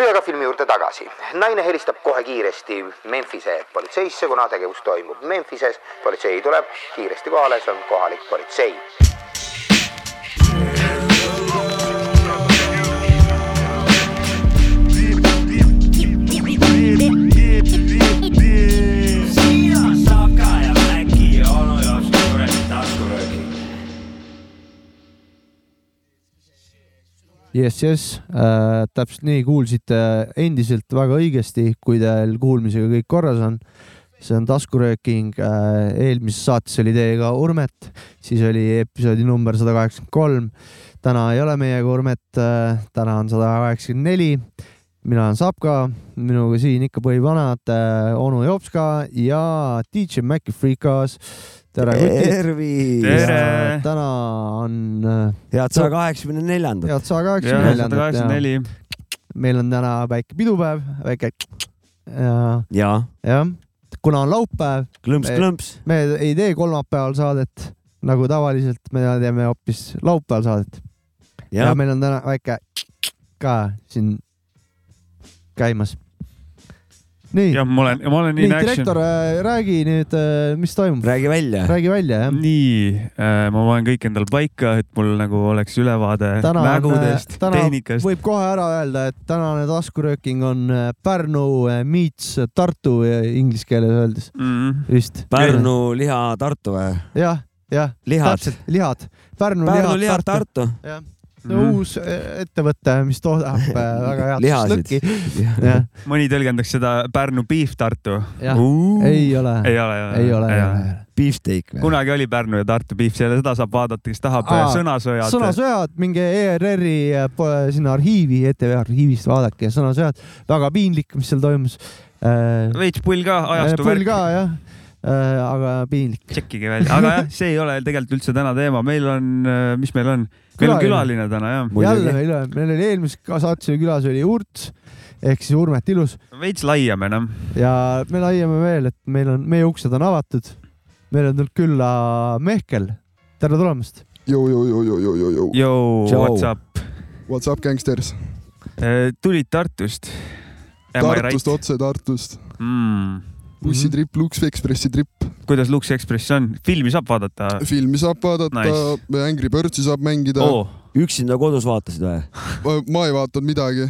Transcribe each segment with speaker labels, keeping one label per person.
Speaker 1: ühega filmi juurde tagasi. naine helistab kohe kiiresti Memphise politseisse, kuna tegevus toimub Memphises. politsei tuleb kiiresti kohale, see on kohalik politsei.
Speaker 2: jess , jess äh, , täpselt nii kuulsite endiselt väga õigesti , kui teil kuulmisega kõik korras on . see on taskurööking äh, , eelmises saates oli teiega Urmet , siis oli episoodi number sada kaheksakümmend kolm . täna ei ole meiega Urmet äh, , täna on sada kaheksakümmend neli . mina olen Sapka , minuga siin ikka põhivanad äh, onu Jopska ja DJ Maci Freekas . tere , kutid .
Speaker 3: Tere!
Speaker 4: tervist ,
Speaker 2: täna on äh,
Speaker 4: head saja kaheksakümne neljandat .
Speaker 2: head sada
Speaker 3: jah ,
Speaker 2: kaheksakümmend
Speaker 3: sada kaheksakümmend neli .
Speaker 2: meil on täna väike pidupäev , väike ja
Speaker 4: jaa ,
Speaker 2: jah , kuna on laupäev ,
Speaker 4: klõmps-klõmps .
Speaker 2: me ei tee kolmapäeval saadet nagu tavaliselt , me teeme hoopis laupäeval saadet ja, ja
Speaker 4: jah ,
Speaker 2: meil on täna väike ka siin käimas . nii ,
Speaker 3: jah , ma olen , ma olen
Speaker 2: nii
Speaker 3: in action .
Speaker 2: direktor , räägi nüüd , mis toimub ,
Speaker 4: räägi välja .
Speaker 2: räägi välja jah .
Speaker 3: nii , ma panen kõik endal paika , et mul nagu oleks ülevaade
Speaker 2: Täna on,
Speaker 3: mägudest
Speaker 2: äh, , täna
Speaker 3: tehnikast .
Speaker 2: võib kohe ära öelda , et tänane taskurööking on äh, Pärnu äh, meets Tartu äh, inglise keeles öeldes
Speaker 3: Mhm.
Speaker 2: vist .
Speaker 4: Pärnu liha Tartu või ?
Speaker 2: jah , jah ,
Speaker 4: lihad .
Speaker 2: täpselt , lihad . Pärnu,
Speaker 4: Pärnu
Speaker 2: lihad
Speaker 4: lihad Tartu .
Speaker 2: jah , see on uus eh, ettevõte , mis toodab eh, väga head
Speaker 4: Lihasid.
Speaker 2: šašlõkki . jah ,
Speaker 3: mõni tõlgendaks seda Pärnu beef Tartu .
Speaker 2: jah , ei ole ,
Speaker 3: ei ole ,
Speaker 2: ei ole , ei ole .
Speaker 4: Beefsteak või ?
Speaker 3: kunagi oli Pärnu ja Tartu beef , seda saab vaadata , kes tahab
Speaker 2: Aa,
Speaker 3: sõnasõjad .
Speaker 2: sõnasõjad , minge ERR-i eh, po- sinna arhiivi , ETV arhiivist vaadake sõnasõjad , väga piinlik , mis seal toimus .
Speaker 3: veits pull ka , ajastu
Speaker 2: pull
Speaker 3: värk
Speaker 2: ka . jah , aga piinlik .
Speaker 3: tšekkige välja , aga jah , see ei ole tegelikult üldse täna teema , meil on , mis meil on , meil on külaline täna jah ,
Speaker 2: jälle meil oli , meil oli eelmises ka- saates oli külas oli Urts ehk siis Urmet Ilus
Speaker 3: veits laiem enam .
Speaker 2: ja me laiame veel , et meil on , meie uksed on avatud . meil on tulnud külla Mehkel , tere tulemast .
Speaker 5: Yo, yo, yo, yo, yo, yo, yo.
Speaker 3: Yo ,
Speaker 4: Tšau.
Speaker 3: what's up ?
Speaker 5: What's up , gangsters ?
Speaker 3: Äh, tulid Tartust ?
Speaker 5: Tartust , otse Tartust . bussitripp , Lux Expressi tripp .
Speaker 3: Mm. kuidas Lux Express on , filmi saab vaadata ?
Speaker 5: filmi saab vaadata nice. , Angry Birdsi saab mängida oh. .
Speaker 3: oo ,
Speaker 4: üksinda kodus vaatasid või ?
Speaker 5: ma ei vaadanud midagi .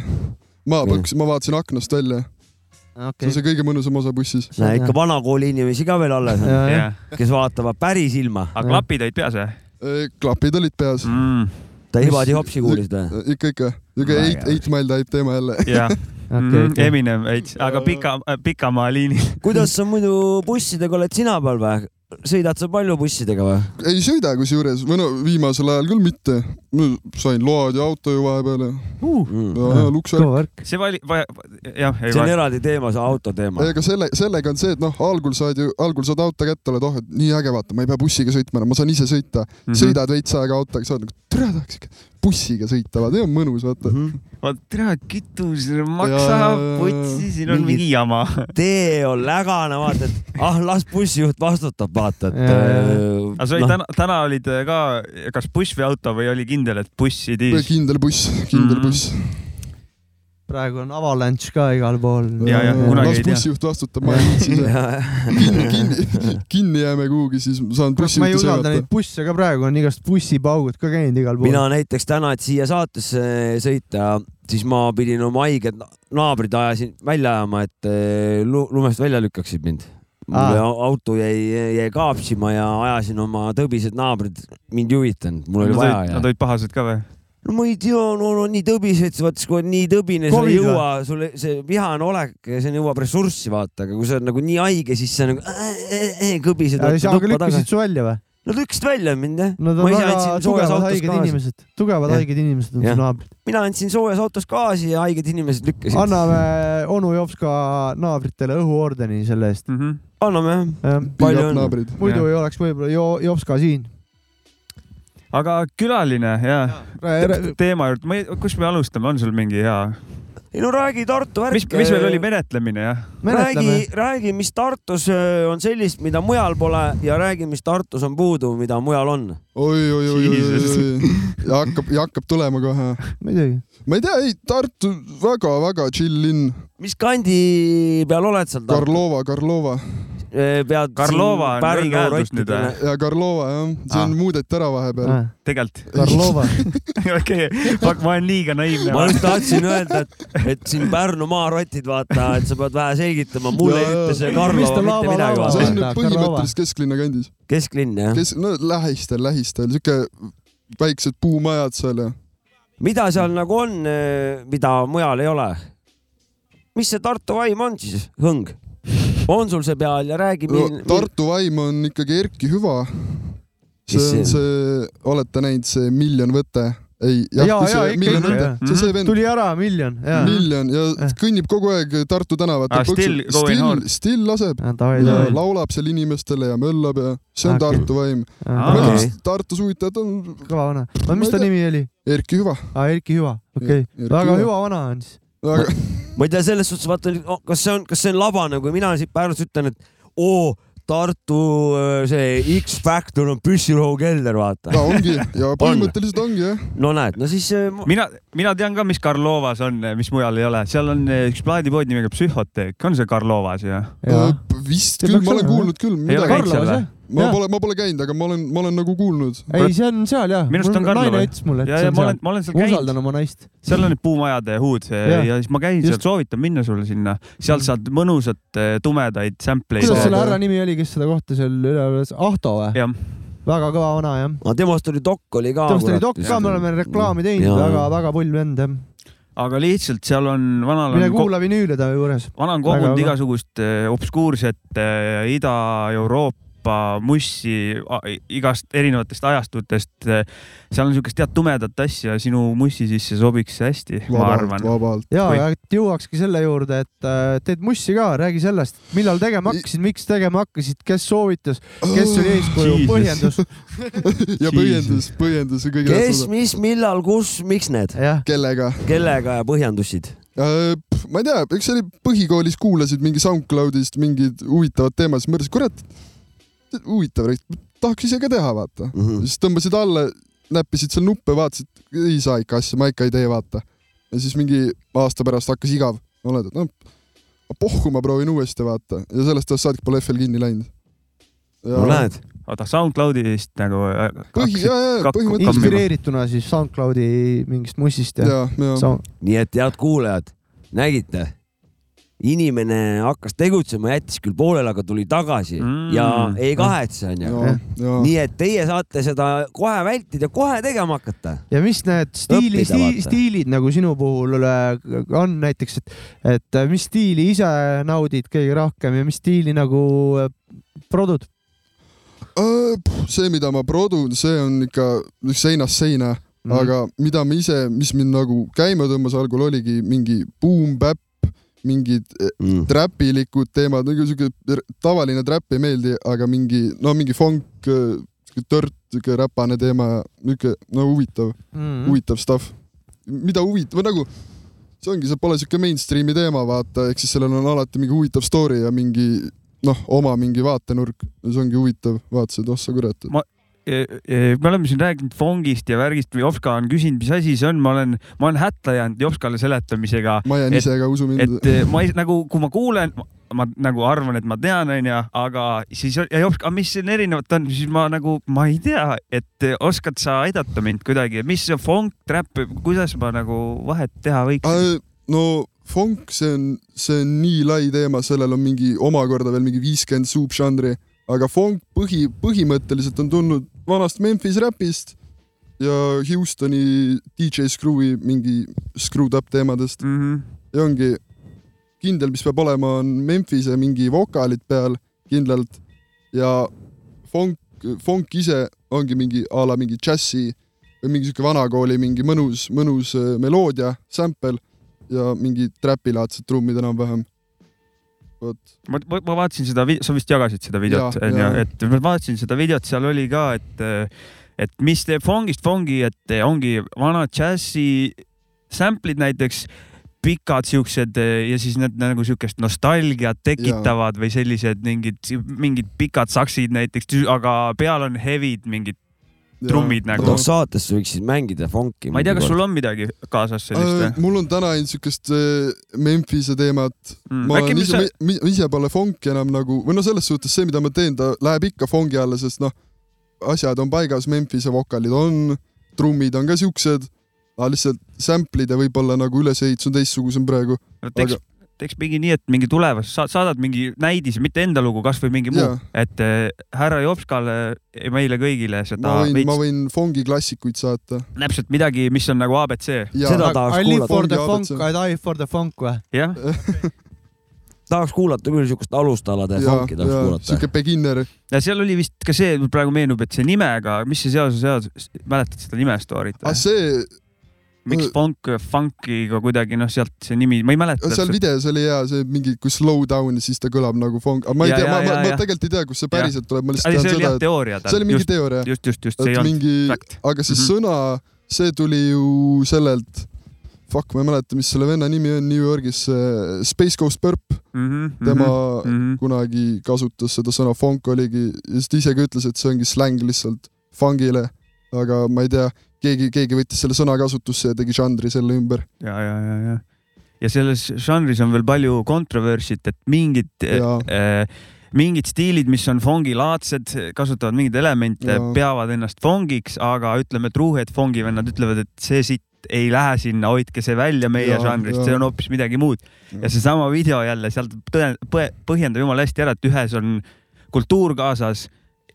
Speaker 5: ma
Speaker 4: Nii.
Speaker 5: pakkusin , ma vaatasin aknast välja okay. . see on see kõige mõnusam osa bussis .
Speaker 4: näe ikka vanakooli inimesi ka veel alles ,
Speaker 2: jah ,
Speaker 3: jah ,
Speaker 4: kes vaatavad päris ilma .
Speaker 3: aga klapid olid peas või
Speaker 5: Äh, klapid olid peas mm. .
Speaker 3: mm, ?
Speaker 4: ta Ibadi hopsi kuulisid või ?
Speaker 5: ikka , ikka . niisugune
Speaker 4: Väga
Speaker 5: eight ,
Speaker 4: hea.
Speaker 5: eight mile type teema jälle .
Speaker 3: jah
Speaker 4: Mm-hmm.
Speaker 2: okei,
Speaker 3: mm, ,
Speaker 2: okei.
Speaker 3: Eminem veits , aga pika , pikamaa liinil .
Speaker 4: kuidas sa muidu bussidega oled sina peal või ? sõidad sa palju bussidega või ?
Speaker 5: ei sõida kusjuures , või no viimasel ajal küll mitte . sain load ja auto ju vahepeal ja,
Speaker 4: Mm.
Speaker 5: ja Lux
Speaker 2: kõva värk .
Speaker 3: see vali- , jah , ei
Speaker 4: see on
Speaker 3: vaja ,
Speaker 4: eraldi teema , see auto teema .
Speaker 5: ega selle , sellega on see , et noh , algul saad ju , algul saad auto kätte , oled oh , et nii äge , vaata , ma ei pea bussiga sõitma enam , ma saan ise sõita mm .
Speaker 3: Mhm.
Speaker 5: -hmm. sõidad veits aega autoga , saad nagu , tere , tahaks ikka bussiga sõita , vaata , see on mõnus , vaata .
Speaker 3: Mhm.
Speaker 4: Mhm.
Speaker 3: vot tead , kütus
Speaker 5: Jaa,
Speaker 3: maksab
Speaker 5: jaa, ,
Speaker 3: võtsi , siin on
Speaker 4: Mingid-
Speaker 3: mingi jama .
Speaker 4: tee on lägane , vaata , et ah , las bussijuht vastutab , vaata , et . äh, noh.
Speaker 2: Jaa, jaa.
Speaker 3: aga sa olid täna , täna olid äh, ka , kas buss või auto või oli kindel , et buss ei tiis ?
Speaker 5: kindel buss , kindel
Speaker 3: Mhm.
Speaker 5: buss mm .
Speaker 2: praegu on avalanš ka igal pool .
Speaker 3: Jaa, jaa,
Speaker 5: Äh,
Speaker 3: kunagi ei
Speaker 5: las
Speaker 3: tea.
Speaker 5: bussijuht vastutab , ma ei viitsi seda . kinni , kinni , kinni jääme kuhugi , siis saan
Speaker 2: Noh, ma ei
Speaker 5: bussijuhti
Speaker 2: usalda
Speaker 5: segata
Speaker 2: neid . busse ka praegu on igast bussipaugud ka käinud igal pool .
Speaker 4: mina näiteks täna , et siia saatesse sõita , siis ma pidin oma haiged naabrid ajasin välja ajama , et eh, lu- lumest välja lükkaksid mind . mul
Speaker 2: Aa.
Speaker 4: auto jäi , jäi kaapsima ja ajasin oma tõbised naabrid , mind ei huvitanud , mul oli vaja
Speaker 3: Nad
Speaker 4: ja .
Speaker 3: olid pahased ka või ?
Speaker 4: no ma ei tea , no no nii tõbised , vaat siis kui on nii tõbine , sul
Speaker 2: Covid
Speaker 4: ei
Speaker 2: või?
Speaker 4: jõua , sul ei- see vihane olek , see nõuab ressurssi , vaata , aga kui sa oled nagu nii haige , siis sa nagu äh, äh, äh, kõbised .
Speaker 2: ja siis , aga lükkasid su välja või ?
Speaker 4: Nad lükkasid välja mind jah .
Speaker 2: Nad
Speaker 4: Ma
Speaker 2: on
Speaker 4: ise
Speaker 2: väga
Speaker 4: andsin soojas
Speaker 2: tugevad
Speaker 4: autos
Speaker 2: haiged
Speaker 4: gaasi.
Speaker 2: inimesed , tugevad
Speaker 4: Jah.
Speaker 2: haiged inimesed on
Speaker 4: Jah.
Speaker 2: su naabrid .
Speaker 4: mina andsin soojas autos gaasi ja haiged inimesed lükkasid .
Speaker 2: anname onu Jopska naabritele õhuordeni selle eest .
Speaker 3: Mhm.
Speaker 4: anname jah .
Speaker 5: Big
Speaker 4: palju
Speaker 5: up
Speaker 4: õnne.
Speaker 5: naabrid .
Speaker 2: muidu
Speaker 3: Jah.
Speaker 2: ei oleks võib-olla Jo- Jopska siin .
Speaker 3: aga külaline ja teema juurde , ma ei , kus me alustame , on sul mingi hea ,
Speaker 4: ei no räägi Tartu värk .
Speaker 3: mis , mis meil oli ? menetlemine jah ?
Speaker 2: menetleme
Speaker 4: räägi , räägi , mis Tartus öö, on sellist , mida mujal pole ja räägi , mis Tartus on puudu , mida mujal on .
Speaker 5: oi , oi , oi , oi , oi ,
Speaker 3: Jesus.
Speaker 5: oi , ja hakkab , ja hakkab tulema kohe .
Speaker 2: muidugi .
Speaker 5: ma ei tea , ei Tartu väga-väga chill linn .
Speaker 4: mis kandi peal oled seal ?
Speaker 5: Karlova , Karlova
Speaker 4: Äh, pead .
Speaker 3: Karlova on veel käendus nüüd, või?
Speaker 5: ja Karlova jah , see on
Speaker 3: Ah.
Speaker 5: muudeti ära vahepeal .
Speaker 2: Ah,
Speaker 3: tegelikult ,
Speaker 2: Karlova ,
Speaker 3: okei , ma olen liiga naiivne .
Speaker 4: ma just tahtsin öelda , et , et siin Pärnu maarotid , vaata , et sa pead vähe selgitama , mulle ei
Speaker 5: Jaa, jaa.
Speaker 4: ütle see
Speaker 2: Mis ta
Speaker 4: Karlova mitte
Speaker 2: laua
Speaker 4: midagi
Speaker 2: laua
Speaker 5: see on
Speaker 2: on?
Speaker 4: vaata .
Speaker 5: nüüd
Speaker 2: ta
Speaker 5: põhimõtteliselt kesklinna kandis ,
Speaker 4: kesklinn
Speaker 2: Ah.
Speaker 4: jah .
Speaker 5: kes , no lähistel , lähistel , siuke väiksed puumajad seal ja
Speaker 4: mida seal nagu on , mida mujal ei ole ? mis see Tartu vaim on siis , hõng ? on sul see peal ja räägi ,
Speaker 5: no,
Speaker 4: mil- .
Speaker 5: Tartu vaim on ikkagi Erki Hüva . see
Speaker 4: Kes
Speaker 5: on
Speaker 4: see-
Speaker 5: see , olete näinud see Miljon võte ? ei ,
Speaker 2: Jaa,
Speaker 5: jah ,
Speaker 2: jaa,
Speaker 5: see
Speaker 2: ikka
Speaker 5: Miljon
Speaker 2: küll,
Speaker 5: võte
Speaker 2: jah. ,
Speaker 5: see on see vend ,
Speaker 2: tuli ära miljon , jaa . Eh.
Speaker 5: Miljon ja
Speaker 2: Jah.
Speaker 5: kõnnib kogu aeg Tartu
Speaker 3: Ah,
Speaker 5: tänavatel .
Speaker 3: still going hard.
Speaker 5: still laseb
Speaker 2: Ah, davai ,
Speaker 5: ja
Speaker 2: davai .
Speaker 5: laulab seal inimestele ja möllab ja see on
Speaker 2: Ah, okei.
Speaker 5: Tartu vaim .
Speaker 3: Aa.
Speaker 5: mõned Tartus ujutajad on
Speaker 2: kõva vana . aga mis ta
Speaker 5: Ma ei
Speaker 2: nimi oli ?
Speaker 5: Erki Hüva .
Speaker 2: aa , Erki Hüva , okei
Speaker 5: Erki .
Speaker 2: väga
Speaker 5: Hüva.
Speaker 2: hüva vana on siis .
Speaker 5: aga
Speaker 4: ma ei tea , selles suhtes vaata , kas see on , kas see on labane , kui mina siit Pärnust ütlen , et oo , Tartu öö, see X-Factor on püssirohu kelder , vaata .
Speaker 5: no, ongi ja põhimõtteliselt ongi jah .
Speaker 4: no näed , no siis äh, öö, ma-
Speaker 3: mina , mina tean ka , mis Karlovas on , mis mujal ei ole , seal on eh, üks plaadipood nimega Psühhoteek , on see Karlovas ju ?
Speaker 5: Äh, vist
Speaker 2: See
Speaker 5: küll ,
Speaker 2: peaks
Speaker 5: ma olen
Speaker 2: olema,
Speaker 5: kuulnud küll
Speaker 3: ei ole
Speaker 5: midagi .
Speaker 3: käinud seal
Speaker 2: Karlovas,
Speaker 3: või
Speaker 2: jah? ?
Speaker 5: ma
Speaker 2: Jaa.
Speaker 5: pole , ma pole käinud , aga ma olen , ma olen nagu kuulnud .
Speaker 2: ei , see on seal jah .
Speaker 3: Minu arust on Karlova.
Speaker 2: naine ütles mulle , et
Speaker 3: ja ,
Speaker 2: see
Speaker 3: ja
Speaker 2: on
Speaker 3: ma
Speaker 2: seal
Speaker 3: olen ., ma olen seal
Speaker 2: ma
Speaker 3: käinud ,
Speaker 2: usaldan oma naist .
Speaker 3: seal on need puumajade huud ja,
Speaker 2: Jah.
Speaker 3: ja siis ma käin
Speaker 2: Just. Mm.
Speaker 3: seal , soovitan minna sulle sinna , sealt saad mõnusat eh, tumedaid sample'id .
Speaker 2: kuidas selle
Speaker 5: saada.
Speaker 2: härra nimi oli , kes seda kohta seal üleval , Ahto või ?
Speaker 3: jah ,
Speaker 2: väga kõva vana jah .
Speaker 4: aga temast oli dokk oli ka .
Speaker 2: temast oli dokk ka , me oleme reklaami teinud , väga-väga pull vend jah .
Speaker 3: aga lihtsalt seal on , vanal
Speaker 2: mine
Speaker 3: on ko-
Speaker 2: kuula vinüüle ta juures .
Speaker 3: vana on
Speaker 2: Väga
Speaker 3: kogunud
Speaker 2: hea.
Speaker 3: igasugust eh, obskuurset eh, Ida-Euroopa mussi a- igast erinevatest ajastutest . seal on siukest head tumedat asja , sinu mussi sisse sobiks hästi , ma
Speaker 5: vabalt ,
Speaker 3: arvan .
Speaker 5: vabalt .
Speaker 2: ja ,
Speaker 3: Või-
Speaker 2: ja et jõuakski selle juurde , et äh, teed mussi ka , räägi sellest , millal tegema
Speaker 5: I-
Speaker 2: hakkasid , miks tegema hakkasid , kes soovitas , kes
Speaker 5: Oh,
Speaker 2: oli eeskuju ,
Speaker 3: Jesus.
Speaker 2: põhjendus ,
Speaker 5: ja põhjendus , põhjendus on kõige
Speaker 4: kes ,
Speaker 5: tähtsam .
Speaker 4: mis , millal , kus , miks need ,
Speaker 2: jah .
Speaker 5: kellega ?
Speaker 4: kellega ja põhjendusid .
Speaker 5: ma ei tea , eks see oli põhikoolis kuulasid mingi SoundCloudist mingid huvitavad teemad , siis mõtlesin , kurat , huvitav , tahaks ise ka teha , vaata .
Speaker 4: Mhm.
Speaker 5: siis tõmbasid alla , näppisid seal nuppe , vaatasid , ei saa ikka asja , ma ikka ei tee , vaata . ja siis mingi aasta pärast hakkas igav , oled , et noh , pohhu , ma proovin uuesti , vaata . ja sellest ajast saadik pole FL kinni läinud .
Speaker 4: no näed ,
Speaker 3: oota , SoundCloudist nagu äh,
Speaker 5: põhi ,
Speaker 3: hakkasid-
Speaker 5: jaa , jaa ,
Speaker 3: kak-
Speaker 5: põhimõtteliselt .
Speaker 2: inspireerituna siis SoundCloudi mingist mussist ja,
Speaker 5: jaa , jaa
Speaker 2: ja. . Sa...
Speaker 4: nii et head kuulajad , nägite , inimene hakkas tegutsema , jättis küll pooleli , aga tuli tagasi
Speaker 3: Mm.
Speaker 4: ja ei kahetse , onju .
Speaker 5: ja , ja .
Speaker 4: nii et teie saate seda kohe vältida , kohe tegema hakata .
Speaker 2: ja mis need stiili ,
Speaker 4: Õppida,
Speaker 2: stiili,
Speaker 4: vaata.
Speaker 2: stiilid nagu sinu puhul äh, on näiteks , et , et äh, mis stiili ise naudid kõige rohkem ja mis stiili nagu äh, produd ?
Speaker 5: Öö, puh, see , mida ma produn , see on ikka seinast seina mm. ,
Speaker 3: Mhm.
Speaker 5: aga mida ma ise , mis mind nagu käima tõmbas algul oligi mingi boom bap , mingid eh,
Speaker 3: Mhm.
Speaker 5: trapilikud teemad , nagu siuke r- tavaline trap ei meeldi , aga mingi no mingi funk , eh, siuke tört , siuke räpane teema ja niuke no huvitav mm. ,
Speaker 3: Mhm.
Speaker 2: mm.
Speaker 5: huvitav stuff . mida huvitav , või nagu see ongi , see pole siuke mainstream'i teema , vaata , ehk siis sellel on alati mingi huvitav story ja mingi noh , oma mingi vaatenurk , see ongi huvitav , vaatasid , oh sa kurat ,
Speaker 3: eh, me oleme siin rääkinud fongist ja värgist , Jopska on küsinud , mis asi see on , ma olen , ma olen hätta jäänud Jopskale seletamisega ,
Speaker 5: ma jään
Speaker 3: Et-
Speaker 5: ise ka , usu mind .
Speaker 3: et eh, ma ei, nagu , kui ma kuulen , ma nagu arvan , et ma tean , onju , aga siis ja Jopska , mis siin erinevat on , siis ma nagu , ma ei tea , et eh, oskad sa aidata mind kuidagi , mis see fong , trap , kuidas ma nagu vahet teha võiks ?
Speaker 5: no funk , see on , see on nii lai teema , sellel on mingi omakorda veel mingi viiskümmend subžanri , aga funk põhi , põhimõtteliselt on tulnud vanast Memphis räpist ja Houstoni DJ Screw'i mingi screwed up teemadest
Speaker 3: Mm -hmm.
Speaker 5: ja ongi kindel , mis peab olema , on Memphise mingi vokaalid peal kindlalt ja funk , funk ise ongi mingi a la mingi džässi või mingi siuke vanakooli mingi mõnus , mõnus äh, meloodia , sample ja mingi trapilaadsed trummid enam-vähem . vot ,
Speaker 3: ma , ma, ma vaatasin seda , sa vist jagasid seda videot ,
Speaker 5: Jaa,
Speaker 3: onju
Speaker 5: jaa. ,
Speaker 3: et ma vaatasin seda videot , seal oli ka , et , et mis teeb fongist fongi , et eh, ongi vana džässi sample'id näiteks , pikad siuksed eh, ja siis need nagu siukest nostalgiat tekitavad või sellised mingid , mingid pikad saksid näiteks , aga peal on heavy'd mingid trummid nagu .
Speaker 5: Äh,
Speaker 4: tahaks saatesse võiks siis mängida funki .
Speaker 3: ma ei tea , kas sul on midagi kaasas sellist
Speaker 5: Äh,
Speaker 3: või ?
Speaker 5: mul on täna ainult siukest äh, Memphise teemat
Speaker 3: Mm,
Speaker 5: mm, . ma
Speaker 3: äkki
Speaker 5: olen
Speaker 3: mis
Speaker 5: ise
Speaker 3: sa- ,
Speaker 5: ise pole fonki enam nagu või no selles suhtes see , mida ma teen , ta läheb ikka fongi alla , sest noh , asjad on paigas , Memphise vokalid on , trummid on ka siuksed , aga lihtsalt sample'ide võib-olla nagu ülesehitus on teistsugusem praegu .
Speaker 3: teeks , teeks mingi nii , et mingi tulevas sa, saadad mingi näidise , mitte enda lugu , kasvõi mingi muu
Speaker 5: Jaa. ,
Speaker 3: et äh, härra Jopskale ja meile kõigile seda
Speaker 5: ma võin , ma
Speaker 3: veits ,
Speaker 5: võin fongi klassikuid saata .
Speaker 3: täpselt midagi , mis on nagu abc ,
Speaker 5: ja
Speaker 4: seda tahaks
Speaker 2: I live
Speaker 4: kuulata ,
Speaker 2: for the
Speaker 5: Ongi
Speaker 2: funk ,
Speaker 5: ABC.
Speaker 2: I die for the funk või ?
Speaker 3: jah ,
Speaker 4: tahaks kuulata küll siukest alustalade
Speaker 5: ja ,
Speaker 4: funki tahaks
Speaker 5: ja
Speaker 4: kuulata .
Speaker 5: siuke beginner ,
Speaker 3: ja seal oli vist ka see , mul praegu meenub , et see nimega , mis see seaduse seadus , mäletad seda nime story't
Speaker 5: aga
Speaker 3: või ?
Speaker 5: Ah, see ,
Speaker 3: miks funk , funk'iga kuidagi noh , sealt see nimi , ma ei mäleta
Speaker 5: seal
Speaker 3: täpselt .
Speaker 5: videos oli hea see mingi , kui slow down ja siis ta kõlab nagu fong , aga ma ei
Speaker 3: Ja,
Speaker 5: tea ,
Speaker 3: ja,
Speaker 5: ma , ma,
Speaker 3: ja,
Speaker 5: ma
Speaker 3: ja.
Speaker 5: tegelikult ei tea , kust see päriselt tuleb , ma lihtsalt
Speaker 3: see
Speaker 5: tean
Speaker 3: oli jah
Speaker 5: seda ,
Speaker 3: teooria
Speaker 5: et see
Speaker 3: tal ,
Speaker 5: oli mingi
Speaker 3: just ,
Speaker 5: teooria ,
Speaker 3: just , just , just , see ei
Speaker 5: et
Speaker 3: olnud
Speaker 5: mingi ,
Speaker 3: fakt .
Speaker 5: aga see
Speaker 3: Mhm.
Speaker 5: sõna , see tuli ju sellelt , fuck , ma ei mäleta , mis selle venna nimi on New Yorgis , Space Ghost Burp ,
Speaker 3: Mhm,
Speaker 5: tema kunagi kasutas seda sõna funk oligi , siis ta ise ka ütles , et see ongi släng lihtsalt fungile , aga ma ei tea , keegi , keegi võttis selle sõna kasutusse ja tegi žanri selle ümber .
Speaker 3: ja , ja , ja , ja , ja selles žanris on veel palju kontroversit , et mingid eh,
Speaker 5: Jaa. ,
Speaker 3: mingid stiilid , mis on fongilaadsed , kasutavad mingeid elemente
Speaker 5: Jaa. ,
Speaker 3: peavad ennast fongiks , aga ütleme , truuhead fongivennad ütlevad , et see siit ei lähe sinna , hoidke see välja meie
Speaker 5: Jaa,
Speaker 3: žanrist ,
Speaker 5: jaa.
Speaker 3: see on hoopis midagi muud . ja seesama video jälle , sealt tõe- põe- põhjendab jumala hästi ära , et ühes on kultuur kaasas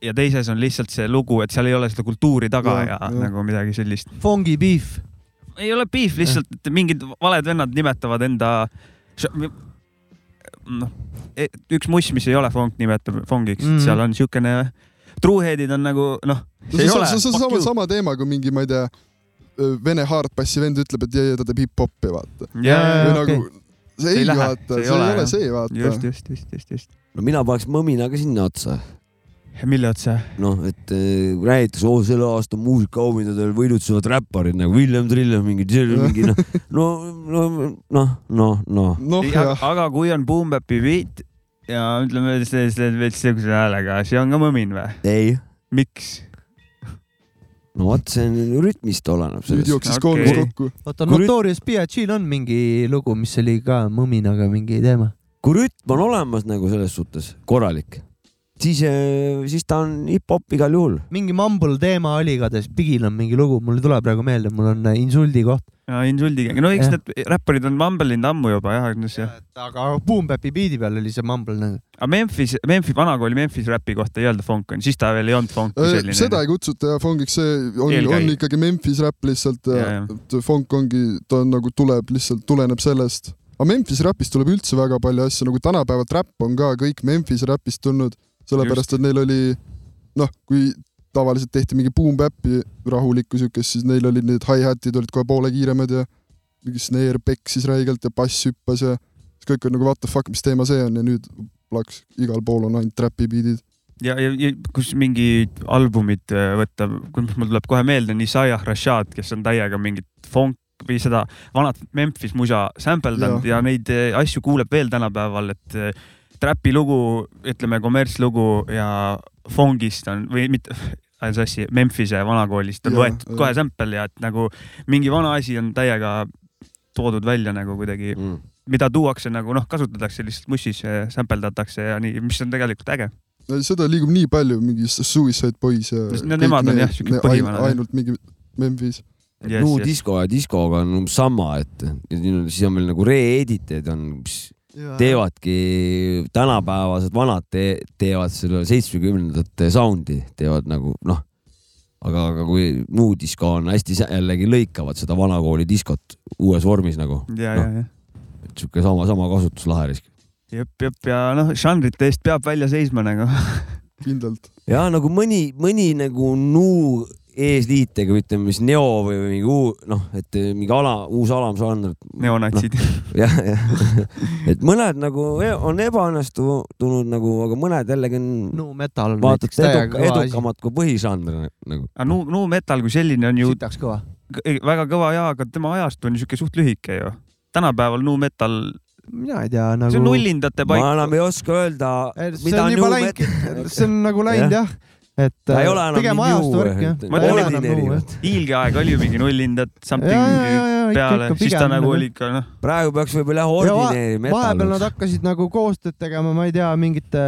Speaker 3: ja teises on lihtsalt see lugu , et seal ei ole seda kultuuri taga
Speaker 5: Jaa,
Speaker 3: ja, ja
Speaker 5: jaa.
Speaker 3: nagu midagi sellist .
Speaker 2: Fongi beef .
Speaker 3: ei ole beef , lihtsalt et mingid valed vennad nimetavad enda , noh , üks muss , mis ei ole funk , nimetab funkiks mm ,
Speaker 2: Mhm.
Speaker 3: -hmm. seal on siukene , truuhead'id on nagu noh ,
Speaker 5: no
Speaker 3: see ei
Speaker 5: see,
Speaker 3: ole
Speaker 5: see, see on sama , sama teema , kui mingi , ma ei tea , vene hardbassi vend ütleb , et jee , ta teeb hip-hopi , vaata .
Speaker 2: Jaa,
Speaker 5: või
Speaker 2: okei.
Speaker 5: nagu , see ei
Speaker 3: lähe,
Speaker 5: vaata , see ei ole
Speaker 3: jah.
Speaker 5: see ,
Speaker 3: just ,
Speaker 5: vaata .
Speaker 3: just , just , just , just .
Speaker 4: no mina paneks mõmina ka sinna otsa .
Speaker 3: mille otsa ?
Speaker 4: noh , et eh, räägitakse , oo selle aasta muusikaauhindadel võidutsevad räpparid nagu William Triller , mingi , mingi noh , no , no , noh , noh , noh .
Speaker 5: noh , jah ,
Speaker 3: aga kui on Boom Bap'i beat ja ütleme , see , see veits siukse häälega , see on ka mõmin või ?
Speaker 4: ei ,
Speaker 3: miks ?
Speaker 4: no vot , see on rütmist oleneb
Speaker 5: nüüd
Speaker 4: sellest .
Speaker 5: jooksis
Speaker 3: Okei.
Speaker 5: koonus kokku .
Speaker 2: oota ,
Speaker 4: Kui nüüd-
Speaker 2: Notorious B.I.G-l on mingi lugu , mis oli ka mõminaga mingi teema .
Speaker 4: kui rütm on olemas nagu selles suhtes korralik , siis , siis ta on hip-hop igal juhul .
Speaker 2: mingi mumble teema oli igatahes , Bigil on mingi lugu , mul ei tule praegu meelde , mul on äh, insuldi koht .
Speaker 3: insuldiga , no eks
Speaker 2: Jah.
Speaker 3: need räpparid on mambelinud ammu juba jah , noh, eks ju .
Speaker 2: aga Boom Bap'i biidi peal oli see mumble nagu .
Speaker 3: aga Memphis , Memphis , vanakooli Memphis räpi kohta ei öelda funk , siis ta veel ei olnud funk kui selline .
Speaker 5: Äh, seda ei kutsuta jah fongiks , see on ,
Speaker 3: Eelkäija.
Speaker 5: on ikkagi Memphis räpp lihtsalt
Speaker 3: Jaa,
Speaker 5: ja
Speaker 3: jah.
Speaker 5: et fong ongi , ta on nagu tuleb lihtsalt , tuleneb sellest . aga Memphis räpist tuleb üldse väga palju asju , nagu tänapäevalt räpp on ka kõik Memphis räpist tulnud , sellepärast et neil oli noh , kui tavaliselt tehti mingi boom bap'i rahulikku siukest , siis neil olid need hi-hatid olid kohe poole kiiremad ja mingi snare peksis räigelt ja bass hüppas ja siis kõik on nagu what the fuck , mis teema see on ja nüüd plaks , igal pool on ainult räpi beat'id .
Speaker 3: ja , ja, ja kus mingi albumid äh, võtta , mis mul tuleb kohe meelde , on Isaiah Rashad , kes on täiega mingit funk või seda vanat Memphis musa sampeldanud ja. ja neid äh, asju kuuleb veel tänapäeval , et äh, trapi lugu , ütleme kommertslugu ja fongist on või mitte ajan sassi , Memphise vanakoolist on
Speaker 5: Jaa,
Speaker 3: võetud
Speaker 5: jaa.
Speaker 3: kohe sample ja et nagu mingi vana asi on täiega toodud välja nagu kuidagi , mida tuuakse nagu noh , kasutatakse lihtsalt mussis , sämpeldatakse ja nii , mis on tegelikult äge .
Speaker 5: seda liigub nii palju , mingi Suicide Boys ja
Speaker 3: Just, no
Speaker 5: kõik
Speaker 3: nemad on
Speaker 5: need-
Speaker 3: jah, siuke
Speaker 5: need
Speaker 3: põhivanad,
Speaker 5: ain-
Speaker 3: jah.
Speaker 5: ainult mingi Memphis .
Speaker 3: Yes,
Speaker 4: New
Speaker 3: yes.
Speaker 4: Disco ja Discoga on umbes sama , et et nüüd on- siis on veel nagu re-editajaid on , mis teevadki tänapäevased vanad te, teevad selle seitsmekümnendate sound'i , teevad nagu noh , aga , aga kui muu disko on hästi sä- jällegi lõikavad seda vanakooli diskot uues vormis nagu ,
Speaker 3: ja ,
Speaker 4: Noh.
Speaker 3: ja , ja
Speaker 4: et sihuke sama , sama kasutuslaheris .
Speaker 3: jep , jep ja noh , žanrite eest peab välja seisma nagu .
Speaker 5: kindlalt .
Speaker 4: ja nagu mõni , mõni nagu nuu eesliitega , ütleme siis neo või või mingi uu- , noh , et mingi ala , uus alamžanr .
Speaker 3: neonatsid
Speaker 2: Noh.
Speaker 3: no. .
Speaker 4: jah , jah , et mõned nagu e- on ebaõnnestunud nagu , aga mõned jällegi on
Speaker 2: no metal on
Speaker 4: vaata ,
Speaker 2: näiteks
Speaker 4: et
Speaker 2: täiega
Speaker 4: eduka,
Speaker 2: kõva asi .
Speaker 4: edukamad kui põhižanr nagu .
Speaker 3: aga nu- , nu- metal kui selline on ju
Speaker 2: sitaks kõva .
Speaker 3: kõ- väga kõva ja , aga tema ajastu on ju siuke suht lühike ju . tänapäeval nu- metal ,
Speaker 2: mina ei tea
Speaker 3: see on
Speaker 2: nagu .
Speaker 3: nullindate
Speaker 4: ma
Speaker 3: paik .
Speaker 4: enam ei oska öelda ,
Speaker 2: see
Speaker 4: mida
Speaker 2: on
Speaker 4: on
Speaker 2: juba
Speaker 4: New Metal ,
Speaker 2: läinud , see on nagu läinud jah . et
Speaker 4: ta ei ole enam
Speaker 2: pigem
Speaker 4: nii
Speaker 2: ajastu
Speaker 4: jõu,
Speaker 2: värk jah .
Speaker 4: et
Speaker 3: Ma
Speaker 2: ta ei ole
Speaker 3: tean,
Speaker 2: enam jõu jah .
Speaker 3: hiilgeaeg oli ju mingi null hindat , something
Speaker 2: Ja, ja, ja, ja, ikka,
Speaker 3: peale
Speaker 2: ikka, ,
Speaker 3: siis ta
Speaker 2: pigem
Speaker 3: nagu
Speaker 2: nagu-
Speaker 3: oli ikka noh ,
Speaker 4: praegu peaks võib-olla
Speaker 2: ja
Speaker 4: jah
Speaker 2: va-
Speaker 4: ordineerima
Speaker 2: vahepeal nad
Speaker 4: etalons .
Speaker 2: hakkasid nagu koostööd tegema , ma ei tea , mingite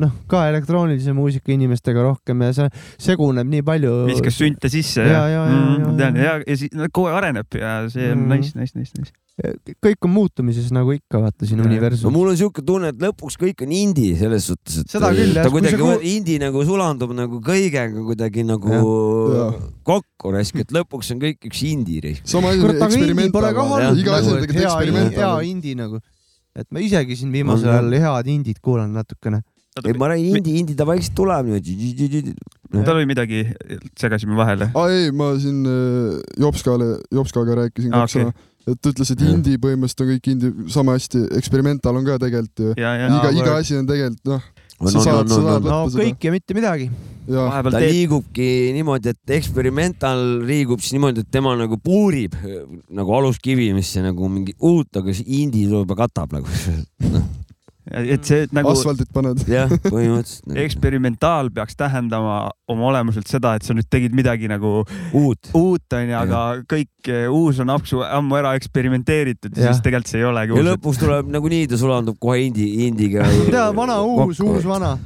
Speaker 2: noh , ka elektroonilise muusika inimestega rohkem ja see seguneb nii palju .
Speaker 3: viskas sünte sisse
Speaker 2: Ja, ja, ja,
Speaker 3: Mm, ma
Speaker 2: ja,
Speaker 3: tean
Speaker 2: ja.
Speaker 3: ja , ja siis no, kogu aeg areneb ja see on
Speaker 2: Mm.
Speaker 3: nice , nice , nice , nice .
Speaker 2: kõik on muutumises nagu ikka vaata siin
Speaker 3: Ja, ja.
Speaker 4: no
Speaker 2: universumis .
Speaker 4: mul on siuke tunne , et lõpuks kõik on indie selles suhtes , et
Speaker 2: Seda küll, jah,
Speaker 4: ta
Speaker 2: kui sa
Speaker 4: kuidagi
Speaker 2: kuul-
Speaker 4: kuul... indie nagu sulandub nagu kõigega kuidagi nagu
Speaker 5: Jah.
Speaker 4: kokku raisk , et lõpuks on kõik üks indie raisk .
Speaker 5: sama asi ,
Speaker 2: kurat , aga indie
Speaker 5: eksperiment
Speaker 2: pole ka
Speaker 4: jah,
Speaker 2: halb .
Speaker 5: iga asjaga tegelikult eksperiment
Speaker 2: hea
Speaker 5: on .
Speaker 2: indie nagu , et ma isegi siin viimasel ajal
Speaker 4: Mhm.
Speaker 2: head indit kuulan natukene .
Speaker 4: ei , ma räägin indie , indie ta vaikselt tuleb niimoodi .
Speaker 3: tal oli midagi , segasime vahele .
Speaker 5: aa Ah, ei , ma siin äh, Jopskale , Jopskaga rääkisin
Speaker 3: Aa,
Speaker 5: kaks
Speaker 3: Ah, okei.
Speaker 5: sõna , et ta ütles , et
Speaker 4: Jah.
Speaker 5: indie põhimõtteliselt on kõik indie , sama hästi , eksperimental on ka tegelikult ju .
Speaker 3: ja , ja
Speaker 2: Jaa,
Speaker 5: iga , iga
Speaker 2: word.
Speaker 5: asi on tegelikult noh ,
Speaker 4: on ,
Speaker 5: sa
Speaker 4: on ,
Speaker 5: saad ,
Speaker 4: on ,
Speaker 5: sa
Speaker 4: on ,
Speaker 5: saad
Speaker 4: on .
Speaker 2: no
Speaker 5: võtta seda
Speaker 2: kõik ja mitte midagi .
Speaker 5: ja
Speaker 3: vahepeal
Speaker 4: ta
Speaker 3: teed ,
Speaker 4: liigubki niimoodi , et eksperimental liigub siis niimoodi , et tema nagu puurib eh, nagu aluskivi , mis see nagu mingi uut , aga see indie tuleb ja katab nagu
Speaker 3: et see nagu
Speaker 5: asfaldit paned .
Speaker 4: jah , põhimõtteliselt nagu,
Speaker 3: eksperimentaal peaks tähendama oma olemuselt seda , et sa nüüd tegid midagi nagu
Speaker 4: uut .
Speaker 3: uut , onju , aga kõik eh, uus on apsu ammu ära eksperimenteeritud ja, ja
Speaker 2: Jah.
Speaker 3: siis tegelikult see ei olegi
Speaker 4: ja
Speaker 3: uus .
Speaker 4: lõpuks tuleb nagunii , ta sulandub kohe indie , indie'ga .
Speaker 2: tea , vana , uus , uus , vana .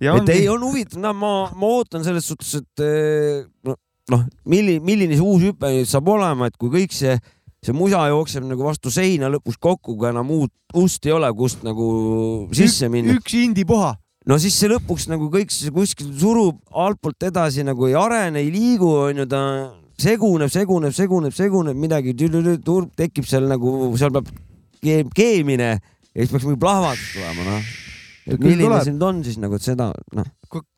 Speaker 3: ja
Speaker 4: et ei ,
Speaker 3: ongi ,
Speaker 4: on huvitav , no ma , ma ootan selles suhtes , et eh, no- noh , milline , milline see uus hüpe nüüd saab olema , et kui kõik see , see musa jookseb nagu vastu seina lõpus kokku , kui enam uut ust ei ole , kust nagu sisse minna .
Speaker 2: üks indie puha .
Speaker 4: no siis see lõpuks nagu kõik see kuskil surub altpoolt edasi nagu ei arene , ei liigu , onju , ta seguneb , seguneb , seguneb , seguneb midagi , turb tekib seal nagu , seal peab keem- keemine ja siis peaks mingi plahvatus tulema , noh .
Speaker 2: Ja
Speaker 4: et
Speaker 2: küll
Speaker 4: milline
Speaker 2: tuleb.
Speaker 4: see nüüd on siis nagu , et seda , noh .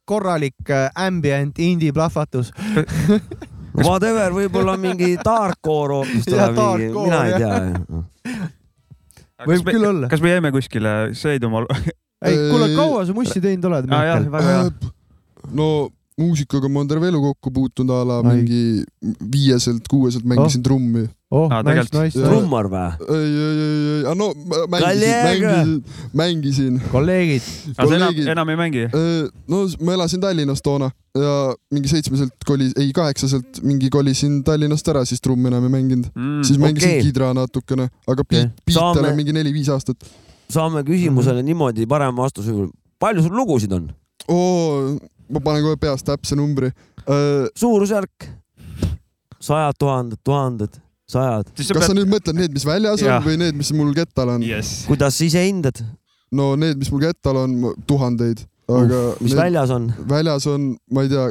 Speaker 2: korralik äh, ambient indie plahvatus .
Speaker 4: Whatever , võib-olla mingi darkcore hoopis
Speaker 2: Jah,
Speaker 4: tuleb mingi ,
Speaker 2: darkcore,
Speaker 4: mina
Speaker 2: jah.
Speaker 4: ei tea .
Speaker 2: võib küll olla .
Speaker 3: kas me jäime kuskile , sõid oma ,
Speaker 2: ei , kuule ,
Speaker 5: Ei-
Speaker 2: kaua sa mussi teinud oled ,
Speaker 3: jah ,
Speaker 2: Mihkel ?
Speaker 3: väga hea .
Speaker 5: no muusikaga ma olen terve elu kokku puutunud a la
Speaker 2: Ai.
Speaker 5: mingi viieselt , kuuseselt mängisin oh. trummi .
Speaker 2: oh
Speaker 3: Aa, ,
Speaker 2: nice ,
Speaker 3: tegelikult-
Speaker 2: nice , nice .
Speaker 4: trummar või ?
Speaker 5: ei , ei , ei , ei , aga no ma mängisin ,
Speaker 4: Kolleeg!
Speaker 5: mängisin , mängisin .
Speaker 2: kolleegid ,
Speaker 3: aga sa enam ,
Speaker 5: kolleegid-
Speaker 3: enam ei mängi ?
Speaker 5: no ma elasin Tallinnas toona ja mingi seitsmeselt kolis , ei kaheksaselt mingi kolisin Tallinnast ära , siis trummi enam ei mänginud .
Speaker 3: Mm.
Speaker 5: siis mängisin
Speaker 4: Hmm, okei.
Speaker 5: okay. kidra natukene , aga piit
Speaker 2: Okei. ,
Speaker 5: piit
Speaker 4: Saame-
Speaker 5: olen mingi neli-viis aastat .
Speaker 4: saame
Speaker 2: Mhm.
Speaker 4: küsimusele niimoodi parem vastus . palju sul lugusid on ?
Speaker 5: oo , ma panen kohe peast täpse numbri .
Speaker 4: suurusjärk ? sajad tuhanded , tuhanded , sajad .
Speaker 3: siis sa
Speaker 5: kas sa
Speaker 3: pead ,
Speaker 5: nüüd mõtled need , mis väljas
Speaker 3: Jah.
Speaker 5: on või need , mis mul kettal on ?
Speaker 3: jess .
Speaker 4: kuidas sa ise hindad ,
Speaker 5: no need , mis mul kettal on , tuhandeid , aga
Speaker 4: mis
Speaker 5: need
Speaker 4: väljas on ?
Speaker 5: väljas on , ma ei tea ,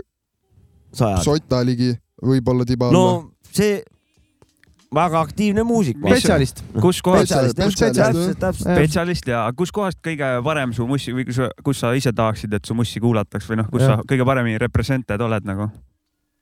Speaker 4: sajad .
Speaker 5: sota ligi , võib-olla tiba alla
Speaker 4: no see , väga aktiivne muusik .
Speaker 2: spetsialist .
Speaker 3: kus kohas ,
Speaker 5: Spetsialist,
Speaker 4: täpselt ,
Speaker 5: spetsialist,
Speaker 4: täpselt , täpselt .
Speaker 2: jah.
Speaker 3: spetsialist ja kus kohast kõige parem su mussi või kus , kus sa ise tahaksid , et su mussi kuulataks või noh , kus
Speaker 2: Jah.
Speaker 3: sa kõige paremini represented oled nagu ?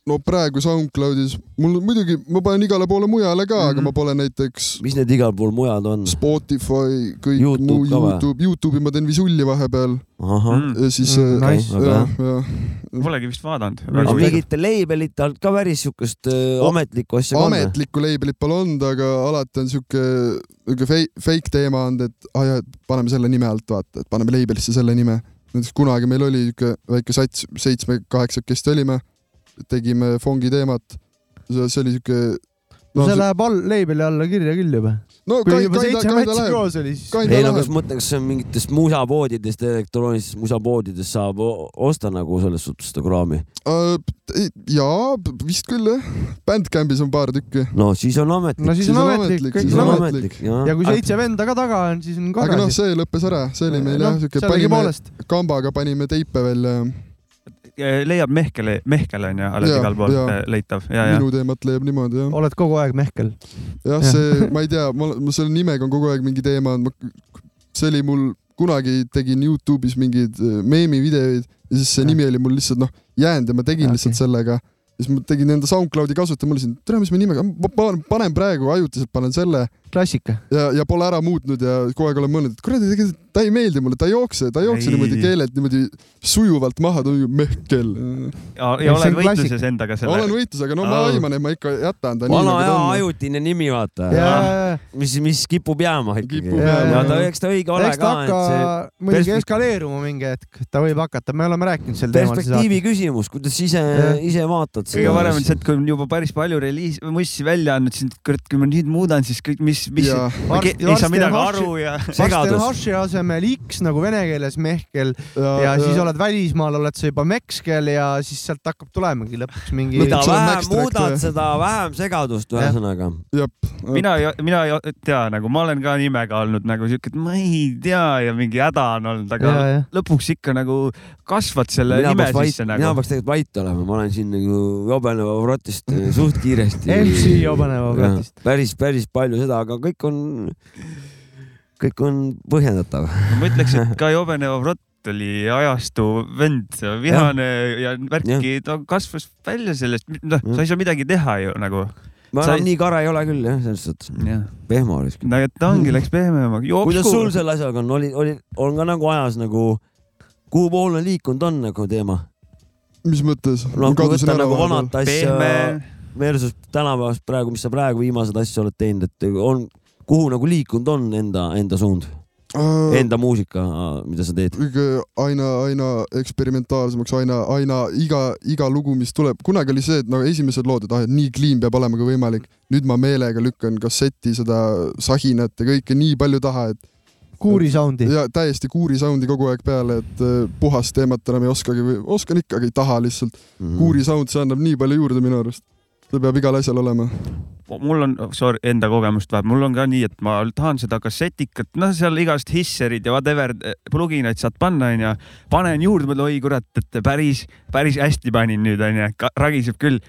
Speaker 5: no praegu SoundCloudis , mul muidugi , ma panen igale poole mujale ka mm , -hmm.
Speaker 3: Mhm.
Speaker 5: aga ma panen näiteks
Speaker 4: mis need igal pool mujal on ?
Speaker 5: Spotify , kõik
Speaker 4: YouTube
Speaker 5: muu
Speaker 4: ka või?
Speaker 5: Youtube , Youtube'i ma teen visulli vahepeal
Speaker 4: ahah ,
Speaker 3: Mm.
Speaker 5: ja siis
Speaker 2: Mm,
Speaker 5: äh,
Speaker 2: nice.
Speaker 4: väga
Speaker 5: jah ,
Speaker 4: hea .
Speaker 5: jah ,
Speaker 3: Polegi vist vaadanud .
Speaker 4: aga mingite label'ite alt ka päris siukest öö, ametlikku asja ka on või ?
Speaker 5: ametlikku labelit pole olnud , aga alati on sihuke , sihuke fei- fake teema olnud , et ah jah , et paneme selle nime alt vaata , et paneme label'isse selle nime . näiteks kunagi meil oli sihuke väike sats , seitsme-kaheksakesti olime , tegime fongi teemat , see oli sihuke
Speaker 2: no see läheb all , leibeli alla kirja küll juba .
Speaker 5: no
Speaker 2: kui
Speaker 5: kai-
Speaker 2: juba
Speaker 5: kaida-
Speaker 2: seitse
Speaker 5: kaida
Speaker 2: matši
Speaker 5: läheb.
Speaker 2: koos oli , siis .
Speaker 5: Kaida
Speaker 4: ei no
Speaker 5: läheb.
Speaker 4: kas ma mõtlen , kas see on mingitest musapoodidest , elektroonilistest musapoodidest saab o- osta nagu selles suhtes seda kraami ?
Speaker 5: Äh, ei- jaa , vist küll jah . Bandcampis on paar tükki .
Speaker 4: no siis on ametlik .
Speaker 2: no siis on ametlik , kõik
Speaker 5: siis
Speaker 2: on
Speaker 5: on
Speaker 2: ametlik .
Speaker 5: ametlik.
Speaker 2: ja kui seitse venda ka taga on , siis on
Speaker 5: aga noh ,
Speaker 2: korras . Noh,
Speaker 5: see lõppes ära , see oli meil jah , siuke panime
Speaker 2: sellegipoolest .
Speaker 5: kambaga panime teipe välja ja
Speaker 3: eh, leiab Mehkel , Mehkel on ju alati
Speaker 5: Jaa,
Speaker 3: igal pool
Speaker 5: jaa.
Speaker 3: eh, leitav ja , ja .
Speaker 5: minu teemat leiab niimoodi jah .
Speaker 2: oled kogu aeg Mehkel .
Speaker 5: jah , see , ma ei tea , ma , ma selle nimega on kogu aeg mingi teema olnud , ma , see oli mul , kunagi tegin Youtube'is mingeid äh, meemivideoid ja siis see
Speaker 2: Jah.
Speaker 5: nimi oli mul lihtsalt noh , jäänud ja ma tegin
Speaker 2: Okei.
Speaker 5: lihtsalt sellega . ja siis ma tegin enda SoundCloudi kasutaja , mõtlesin , et tere , mis me nimega , ma panen , panen praegu ajutiselt panen selle ja
Speaker 2: klassika .
Speaker 5: ja , ja pole ära muutnud ja kogu aeg olen mõelnud , et kuradi , tegelikult ta ei meeldi mulle , ta ei jookse , ta ei jookse
Speaker 3: Ei.
Speaker 5: niimoodi keelelt niimoodi sujuvalt maha , ta on ju mehkel .
Speaker 3: ja
Speaker 2: see on
Speaker 3: oled võitluses
Speaker 2: klassika.
Speaker 3: endaga
Speaker 5: olen
Speaker 3: selle .
Speaker 5: võitlus , aga no ma
Speaker 3: Au.
Speaker 5: aiman , et ma ikka jätan ta nii
Speaker 4: vana
Speaker 5: nagu
Speaker 4: hea
Speaker 5: ta on .
Speaker 4: ajutine nimi , vaata .
Speaker 2: ja ,
Speaker 4: mis , mis kipub jääma ikkagi .
Speaker 5: Kipub
Speaker 2: jääma.
Speaker 4: ja ta , eks ta õige ole
Speaker 2: eks
Speaker 4: ka
Speaker 2: ta ,
Speaker 4: et
Speaker 2: hakka
Speaker 4: see
Speaker 2: muidugi
Speaker 4: perspek-
Speaker 2: eskaleeruma mingi hetk , ta võib hakata , me oleme rääkinud sel teemal .
Speaker 4: perspektiivi küsimus , kuidas ise
Speaker 2: Jah. ,
Speaker 4: ise vaatad
Speaker 3: kõige parem on see ,
Speaker 4: asja.
Speaker 3: et kui on juba päris palju reliis , musti välja andnud , siis kurat , kui ma nüüd muudan , siis kõik , mis , mis ,
Speaker 5: ja ,
Speaker 3: ma ke-
Speaker 2: Varsti-
Speaker 3: ei saa
Speaker 2: varsti
Speaker 3: midagi
Speaker 2: on
Speaker 3: aru ja
Speaker 2: varsti on
Speaker 4: segadus.
Speaker 2: haši asemel X nagu vene keeles mehkel
Speaker 5: ja,
Speaker 2: ja siis oled välismaal , oled sa juba mekskel ja siis sealt hakkab tulemagi lõpuks mingi .
Speaker 4: mida
Speaker 5: see on
Speaker 4: vähem
Speaker 5: Max Track
Speaker 4: muudad
Speaker 5: või? ,
Speaker 4: seda vähem segadust ühesõnaga .
Speaker 5: jep .
Speaker 4: Mm.
Speaker 3: mina , mina ei tea , nagu ma olen ka nimega olnud nagu siuke , et ma ei tea ja mingi häda on olnud , aga
Speaker 2: Ja, ja.
Speaker 3: lõpuks ikka nagu kasvad selle
Speaker 4: mina
Speaker 3: nime
Speaker 4: peaks vait ,
Speaker 3: sisse
Speaker 4: mina
Speaker 3: nagu .
Speaker 4: peaks tegelikult vait olema , ma olen siin nagu jobeneva vrotist suht kiiresti .
Speaker 2: MC jobeneva vrotist. .
Speaker 4: päris , päris palju seda , aga kõik on , kõik on põhjendatav .
Speaker 3: ma ütleks , et ka Jobene Ovrot oli ajastu vend , vihane ja, ja värki , ta kasvas välja sellest , noh , sa ei saa midagi teha ju nagu .
Speaker 4: ma
Speaker 3: Sa
Speaker 4: enam
Speaker 3: ei-
Speaker 4: nii kara ei ole küll jah , selles suhtes ,
Speaker 3: no
Speaker 4: pehmo oleks .
Speaker 3: ja ta ongi , läks pehmemaks .
Speaker 4: kuidas sul selle asjaga on , oli , oli , on ka nagu ajas nagu , kuhu poole liikunud on nagu teema ?
Speaker 5: mis mõttes ?
Speaker 4: no kui võtta nagu vanat asja
Speaker 3: pehme ,
Speaker 4: versus tänapäevast praegu , mis sa praegu viimased asju oled teinud , et on , kuhu nagu liikunud on enda , enda suund ,
Speaker 5: Enda .
Speaker 4: enda muusika , mida sa teed ?
Speaker 5: aina , aina eksperimentaalsemaks , aina , aina iga , iga lugu , mis tuleb , kunagi oli see , et no esimesed lood , et ah , et nii clean peab olema kui võimalik . nüüd ma meelega lükkan kasseti seda sahinat ja kõike nii palju taha , et
Speaker 2: kuuri soundi .
Speaker 5: ja täiesti kuuri sound'i kogu aeg peale , et eh, puhast teemat enam ei oskagi või oskan ikka , aga ei taha lihtsalt .
Speaker 4: Mm. Mhm.
Speaker 5: kuuri sound , see annab nii palju juurde minu arust . see peab igal asjal olema .
Speaker 3: mul on , sorry , enda kogemust vähe , mul on ka nii , et ma tahan seda kassetikat , noh , seal igast hisserid ja whatever eh, pluginaid saad panna , onju . panen juurde , mõtlen , oi kurat , et päris , päris hästi panin nüüd , onju , ragiseb küll .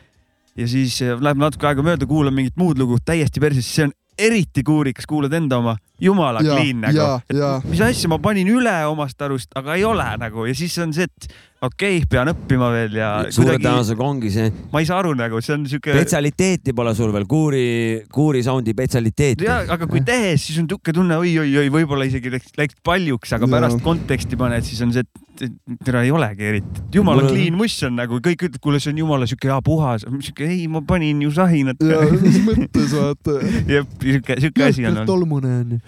Speaker 3: ja siis eh, läheb natuke aega mööda , kuulan mingit muud lugu täiesti perses , see on eriti kuurikas , kuulad enda oma , jumala
Speaker 5: ja ,
Speaker 3: clean nagu
Speaker 5: ja , ja
Speaker 3: mis asja ma panin üle omast arust , aga ei ole nagu ja siis on see , et okei okay, , pean õppima veel ja
Speaker 4: suure
Speaker 3: kuidagi
Speaker 4: tõenäosusega ongi see ,
Speaker 3: ma ei saa aru nagu , see on siuke .
Speaker 4: spetsialiteeti pole sul veel , kuuri , kuuri soundi spetsialiteeti .
Speaker 3: ja aga kui tehes , siis on niisugune tunne oi-oi-oi , võib-olla isegi läks , läks paljuks , aga
Speaker 5: Jaa.
Speaker 3: pärast konteksti paned , siis on see , et et tere , ei olegi eriti . jumala
Speaker 4: Mul-
Speaker 3: clean muss on nagu kõik ütlevad , kuule , see on jumala siuke hea puhas , siuke ei , ma panin ju sahinat .
Speaker 5: ja
Speaker 3: jah ,
Speaker 5: mis mõttes äh, vaata
Speaker 3: siuke , siuke asi on olnud .
Speaker 2: tolmune on ju .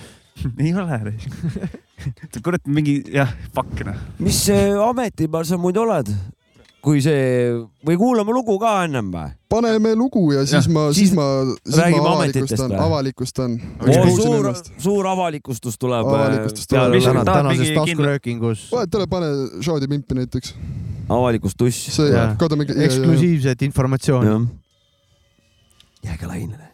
Speaker 3: ei ole . kurat , mingi jah , fuck noh .
Speaker 4: mis äh, ameti peal sa muidu oled ? kui see või kuulame lugu ka ennem või ?
Speaker 5: paneme lugu ja siis
Speaker 3: Jah,
Speaker 5: ma , siis
Speaker 4: siis
Speaker 5: ma , siis
Speaker 4: räägime
Speaker 5: ma
Speaker 4: ametitest
Speaker 5: avalikustan ,
Speaker 4: või?
Speaker 5: avalikustan .
Speaker 4: suur , suur avalikustus tuleb . äh,
Speaker 5: Avalikustus tuleb.
Speaker 3: Mis on- tahad
Speaker 2: tänases
Speaker 3: mingi kindla-
Speaker 2: taskuröökingus
Speaker 5: vahet ei ole , pane Shadi pimpi näiteks ,
Speaker 4: avalikustus .
Speaker 5: see
Speaker 2: Jah.
Speaker 5: kadame .
Speaker 2: eksklusiivset informatsiooni .
Speaker 4: jah . jääge lainele .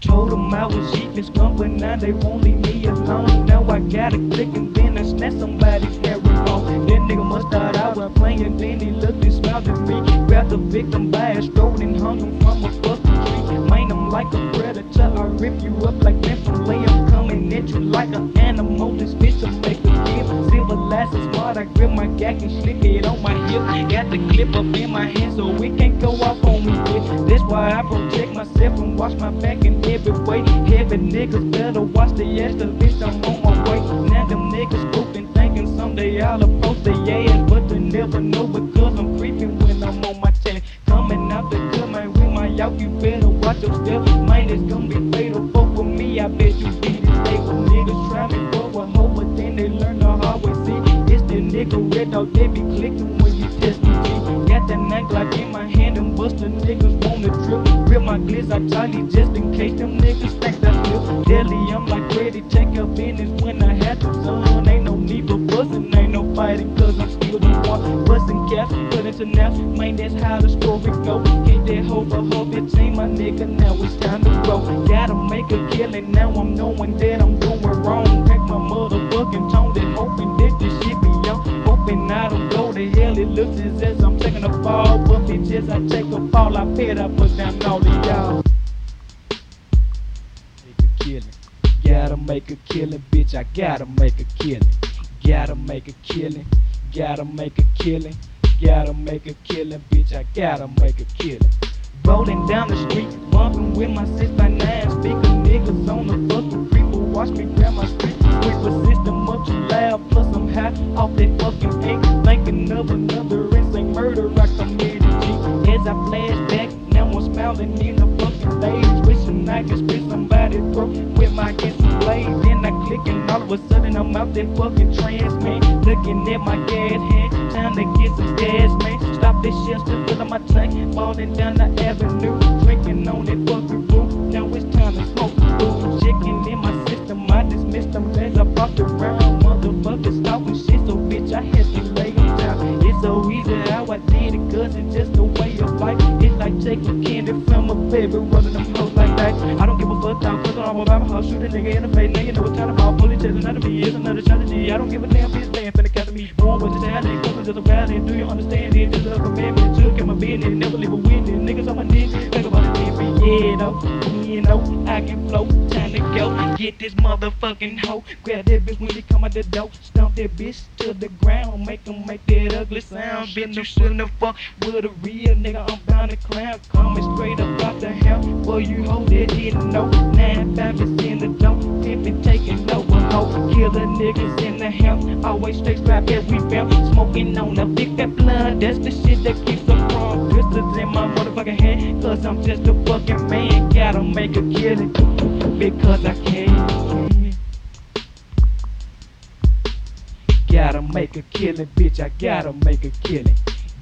Speaker 6: Told 'em I was eating skunk, but now they won't leave me alone. Now I got a click and then I snatched somebody's microphone. That nigga must thought I was playing, then he looked and smiled at me. Grabbed the victim by his throat and hung him from a fucking tree. Mine him like a predator, I rip you up like mentally. I'm coming at you like an animal, this bitch will make the deal. Silver last is smart, I grip my gag and slick it on my hip. Got the clip up in my hand so it can't go off on me, bitch. That's why I protect myself and watch my back in every way. Heavy niggas better watch the ass, the bitch I'm on my way. Now them niggas grouping, thinking someday I'll approach the ass, but they never know because I'm creeping when I'm on my ten. Coming out the good man with my out, you better watch your step. Mine is gonna be fatal, fuck with me, I bet you beat it. They will niggas try me for a hoe, but then they learn the hard way. See, it's the nigga red dog, they be clicking when you test me. Got that knife like in my hand and bust the niggas wanna trip. Rip my glitz out Charlie just in case them niggas think that's flip. Deadly, I'm like ready, take up business when I had to son. Ain't no need for bustin', ain't no fighting, cause I'm still the one. Bustin' caps, put it to nap. Man, that's how the story go. Hit that hoe for hoe, bitch, ain't my nigga, now it's time to roll. Gotta make a killing, now I'm knowing that I'm doing wrong. Pack my motherfucking tone, then hoping that this shit be young. Hoping I don't go to hell, it looks as if I'm taking a fall. But bitches, I take a fall, I fed up, but I'm all of y'all. Make a killing. Gotta make make a killing, bitch. I gotta make a killing. Gotta make a killing. Gotta make a killing. Gotta make a killing, bitch. I gotta make a killing. Rolling down the street, bumping with my 6x9 speaker. Niggas on the fucking creeper, watch me grab my street. Creeper system up too loud, plus I'm high off that fucking ink. Thinking of another insane murder I committed. G. As I flash back, now I'm smiling in the fucking days. Wishing I could spit somebody broke with my kissing blade. Then I click and all of a sudden I'm out that fucking trance, man. Looking at my gas hand, time to get some gas, man. Stop this shit, still filling my tank. Balling down the avenue, drinking on that fucking roof. Now it's time to smoke. Ooh, chicken in my system, I dismissed them as I popped around. Motherfuckers talking shit, so bitch, I had to lay 'em down. It's so easy how I did it, cause it's just a way of life. It's like taking candy from a baby, rubbing them hoes like that. I don't give a fuck, I'm fucking all about my house, shoot a nigga in the face. Nigga know what kind of ball, bully chasing out of me is another strategy. I don't give a damn, bitch, damn, finna catch me. Born with the talent, coming to the valley. Do you understand it? Just a commitment, took in my business, never leave a witness. Niggas on my dick, think about it, every year, though. You know, I can flow, time to go. Get this motherfucking hoe, grab that bitch when they come out the door. Stomp that bitch to the ground, make them make that ugly sound. Bitch, you shouldn't have fucked with a real nigga, I'm bound to clown. Coming straight up out the hell, boy, you hoe that didn't know. Nine five is in the dump, pimpin' taking over hoe. Killer niggas in the hell, always straight strap every belt. Smoking on a big fat blood, that's the shit that keeps them from crystals in my motherfucking hand. Cause I'm just a fucking man, gotta make a killing, because I can. Gotta make a killing, bitch. I gotta make a killing.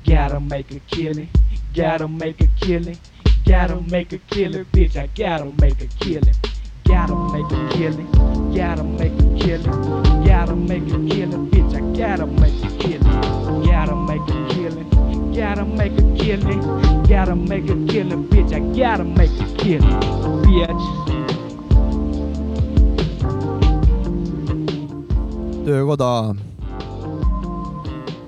Speaker 6: Gotta make a killing. Gotta make a killing. Gotta make a killing, bitch. I gotta make a killing. Gotta make a killing. Gotta make a killing. Gotta make a killing, bitch. I gotta make a killing. Gotta make a killing. Gotta make a killing. Gotta make a killing, bitch. I gotta make a killing, bitch.
Speaker 2: töökoda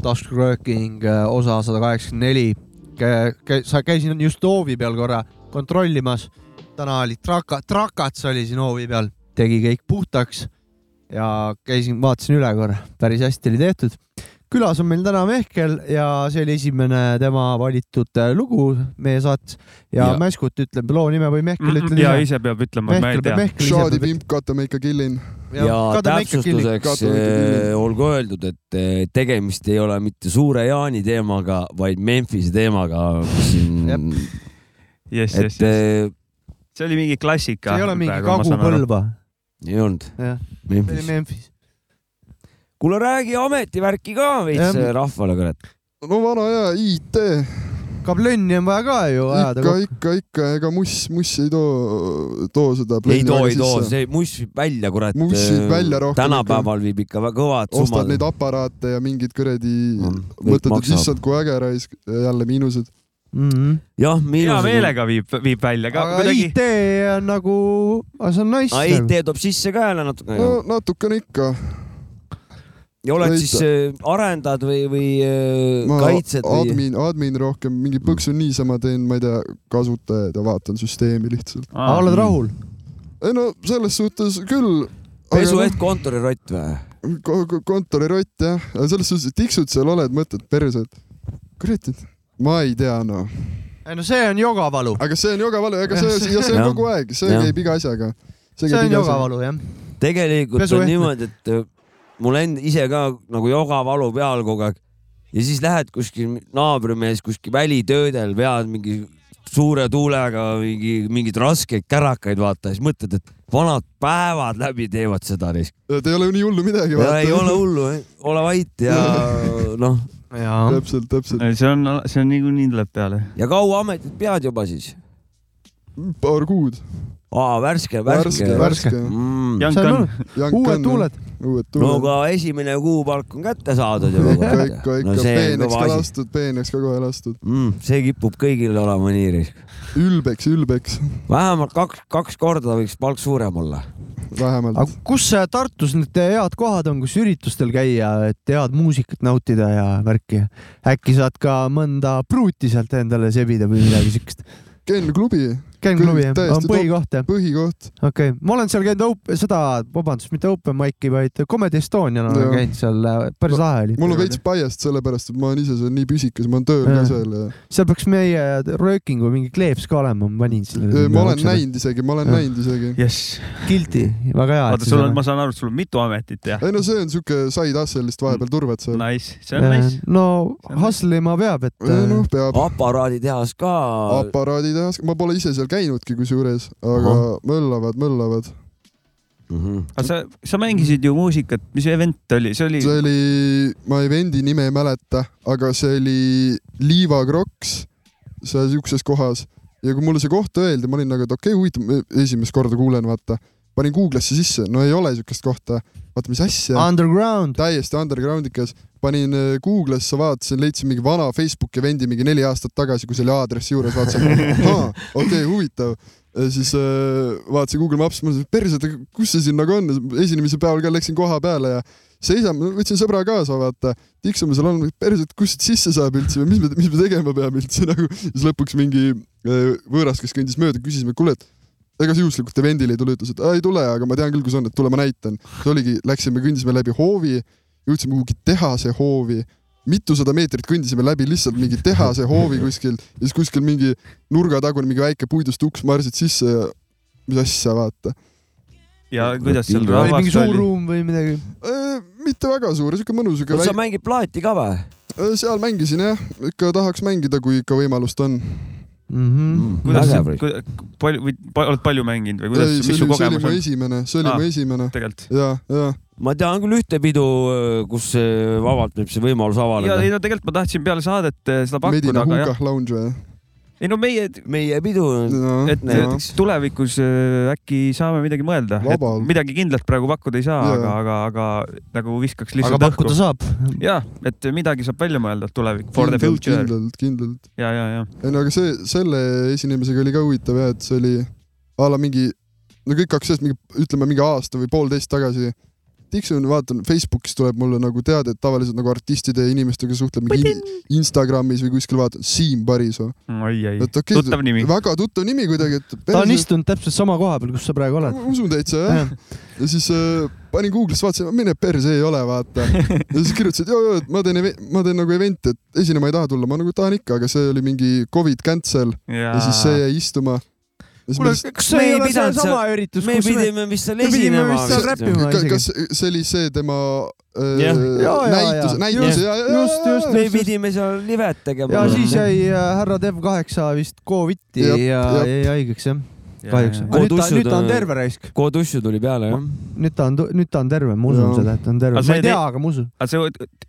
Speaker 2: taskrööking eh, osa sada kaheksakümmend neli. sa käisin just hoovi peal korra kontrollimas. täna oli traka, trakats oli siin hoovi peal, tegi kõik puhtaks ja käisin, vaatasin üle korra, päris hästi oli tehtud. külas on meil täna Mehkel ja see oli esimene tema valitud äh, lugu meie saates ja,
Speaker 4: Ja.
Speaker 2: ja. Mäskut ütleb loo nime või Mehkel ütleb
Speaker 3: ja ise peab ütlema , ma ei
Speaker 2: Mehkel peab
Speaker 3: tea .
Speaker 2: Mehkel ise
Speaker 5: Shadi
Speaker 2: peab
Speaker 5: pimp , Katameika Killin .
Speaker 2: ja,
Speaker 4: ja
Speaker 2: ja täpsustuseks .
Speaker 4: täpsustuseks
Speaker 5: Kadri Killing.
Speaker 4: eh, olgu öeldud , et eh, tegemist ei ole mitte Suure Jaani teemaga , vaid Memphise teemaga ,
Speaker 2: Jep.
Speaker 4: mis siin , äh,
Speaker 3: jess ,
Speaker 4: et
Speaker 3: jess , jess .
Speaker 4: eh,
Speaker 3: see oli mingi klassika .
Speaker 2: see ei ole mingi Kagu-Põlva ,
Speaker 4: ei olnud
Speaker 2: jah , see oli
Speaker 4: Memphis .
Speaker 2: Memphis .
Speaker 4: kuule , räägi ametivärki ka veits
Speaker 2: Jah.
Speaker 4: eh, rahvale , kurat .
Speaker 5: no vana hea IT ,
Speaker 2: kablönni on vaja ka ju ajada
Speaker 5: ikka , ikka , ikka , ega muss , muss ei too , too seda .
Speaker 4: ei too , ei too , see muss viib välja , kurat .
Speaker 5: Muss viib äh, välja rohkem
Speaker 4: tänapäeval viib ikka väga kõvad
Speaker 5: ostad neid
Speaker 4: summad .
Speaker 5: aparaate ja mingid kuradi
Speaker 4: Mm, kõik
Speaker 5: mõtted , et
Speaker 4: maksab.
Speaker 5: issand , kui äge raisk , jälle miinused .
Speaker 2: mm . -hmm.
Speaker 4: jah ,
Speaker 3: hea
Speaker 4: miinused .
Speaker 3: meelega viib , viib välja ka
Speaker 2: aga kuidagi...
Speaker 3: kuidagi .
Speaker 2: IT on nagu , see on nice . nagu.
Speaker 4: IT toob sisse ka jälle natuke
Speaker 5: no . natukene ikka .
Speaker 4: ja oled
Speaker 5: no
Speaker 4: siis
Speaker 5: ikka.
Speaker 4: eh, arendad või , või eh,
Speaker 5: ma
Speaker 4: kaitsed või ?
Speaker 5: admin , admin rohkem , mingi põksu niisama teen , ma ei tea , kasutajaid ja vaatan süsteemi lihtsalt .
Speaker 2: aga oled rahul ?
Speaker 5: ei no selles suhtes küll .
Speaker 4: pesu
Speaker 5: noh.
Speaker 4: ehk kontorirott või ?
Speaker 5: kontorirott jah , aga selles suhtes , et tiksud seal oled , mõtled perse , et kurat , ma ei tea noh .
Speaker 2: ei no see on jogavalu .
Speaker 5: aga see on jogavalu , ega see , ja see on
Speaker 4: Jah.
Speaker 5: kogu aeg , see
Speaker 4: Jah.
Speaker 5: käib iga asjaga .
Speaker 2: see on jogavalu jah .
Speaker 4: tegelikult
Speaker 2: Pesu
Speaker 4: on
Speaker 2: ehtne.
Speaker 4: niimoodi , et äh, mul end- ise ka nagu jogavalu peal kogu aeg ja siis lähed kuskil naabrimees kuskil välitöödel , vead mingi suure tuulega mingi , mingeid raskeid kärakaid , vaata , siis mõtled , et vanad päevad läbi teevad seda risk .
Speaker 5: et ei ole nii hullu midagi .
Speaker 4: ei ole hullu , ole vait ja noh ,
Speaker 2: jaa .
Speaker 5: täpselt , täpselt .
Speaker 3: see on , see on niikuinii tuleb peale .
Speaker 4: ja kaua ametit pead juba siis ?
Speaker 5: paar kuud .
Speaker 4: aa , värske ,
Speaker 5: värske ,
Speaker 4: värske .
Speaker 5: värske .
Speaker 4: Mm.
Speaker 3: Jank
Speaker 2: see on
Speaker 3: on ,
Speaker 2: uued tuuled .
Speaker 5: uued
Speaker 4: no
Speaker 5: tuuled .
Speaker 4: aga esimene kuupalk on kätte saadud juba .
Speaker 5: ikka , ikka , ikka peeneks ka lastud , peeneks ka kohe lastud .
Speaker 4: mm, . see kipub kõigil olema nii risk .
Speaker 5: ülbeks , ülbeks
Speaker 4: vähemalt kaks , kaks korda võiks palk suurem olla .
Speaker 2: aga
Speaker 5: vähemalt .
Speaker 2: kus äh, Tartus need head kohad on , kus üritustel käia , et head muusikat nautida ja värki ? äkki saad ka mõnda pruuti sealt endale sebida või midagi siukest ?
Speaker 5: Ken klubi ,
Speaker 2: käin klubi jah ,
Speaker 5: täiesti
Speaker 2: on põhikoht jah ,
Speaker 5: põhikoht .
Speaker 2: okei okay. , ma olen seal käinud op- , seda , vabandust , mitte open mic'i , vaid Comedy Estonial olen
Speaker 5: Jah.
Speaker 2: käinud seal , päris lahe oli .
Speaker 5: mul on veits biased sellepärast , et ma olen ise seal nii püsikas , ma olen tööl ka
Speaker 2: Jah.
Speaker 5: seal ja
Speaker 2: seal peaks meie äh, röökingu mingi kleeps ka olema , ma panin selle .
Speaker 5: Äh, ma olen . näinud isegi , ma olen
Speaker 2: Jah.
Speaker 5: näinud isegi .
Speaker 3: jess .
Speaker 2: Guilty , väga hea .
Speaker 3: vaata , sul on , ma saan aru , et sul on mitu ametit ja .
Speaker 5: ei no see on siuke side hustle lihtsalt vahepeal turvad seal .
Speaker 3: Nice , see on nice .
Speaker 2: Äh, no
Speaker 3: See on nice.
Speaker 2: hustlema peab , et . äh,
Speaker 5: noh , peab
Speaker 4: aparaaditehas ka .
Speaker 5: aparaaditehas , ma pole ise seal käinudki kusjuures , aga
Speaker 4: Ahah.
Speaker 5: möllavad , möllavad .
Speaker 4: Mhm.
Speaker 3: aga sa , sa mängisid ju muusikat , mis event oli , see oli
Speaker 5: see oli , ma event'i nime ei mäleta , aga see oli Liiva Crocs seal siukses kohas ja kui mulle see koht öeldi , ma olin nagu , et okei okay, , huvitav , esimest korda kuulen , vaata . panin Google'isse sisse , no ei ole siukest kohta , vaata mis asja ,
Speaker 2: Underground ,
Speaker 5: täiesti undergroundikas . panin äh, Google'isse , vaatasin , leidsin mingi vana Facebooki event'i mingi neli aastat tagasi , kui see oli aadressi juures , vaatasin , okei , huvitav . siis äh, vaatasin Google Maps , mõtlesin , et perse , kus see siin nagu on , esinemise päeval ka läksin koha peale ja seisame , võtsin sõbra kaasa , vaata , tiksame seal on , perse , et kust siit sisse saab üldse või mis me , mis me tegema peame üldse nagu , siis lõpuks mingi äh, võõras , kes kõndis mööda , küsisime , et kuule , et ega sa juhuslikult event'ile ei tule , ütles , et "Aa, ei tule , aga ma tean küll , kus on , et tule , ma näitan . see oligi , läksime , kõndisime läbi hoovi , jõudsime kuhugi tehase hoovi , mitusada meetrit kõndisime läbi lihtsalt mingi tehase hoovi kuskil ja siis kuskil mingi nurgatagune mingi väike puidust uks marsid sisse ja mis asja , vaata .
Speaker 3: ja kuidas seal
Speaker 4: Oli
Speaker 2: oli
Speaker 3: rahvas
Speaker 2: mingi suur
Speaker 3: oli .
Speaker 2: ruum või midagi .
Speaker 5: Äh, mitte väga suur , siuke mõnus , aga
Speaker 4: sa
Speaker 5: väike ,
Speaker 4: mängid plaati ka või ?
Speaker 5: seal mängisin jah , ikka tahaks mängida , kui ikka võimalust on .
Speaker 2: Mhm.
Speaker 3: kuidas
Speaker 4: vägev , oli .
Speaker 3: palju või pa- oled palju mänginud või kuidas ,
Speaker 5: see
Speaker 3: mis su
Speaker 5: oli , see oli
Speaker 3: kogemus
Speaker 5: mu
Speaker 3: on Ah.
Speaker 5: esimene , see oli
Speaker 3: Aa.
Speaker 5: mu esimene
Speaker 3: tegelikult ?
Speaker 5: ja , ja
Speaker 4: ma tean küll ühte pidu , kus äh, vabalt võib see võimalus
Speaker 3: ja ei
Speaker 4: avaneda .
Speaker 3: no tegelikult ma tahtsin peale saadet eh, seda pakkuda ,
Speaker 5: Medina
Speaker 3: aga jah ,
Speaker 5: Hukah Lounge või ?
Speaker 3: ei no meie ,
Speaker 4: meie pidu ,
Speaker 5: Noh,
Speaker 3: et näiteks tulevikus eh, äkki saame midagi mõelda , et
Speaker 5: Vabalt.
Speaker 3: midagi kindlalt praegu pakkuda ei saa ,
Speaker 5: Jaa.
Speaker 3: aga , aga , aga nagu viskaks
Speaker 2: aga
Speaker 3: lihtsalt õhku
Speaker 2: pakkuda . saab .
Speaker 3: ja , et midagi saab välja mõelda tulevik , for the future
Speaker 5: kindlalt , kindlalt .
Speaker 3: ja , ja , ja
Speaker 5: ei no aga see , selle esinemisega oli ka huvitav jah , et see oli a la mingi , no kõik hakkas sellest mingi , ütleme mingi aasta või poolteist tagasi . tiksun , vaatan Facebookis tuleb mulle nagu teade , et tavaliselt nagu artistide ja inimestega suhtleb mingi in Instagramis või kuskil vaatan , Siim Parisoo .
Speaker 3: oi , ei ,
Speaker 5: et okei
Speaker 3: tuttav nimi .
Speaker 5: väga tuttav nimi kuidagi , et .
Speaker 2: ta on istunud täpselt sama koha peal , kus sa praegu oled .
Speaker 5: ma usun täitsa jah . ja siis äh, panin Google'isse , vaatasin , mine perse ei ole , vaata . ja siis kirjutasin , et joo , joo , et ma teen , ma teen nagu event'i , et esinema ei taha tulla , ma nagu tahan ikka , aga see oli mingi Covid cancel ja siis see jäi istuma .
Speaker 2: kuule , kas see
Speaker 4: Me ei
Speaker 2: ei ole
Speaker 4: pidanud
Speaker 2: seesama üritus ,
Speaker 4: me
Speaker 2: kus me
Speaker 4: pidime vist seal
Speaker 2: me pidime
Speaker 4: esinema
Speaker 2: vist seal . räppima isegi .
Speaker 5: kas see oli see tema äh,
Speaker 4: Jah.
Speaker 2: Jaa, jaa,
Speaker 5: näitus
Speaker 2: jaa. ,
Speaker 5: näitus , ja , ja ,
Speaker 2: just , just , just ,
Speaker 4: me
Speaker 2: just .
Speaker 4: pidime seal livet tegema .
Speaker 2: ja siis jäi äh, härra Dev8 vist Covidi
Speaker 5: Jep,
Speaker 2: ja
Speaker 5: jep.
Speaker 2: jäi haigeks jah , kahjuks .
Speaker 4: Kodussud
Speaker 2: nüüd ta , nüüd ta
Speaker 4: on-
Speaker 2: on terve raisk .
Speaker 4: kodussu tuli peale jah .
Speaker 2: äh, nüüd ta on , nüüd ta on terve , ma usun
Speaker 5: Jaa.
Speaker 2: seda , et ta on terve
Speaker 3: Aga . sa
Speaker 2: ma
Speaker 3: ei
Speaker 2: ei
Speaker 3: tee-
Speaker 2: tea , aga ma usun .
Speaker 3: aga see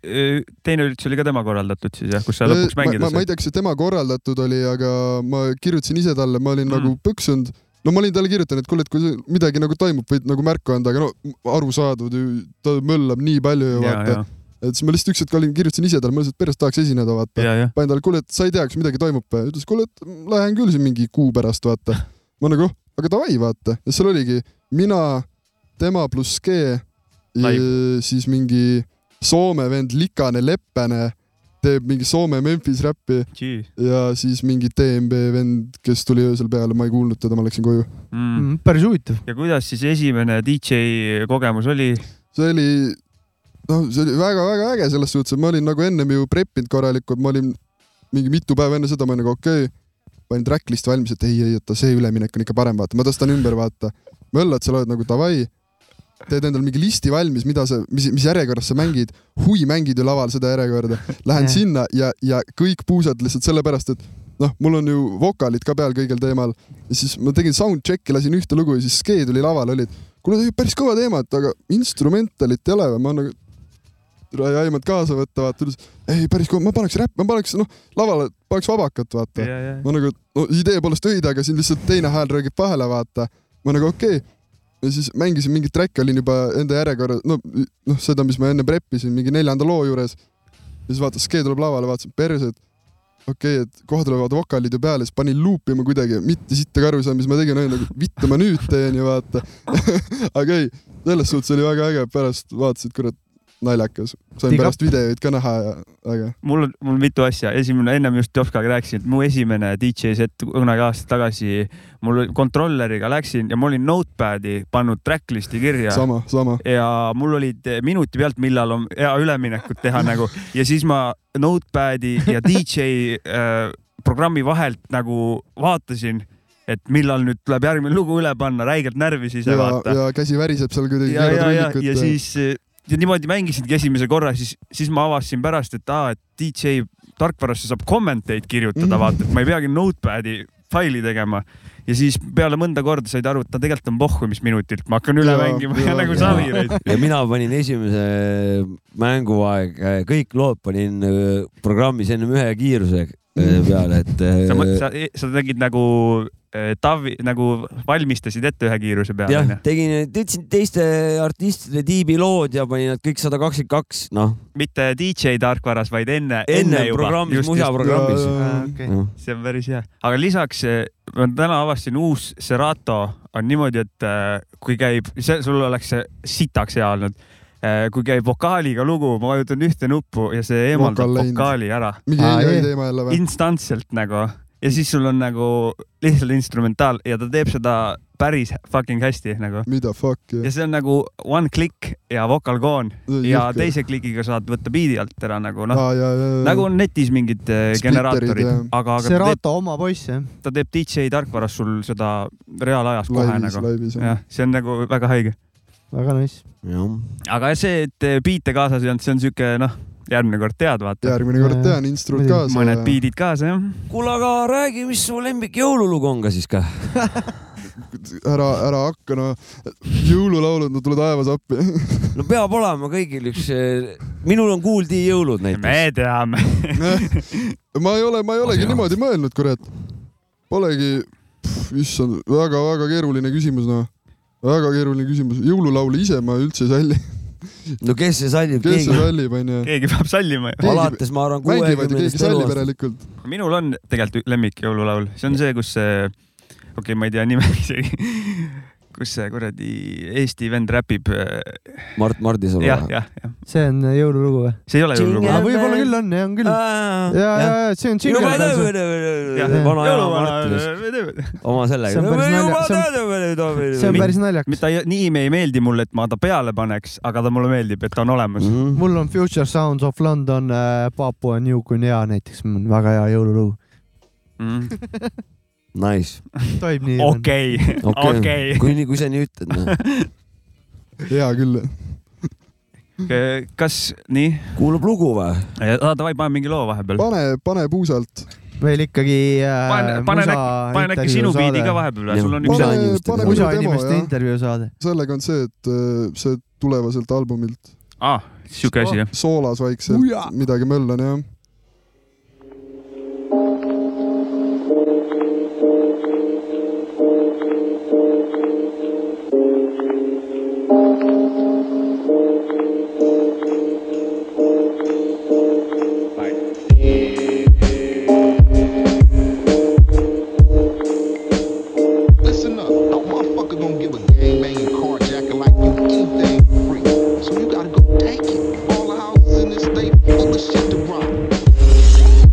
Speaker 3: öö, teine üritus oli ka tema korraldatud siis jah , kus sa lõpuks
Speaker 5: Äh, ma,
Speaker 3: mängida
Speaker 5: ma, ma ei
Speaker 3: said ?
Speaker 5: tea , kas see tema korraldatud oli , aga ma kirjutasin ise talle , ma olin
Speaker 3: Mm.
Speaker 5: mm. nagu põksunud . no ma olin talle kirjutanud , et kuule , et kui sul midagi nagu toimub , võid nagu märku anda , aga no arusaadav , ta möllab nii palju ju
Speaker 3: ja ,
Speaker 5: vaata
Speaker 3: ja ,.
Speaker 5: et siis ma lihtsalt üks hetk olin , kirjutasin ise talle , ma lihtsalt pärast tahaks esineda , vaata .
Speaker 3: ja , ja .
Speaker 5: panin talle , kuule , et sa ei tea , kas midagi toimub või ? ütles , kuule , et lähen küll siin mingi kuu pärast , vaata . ma nagu , aga davai , vaata . ja seal oligi mina , tema pluss G ,
Speaker 3: Live.
Speaker 5: siis mingi Soome vend Likane Leppene teeb mingi Soome Memphis räppi ja siis mingi DNB vend , kes tuli öösel peale , ma ei kuulnud teda , ma läksin koju .
Speaker 3: Mm.
Speaker 2: päris huvitav .
Speaker 3: ja kuidas siis esimene DJ kogemus oli ?
Speaker 5: see oli , noh , see oli väga-väga äge selles suhtes , et ma olin nagu ennem ju prep inud korralikult , ma olin mingi mitu päeva enne seda , ma olin nagu okei okay, , panin tracklist valmis , et ei , ei , oota , see üleminek on ikka parem , vaata , ma tõstan ümber , vaata . möllad , sa oled nagu davai , teed endale mingi listi valmis , mida sa , mis , mis järjekorras sa mängid , hui mängid ju laval seda järjekorda , lähen
Speaker 2: Jah.
Speaker 5: sinna ja , ja kõik puusad lihtsalt sellepärast , et noh , mul on ju vokaalid ka peal kõigil teemal ja siis ma tegin sound check'i , lasin ühte lugu ja siis skee tuli lavale , oli , et kuule , päris kõva teema , et aga instrumentalit ei ole või , ma nagu türa ei aimanud kaasa võtta , vaata , ütles ei , päris kõva , ma paneks räpp , ma paneks noh , lavale paneks vabakat , vaata . ma nagu , no idee poolest õige , aga siin lihtsalt teine hääl räägib vahele , vaata . ma nagu okei okay. . ja siis mängisin mingit track'i , olin juba enda järjekorra , no , noh , seda , mis ma enne preppisin , mingi neljanda loo juures . ja siis vaata , skee tuleb lavale , vaatasin perse , et okei okay, , et kohe tulevad vokaalid ju peale , siis panin luupima kuidagi , mitte siit ega aru ei saanud , mis ma tegin , olin nagu , vittu ma nüüd teen ju vaata . aga ei , selles suhtes oli väga äge , pärast vaatasid , kurat , naljakas . sain
Speaker 2: Dig up.
Speaker 5: pärast videoid ka näha ja äge .
Speaker 3: mul on , mul on mitu asja , esimene , ennem just Jopskaga rääkisin , et mu esimene DJ set kunagi aastaid tagasi , mul oli- kontrolleriga läksin ja ma olin notepad'i pannud tracklist'i kirja
Speaker 5: sama , sama .
Speaker 3: ja mul olid eh, minuti pealt , millal on hea üleminekut teha nagu ja siis ma notepad'i ja DJ äh, programmi vahelt nagu vaatasin , et millal nüüd tuleb järgmine lugu üle panna , räigelt närvi siis ei
Speaker 5: ja ,
Speaker 3: vaata .
Speaker 5: ja käsi väriseb seal kuidagi .
Speaker 3: ja , ja , ja , ja siis eh, ja niimoodi mängisingi esimese korra , siis , siis ma avastasin pärast , et aa , et DJ tarkvarasse saab kommenteid
Speaker 5: Mhm.
Speaker 3: kirjutada , vaata , et ma ei peagi notepad'i faili tegema . ja siis peale mõnda korda said aru , et no tegelikult on pohhu , mis minutilt ma hakkan üle
Speaker 5: Jaa,
Speaker 3: mängima ja,
Speaker 5: jaa.
Speaker 3: nagu
Speaker 4: Jaa.
Speaker 3: Savireid .
Speaker 4: ja mina panin esimese mänguaeg , kõik lood panin öö, programmis ennem ühe kiiruse öö, peale , et . äh,
Speaker 3: sa , sa , sa tegid nagu eh, tavi , nagu valmistasid ette ühe kiiruse peale ,
Speaker 4: jah
Speaker 3: onju .,
Speaker 4: tegin , võtsin teiste artistide tiibi lood ja panin nad kõik sada kakskümmend kaks , noh ,
Speaker 3: mitte DJ tarkvaras , vaid enne ,
Speaker 4: enne
Speaker 3: enne juba .
Speaker 4: programmis , musaprogrammis .
Speaker 2: Äh,
Speaker 3: Mm.
Speaker 2: okei .
Speaker 4: jah ,
Speaker 3: see on päris hea , aga lisaks eh, ma täna avastasin uus Serato on niimoodi , et eh, kui käib , see sul oleks see sitaks hea olnud . kui käib vokaaliga lugu , ma vajutan ühte nuppu ja see eemaldab
Speaker 5: Vokaal läinud.
Speaker 3: vokaali ära
Speaker 5: mingi
Speaker 2: Aa,
Speaker 5: EI
Speaker 2: jah.
Speaker 5: teema jälle või ?
Speaker 3: instantselt nagu ja siis sul on nagu lihtsalt instrumentaal ja ta teeb seda päris fucking hästi nagu .
Speaker 5: mida fuck
Speaker 3: ja
Speaker 5: jah .
Speaker 3: see on nagu one click ja vokalkoon ja . teise klikiga saad võtta biidi alt ära nagu noh ,
Speaker 5: aa , ja , ja , ja .
Speaker 3: nagu on netis mingid eh,
Speaker 5: Splitterid
Speaker 3: generaatorid
Speaker 5: ja- ,
Speaker 3: aga , aga
Speaker 2: see
Speaker 3: ta teeb
Speaker 2: Rato oma poiss jah ,
Speaker 3: ta teeb DJ tarkvaras sul seda reaalajas kohe
Speaker 5: laivis ,
Speaker 3: nagu .
Speaker 5: laivis jah .
Speaker 3: jah , see on nagu väga haige .
Speaker 2: väga nice .
Speaker 4: jah .
Speaker 3: aga see , et biite kaasas ei olnud , see on siuke noh , järgmine kord tead , vaata .
Speaker 5: järgmine kord tean instrut
Speaker 2: Muidugi.
Speaker 5: kaasa .
Speaker 3: mõned biidid kaasa , jah .
Speaker 4: kuule , aga räägi , mis su lemmik jõululugu on ka siis ka ?
Speaker 5: ära , ära hakka , no jõululaulud , no tule taevas appi .
Speaker 4: no peab olema kõigil üks , minul on Kuuldi jõulud
Speaker 3: me
Speaker 4: näiteks .
Speaker 3: teame .
Speaker 5: ma ei ole , ma ei olegi
Speaker 4: Asi
Speaker 5: niimoodi mõelnud , kurat . Polegi , issand , väga-väga keeruline küsimus , noh . väga keeruline küsimus , jõululaule ise ma üldse ei salli ,
Speaker 4: no kes see sallib ,
Speaker 5: kes see
Speaker 4: keegi .
Speaker 5: sallib , onju .
Speaker 3: keegi peab sallima .
Speaker 5: keegi-
Speaker 4: alates , ma arvan ,
Speaker 5: mängivad ja keegi
Speaker 4: kuuekümnendast
Speaker 5: sallib
Speaker 4: eluaastast .
Speaker 5: järelikult .
Speaker 3: minul on tegelikult ü- lemmik jõululaul , see on see , kus see , okei okay, , ma ei tea nime isegi , kus see kuradi Eesti vend räpib .
Speaker 4: Mart Mardisalu .
Speaker 3: jah , jah , jah ,
Speaker 2: see on äh, jõululugu või ?
Speaker 3: see ei ole jõululaul .
Speaker 2: aga võib-olla küll on , on küll .
Speaker 3: Äh,
Speaker 2: ja , ja , ja see on
Speaker 4: juba
Speaker 2: džingel .
Speaker 4: töö , vana Jaan Mart ütles oma
Speaker 2: See
Speaker 4: sellega
Speaker 2: on . päris nalja- see on- see on päris naljakas .
Speaker 3: ta ei- nimi ei meeldi mulle , et ma ta peale paneks , aga ta mulle meeldib , et ta on olemas .
Speaker 4: naljakas .
Speaker 2: mul on Future Sounds of London , Papua New Guinea näiteks , väga hea jõululugu .
Speaker 3: Mm.
Speaker 4: Nice ,
Speaker 2: tohib nii ?
Speaker 3: okei ,
Speaker 4: okei
Speaker 3: okei .
Speaker 4: kui nii , kui sa nii ütled , noh .
Speaker 5: hea küll .
Speaker 3: kas nii ?
Speaker 4: kuulab lugu või ?
Speaker 3: Davai , pane mingi loo vahepeal .
Speaker 5: pane , pane puusalt .
Speaker 2: meil ikkagi äh,
Speaker 3: pane , pane äkki , pane äkki sinu biidi ka vahepeal ,
Speaker 4: Jah.
Speaker 3: sul on üks
Speaker 4: Pane-
Speaker 5: pane
Speaker 3: asi . ,
Speaker 5: pane
Speaker 4: Musa
Speaker 5: mulle
Speaker 2: musa
Speaker 5: Nagu demo
Speaker 2: inimeste
Speaker 5: jah .
Speaker 2: intervjuu saade .
Speaker 5: sellega on see , et äh, see tulevaselt albumilt
Speaker 3: aa , siuke asi jah .
Speaker 5: soolas
Speaker 4: Uja.
Speaker 5: vaikselt midagi möllan jah .
Speaker 7: Listen up. No motherfucker gonna give a gangbanging carjacker like you anything for free. So you gotta go take it. All the houses in this state full of shit to rob.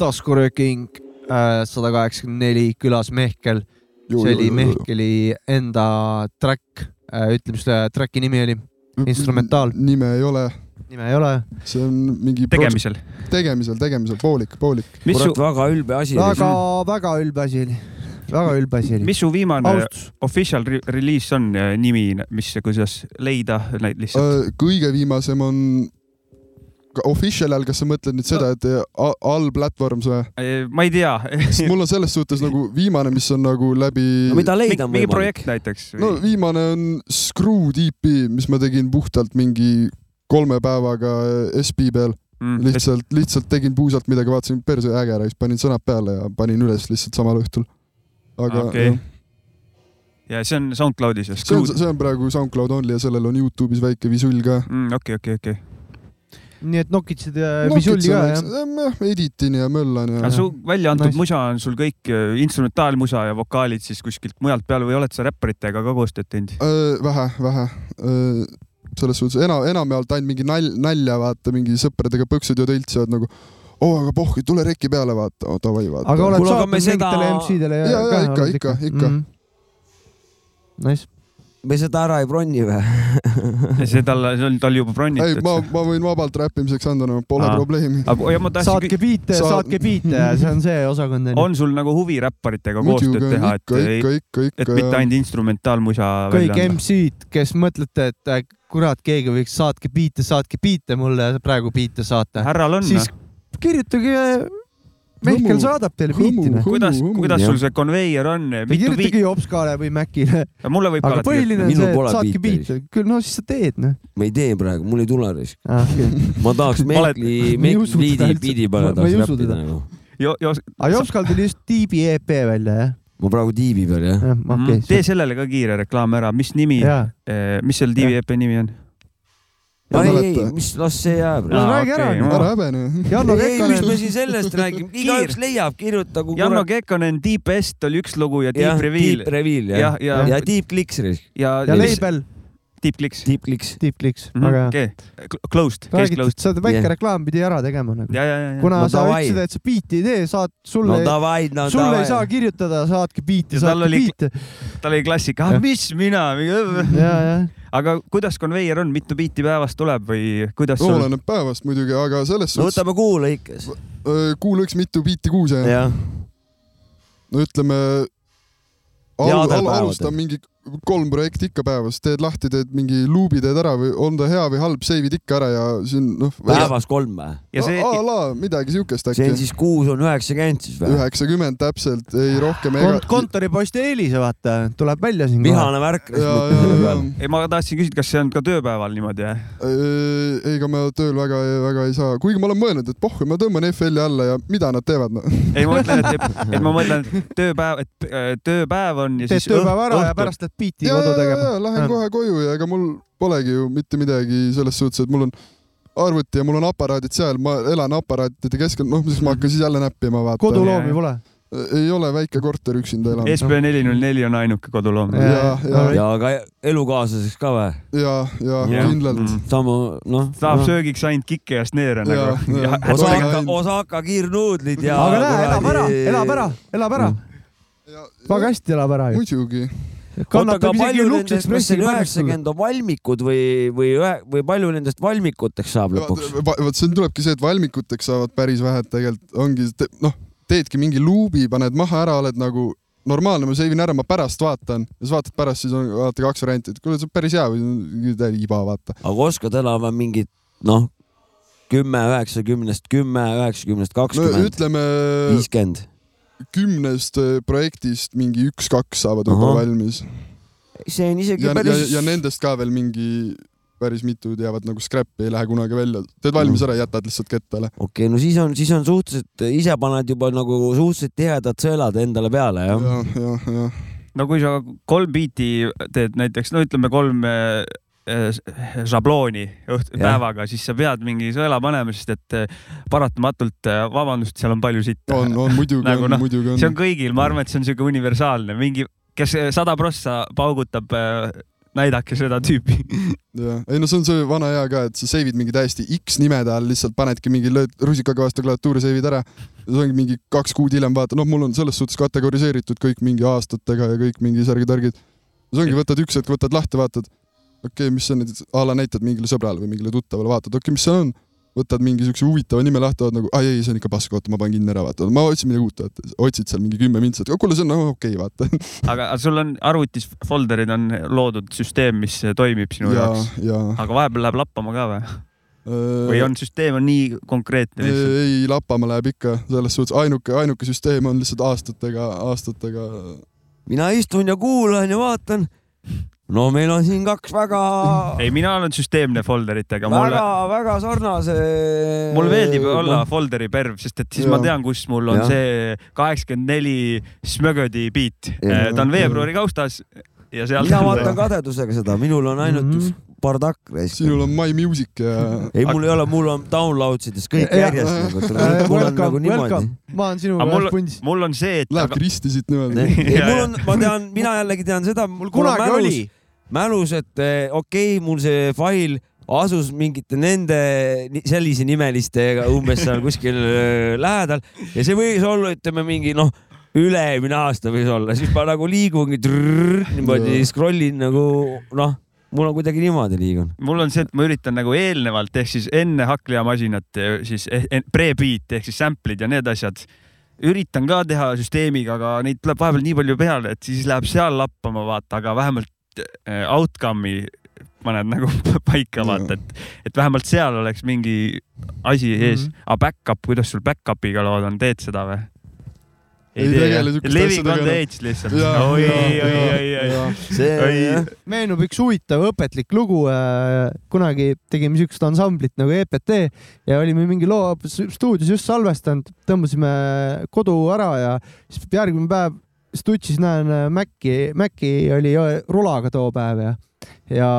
Speaker 2: taskurööking sada kaheksakümmend neli külas Mehkel .
Speaker 5: Ju-
Speaker 2: see
Speaker 5: ju-
Speaker 2: oli
Speaker 5: ju- ju- ju.
Speaker 2: Mehkeli enda track , ütle , mis selle track'i nimi oli , instrumentaal.
Speaker 5: nime ei ole ,
Speaker 2: nime ei ole .
Speaker 5: see on mingi .
Speaker 3: tegemisel .
Speaker 5: tegemisel , tegemisel , poolik , poolik .
Speaker 3: mis su
Speaker 4: kurat ,, väga ülbe asi .
Speaker 2: väga-väga ülbe asi oli , väga ülbe asi oli .
Speaker 3: mis äh, su viimane
Speaker 2: austus ,
Speaker 3: official re release on , nimi , mis , kuidas leida neid lihtsalt ?
Speaker 5: Äh, kõige viimasem on ka official ajal , kas sa mõtled nüüd seda , et äh, a- all platvorms või ?
Speaker 3: Äh, ma ei tea .
Speaker 5: sest mul on selles suhtes nagu viimane , mis on nagu läbi
Speaker 4: no mida leida on
Speaker 3: mingi
Speaker 4: võimalik ?
Speaker 3: projekt näiteks
Speaker 5: no
Speaker 3: või-
Speaker 5: viimane on Screw Deepi , mis ma tegin puhtalt mingi kolme päevaga SB peal ,
Speaker 3: Mm, et-
Speaker 5: lihtsalt , lihtsalt tegin puusalt midagi , vaatasin perse äge ära , siis panin sõnad peale ja panin üles lihtsalt samal õhtul . aga
Speaker 3: okei
Speaker 5: jah, .
Speaker 3: ja see on SoundCloudis ja
Speaker 5: see on ,
Speaker 3: Screwed .
Speaker 5: see on praegu SoundCloud only ja sellel on Youtube'is väike visull ka .
Speaker 3: Mm, okei , okei , okei .
Speaker 2: nii et nokitsid äh, visulli ka jah ?
Speaker 5: jah , editin ja möllan ja
Speaker 3: aga . su välja antud
Speaker 2: Nice.
Speaker 3: musa on sul kõik äh, instrumentaalmusa ja vokaalid siis kuskilt mujalt peal või oled sa räpparitega ka koostööd teinud ?
Speaker 5: Äh, vähe , vähe . selles suhtes enam , enamjaolt ainult mingi nal- , nalja , vaata , mingi sõpradega põksud ja tõltsivad nagu oo , aga pohhi , tule reki peale , vaata , davai , vaata .
Speaker 2: aga oled
Speaker 4: Kuule, aga me
Speaker 2: saatnud
Speaker 4: seda-
Speaker 2: mingitele MC-dele
Speaker 5: Jaa, jaa, ikka, ikka, ikka. .
Speaker 2: Mhm. Nice ,
Speaker 4: me seda ära ei bronni või ?
Speaker 3: see tal , see on tal juba
Speaker 5: ei ,
Speaker 3: bronnitud
Speaker 5: ma . , ma võin vabalt räppimiseks anda , no pole
Speaker 3: Aa.
Speaker 5: probleemi .
Speaker 3: aga ja ma tahtsin
Speaker 2: saatke , biite ,
Speaker 5: Sa-
Speaker 2: saatke biite , see on see osakond onju .
Speaker 3: on sul nagu huvi räpparitega koostööd teha , et
Speaker 5: ikka ,
Speaker 3: ei ,
Speaker 5: ikka , ikka ,
Speaker 3: et
Speaker 5: ikka .
Speaker 3: mitte ainult instrumentaalmusa
Speaker 2: kõik
Speaker 3: välja anda ?
Speaker 2: MC-d , kes mõtlete , et äh, kurat , keegi võiks saatke biite , saatke biite mulle praegu biite saata ,
Speaker 3: härral on
Speaker 2: siis kirjutage , Mehkel
Speaker 5: Hõmu-
Speaker 2: saadab teile
Speaker 5: hõmu-
Speaker 2: biiti noh .
Speaker 3: kuidas ,
Speaker 5: Hõmu, hõmu.
Speaker 3: kuidas sul
Speaker 4: Jah.
Speaker 3: see konveier on , mitu viit ,
Speaker 2: kirjutage Jopskale või Mäkile ,
Speaker 3: mulle võib ka
Speaker 2: aga
Speaker 3: alati ,
Speaker 2: põhiline on
Speaker 4: Minul
Speaker 2: see ,
Speaker 4: pole
Speaker 2: et saatke
Speaker 4: biite
Speaker 2: biite , küll no siis sa teed noh . Ah,
Speaker 4: ma ei tee praegu , mul ei tule risk .
Speaker 2: aga
Speaker 4: ma tahaks
Speaker 3: Ma olen-
Speaker 4: Mehkli ,
Speaker 2: ma ei usu teda
Speaker 4: Mehkli biidi
Speaker 2: üldse. ,
Speaker 4: biidi
Speaker 2: Ma- ma
Speaker 4: peale
Speaker 2: ei
Speaker 4: tahaks
Speaker 2: usu
Speaker 4: räppida
Speaker 2: teda.
Speaker 4: nagu .
Speaker 2: Jopskal tuli just tiibi EP välja jah ,
Speaker 4: ma praegu tiibi peal jah .
Speaker 2: jah
Speaker 3: Mm, tee
Speaker 2: okei .
Speaker 3: sellele ka kiire reklaam ära , mis nimi ,
Speaker 2: jaa ,
Speaker 3: mis selle tiivi EP nimi on ?
Speaker 5: Ma ei
Speaker 4: ei , ei
Speaker 5: mäleta. ,
Speaker 4: mis , las see jääb .
Speaker 2: no
Speaker 3: Aa,
Speaker 2: räägi
Speaker 3: okei,
Speaker 2: ära
Speaker 3: ma-
Speaker 2: onju .
Speaker 5: ära häbene .
Speaker 2: Janno
Speaker 4: ei , mis me
Speaker 2: Kekkonen ,
Speaker 4: siin sellest räägime ,
Speaker 3: Kiir.
Speaker 4: igaüks leiab , kirjutagu .
Speaker 3: Janno Kekkonen , Deep Est oli üks lugu ja Deep Reveal
Speaker 4: Deep Reveal
Speaker 3: jah
Speaker 4: jah ,
Speaker 3: ja ,
Speaker 4: ja
Speaker 3: ja ,
Speaker 4: Deep Clicks ,
Speaker 3: ja ,
Speaker 2: ja
Speaker 3: ja
Speaker 2: label
Speaker 3: Deep Clicks .
Speaker 4: Deep Clicks .
Speaker 2: Deep Clicks , väga hea .
Speaker 3: okei , closed , case
Speaker 2: räägitud
Speaker 3: closed .,
Speaker 2: sa väike
Speaker 4: Jah.
Speaker 2: reklaam pidi ära tegema nagu .
Speaker 3: ja , ja , ja , ja .
Speaker 2: kuna
Speaker 4: No
Speaker 2: sa
Speaker 4: davai.
Speaker 2: ütlesid , et sa biiti ei tee , saad ,
Speaker 4: no
Speaker 2: sulle ,
Speaker 4: davai , no
Speaker 2: sulle ei saa
Speaker 4: davai .
Speaker 2: kirjutada , saadki biiti ,
Speaker 3: Ja tal
Speaker 2: saadki
Speaker 3: oli-
Speaker 2: biite .
Speaker 3: tal oli klassika , ah
Speaker 2: Jah.
Speaker 3: mis mina ,
Speaker 2: ja , ja .
Speaker 3: aga kuidas konveier on , mitu biiti päevas tuleb või kuidas sul ?
Speaker 5: oleneb päevast muidugi , aga selles
Speaker 4: no
Speaker 5: suhtes
Speaker 4: võtame kuu lõikes .
Speaker 5: öö, kuu lõiks mitu biiti kuus ja
Speaker 4: jah ,
Speaker 5: no ütleme
Speaker 4: Headel
Speaker 5: alu, , alu,
Speaker 4: päevadel.
Speaker 5: alusta mingi kolm projekti ikka päevas , teed lahti , teed mingi luubi teed ära või on ta hea või halb , seivid ikka ära ja siin noh .
Speaker 4: päevas kolm või ?
Speaker 3: ja see
Speaker 5: a la midagi siukest
Speaker 4: see on
Speaker 5: äkki .
Speaker 4: siis kuus on üheksakümmend siis või ?
Speaker 5: üheksakümmend täpselt , ei rohkem
Speaker 2: kont- ,. kontoripoiss Elisa , vaata , tuleb välja siin .
Speaker 4: vihane värk .
Speaker 5: ja , ja , ja
Speaker 3: ei , ma tahtsin küsida , kas see on ka tööpäeval niimoodi jah ?
Speaker 5: Ei- ega ma tööl väga , väga ei saa , kuigi ma olen mõelnud , et pohhu , ma tõmban FL-i alla ja mida nad teevad noh. no. .
Speaker 3: ei , ma mõtlen , et , et ma mõtlen , et tööpäev , et äh, tööpäev on ja
Speaker 2: teed
Speaker 3: siis
Speaker 2: tööpäeva ära ja
Speaker 3: õhtul-
Speaker 2: pärast lähed biiti
Speaker 5: ja , ja ,
Speaker 2: kodu
Speaker 5: ja
Speaker 2: tegema .
Speaker 5: lähen kohe koju ja ega mul polegi ju mitte midagi selles suhtes , et mul on arvuti ja mul on aparaadid seal , ma elan aparaatide keskel , noh , siis ma
Speaker 2: Mhm.
Speaker 5: hakkan siis jälle näppima vaata .
Speaker 2: koduloomi pole .
Speaker 5: ei ole väike korter üksinda elan ja ,
Speaker 3: SB neli null neli on ainuke koduloom .
Speaker 5: Ja- ja-
Speaker 4: ja aga elukaaslaseks ka või ?
Speaker 5: ja, ja
Speaker 4: Jah.
Speaker 2: Mhm.
Speaker 5: kindlalt .
Speaker 4: sama , noh .
Speaker 3: Mhm. saab söögiks ainult kikke ja sneere nagu .
Speaker 4: Osaka , Osaka kiirnuudlid ja .
Speaker 2: aga näe , elab ära , elab ära , elab ära , väga hästi elab ära ju .
Speaker 5: muidugi ,
Speaker 2: kannatab isegi lukseks pressiga panustada .
Speaker 4: üheksakümmend on valmikud või , või , või palju nendest valmikuteks saab lõpuks ?
Speaker 5: vot siin tulebki see , et valmikuteks saavad päris vähe tegelikult ongi , noh , teedki mingi luubi , paned maha ära , oled nagu normaalne , ma seivin ära , ma pärast vaatan , siis vaatad pärast , siis on vaata kaks varianti , et kuule , see on päris hea või täiega iba vaata .
Speaker 4: aga oskad elama mingit , noh , kümme , üheksakümnest , kümme , üheksakümnest ,
Speaker 5: no
Speaker 4: kakskümmend ,
Speaker 5: ütleme
Speaker 4: viiskümmend .
Speaker 5: kümnest äh, projektist mingi üks-kaks saavad juba
Speaker 4: Ahah.
Speaker 5: valmis
Speaker 4: see on isegi
Speaker 5: ja, ja ,
Speaker 4: päris
Speaker 5: ja . nendest ka veel mingi päris mitud jäävad nagu scrap'i , ei lähe kunagi välja , teed
Speaker 4: Mm.
Speaker 5: valmis ära , jätad lihtsalt kettale .
Speaker 4: okei , no siis on , siis on suhteliselt , ise paned juba nagu suhteliselt tihedad sõelad endale peale , jah ja. ?
Speaker 5: jah , jah , jah .
Speaker 3: no kui sa kolm biiti teed näiteks , no ütleme kolm äh, äh, žablooni õht- ,
Speaker 4: Jah.
Speaker 3: päevaga , siis sa pead mingi sõela panema , sest et äh, paratamatult , vabandust , seal on palju sitta .
Speaker 5: on , on muidugi
Speaker 3: Nagu
Speaker 5: on
Speaker 3: noh, ,
Speaker 5: muidugi
Speaker 3: see on
Speaker 5: on .
Speaker 3: kõigil , ma arvan , et see on siuke universaalne , mingi , kes sada prossa paugutab äh, näidake seda tüüpi .
Speaker 5: jah , ei no see on see vana hea ka , et sa save'id mingi täiesti X nimede all , lihtsalt panedki mingi lööd rusikaga vastu klaviatuuri , save'id ära . see ongi mingi kaks kuud hiljem vaata , noh , mul on selles suhtes kategoriseeritud kõik mingi aastatega ja kõik mingi särgitärgid . see ongi , võtad üks hetk , võtad lahti , vaatad , okei okay, , mis see on nüüd , a la näitad mingile sõbrale või mingile tuttavale , vaatad , okei okay, , mis see on . võtad mingi siukse huvitava nime lahti , oled nagu , ai ei , see on ikka pask , oota , ma panen kinni ära , vaata , ma otsin midagi uut , vaata , otsid seal mingi kümme mintsat , kuule , see on nagu okei okay, , vaata .
Speaker 3: aga sul on arvutis folder'id on loodud süsteem , mis toimib sinu
Speaker 5: ja
Speaker 3: jaoks ,,
Speaker 5: ja .
Speaker 3: aga vahepeal läheb lappama ka või ? või on süsteem on nii konkreetne lihtsalt ?
Speaker 5: ei, ei , lappama läheb ikka , selles suhtes ainuke , ainuke süsteem on lihtsalt aastatega , aastatega .
Speaker 4: mina istun ja kuulan ja vaatan . no meil on siin kaks väga ,
Speaker 3: ei , mina olen süsteemne folderitega , mulle ,
Speaker 4: väga-väga sarnase .
Speaker 3: mulle meeldib olla . folder'i perv , sest et siis
Speaker 5: Jaa.
Speaker 3: ma tean , kus mul on
Speaker 4: Jah.
Speaker 3: see kaheksakümmend neli Smögödi beat .
Speaker 4: Jaa.
Speaker 3: ta on veebruari kaustas ja seal .
Speaker 4: mina vaatan kadedusega seda , minul on ainult
Speaker 2: Mhm.
Speaker 4: üks bardakk .
Speaker 5: sinul on My Music ja
Speaker 4: ei , mul ei ole , mul on download ides kõik
Speaker 2: Jah.
Speaker 4: järjest nagu ,
Speaker 2: Äh,
Speaker 4: mul on nagu
Speaker 2: welcome ,
Speaker 4: niimoodi
Speaker 2: welcome ., ma olen sinuga
Speaker 3: Aga mul-
Speaker 2: ühes pundis .
Speaker 3: mul on see , et
Speaker 5: lähebki
Speaker 3: aga,
Speaker 5: risti siit niimoodi .
Speaker 4: ei ,
Speaker 3: Jaa,
Speaker 4: mul
Speaker 3: jaa.
Speaker 4: on , ma tean , mina jällegi tean seda , mul
Speaker 2: kunagi oli .
Speaker 4: mälus , et eh, okei okay, , mul see fail asus mingite nende ni- sellise nimelistega umbes seal kuskil eh, lähedal ja see võis olla , ütleme mingi noh , üle-eelmine aasta võis olla , siis ma nagu liigungi trrrr, niimoodi
Speaker 5: Jaa.
Speaker 4: scroll in nagu noh , mul on kuidagi niimoodi liigun .
Speaker 3: mul on see , et ma üritan nagu eelnevalt ehk siis enne hakklihamasinat eh, siis eh- eh- pre-beat ehk siis sample'id ja need asjad üritan ka teha süsteemiga , aga neid tuleb vahepeal nii palju peale , et siis läheb seal lappama , vaata , aga vähemalt eh, outcome'i paned nagu paika , vaata , et , et vähemalt seal oleks mingi asi ees mm .
Speaker 2: Mhm.
Speaker 3: -hmm. aga back-up , kuidas sul back-up'iga lood on , teed seda või ?
Speaker 5: Ei tegele sihukeste
Speaker 3: Living on
Speaker 5: asjadega
Speaker 3: the
Speaker 5: enam.
Speaker 3: edge lihtsalt . oi , oi , oi , oi , oi .
Speaker 4: see
Speaker 3: Ei.
Speaker 4: jah.
Speaker 2: meenub üks huvitav õpetlik lugu . kunagi tegime siukest ansamblit nagu EPT ja olime mingi loo stuudios just salvestanud , tõmbasime kodu ära ja siis järgmine päev stutsis näen äh, Maci , Maci oli jo- rulaga too päev ja , ja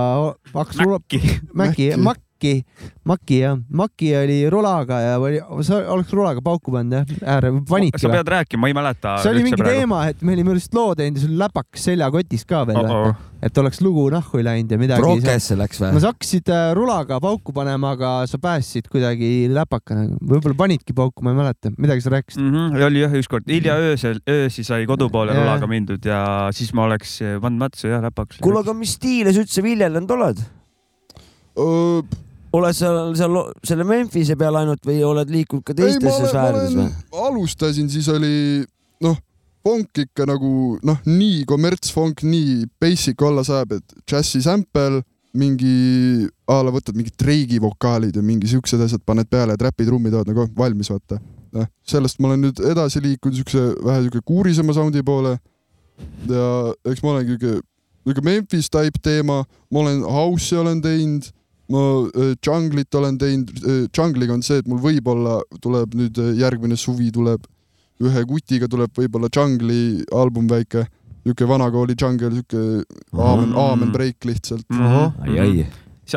Speaker 2: hakkas rula ,
Speaker 3: Mäkki .
Speaker 2: Maci ,
Speaker 5: Maci.
Speaker 2: Maci , Maci jah , Maci oli rulaga ja oli , oleks rulaga pauku pannud jah , ääre vaniti
Speaker 3: sa
Speaker 2: või ?
Speaker 3: pead rääkima , ma ei mäleta .
Speaker 2: see oli mingi teema , et me olime just loo teinud ja sul läpakas seljakotis ka veel
Speaker 3: Oh
Speaker 2: oh .
Speaker 3: -oh.
Speaker 2: et oleks lugu nahku läinud ja midagi .
Speaker 4: Prokesse läks
Speaker 2: no
Speaker 4: või ?
Speaker 2: sa hakkasid äh, rulaga pauku panema , aga sa päästsid kuidagi läpakana , võib-olla panidki pauku , ma ei mäleta , midagi sa rääkisid .
Speaker 3: mm . -hmm. oli jah , ükskord hilja öösel , öösi sai kodu poole
Speaker 2: Jaa.
Speaker 3: rulaga mindud ja siis ma oleks eh, pannud matsu ja läpaks .
Speaker 4: kuule , aga mis stiile sa üldse viljelenud oled ? oled sa seal lo- selle Memphise peal ainult või oled liikunud ka
Speaker 5: ei , ma
Speaker 4: teistesse
Speaker 5: olen , ma
Speaker 4: sfäärides või
Speaker 5: olen ?, alustasin , siis oli noh , funk ikka nagu noh , nii kommertsfunk , nii basic olla saab , et džässi sample , mingi a la võtad mingi Drake'i vokaalid ja mingi siuksed asjad paned peale , trapitrummid oled nagu valmis , vaata . noh , sellest ma olen nüüd edasi liikunud siukse vähe siuke kuurisema soundi poole . ja eks ma olengi siuke , siuke Memphis type teema , ma olen house'i olen teinud , ma äh, džunglit olen teinud , džungliga on see , et mul võib-olla tuleb nüüd äh, järgmine suvi tuleb ühe kutiga tuleb võib-olla džungli album väike , niisugune vanakooli džungel , niisugune aamen ,
Speaker 3: Ahah.
Speaker 5: aamen break lihtsalt .
Speaker 3: Mm.
Speaker 4: ai , ai .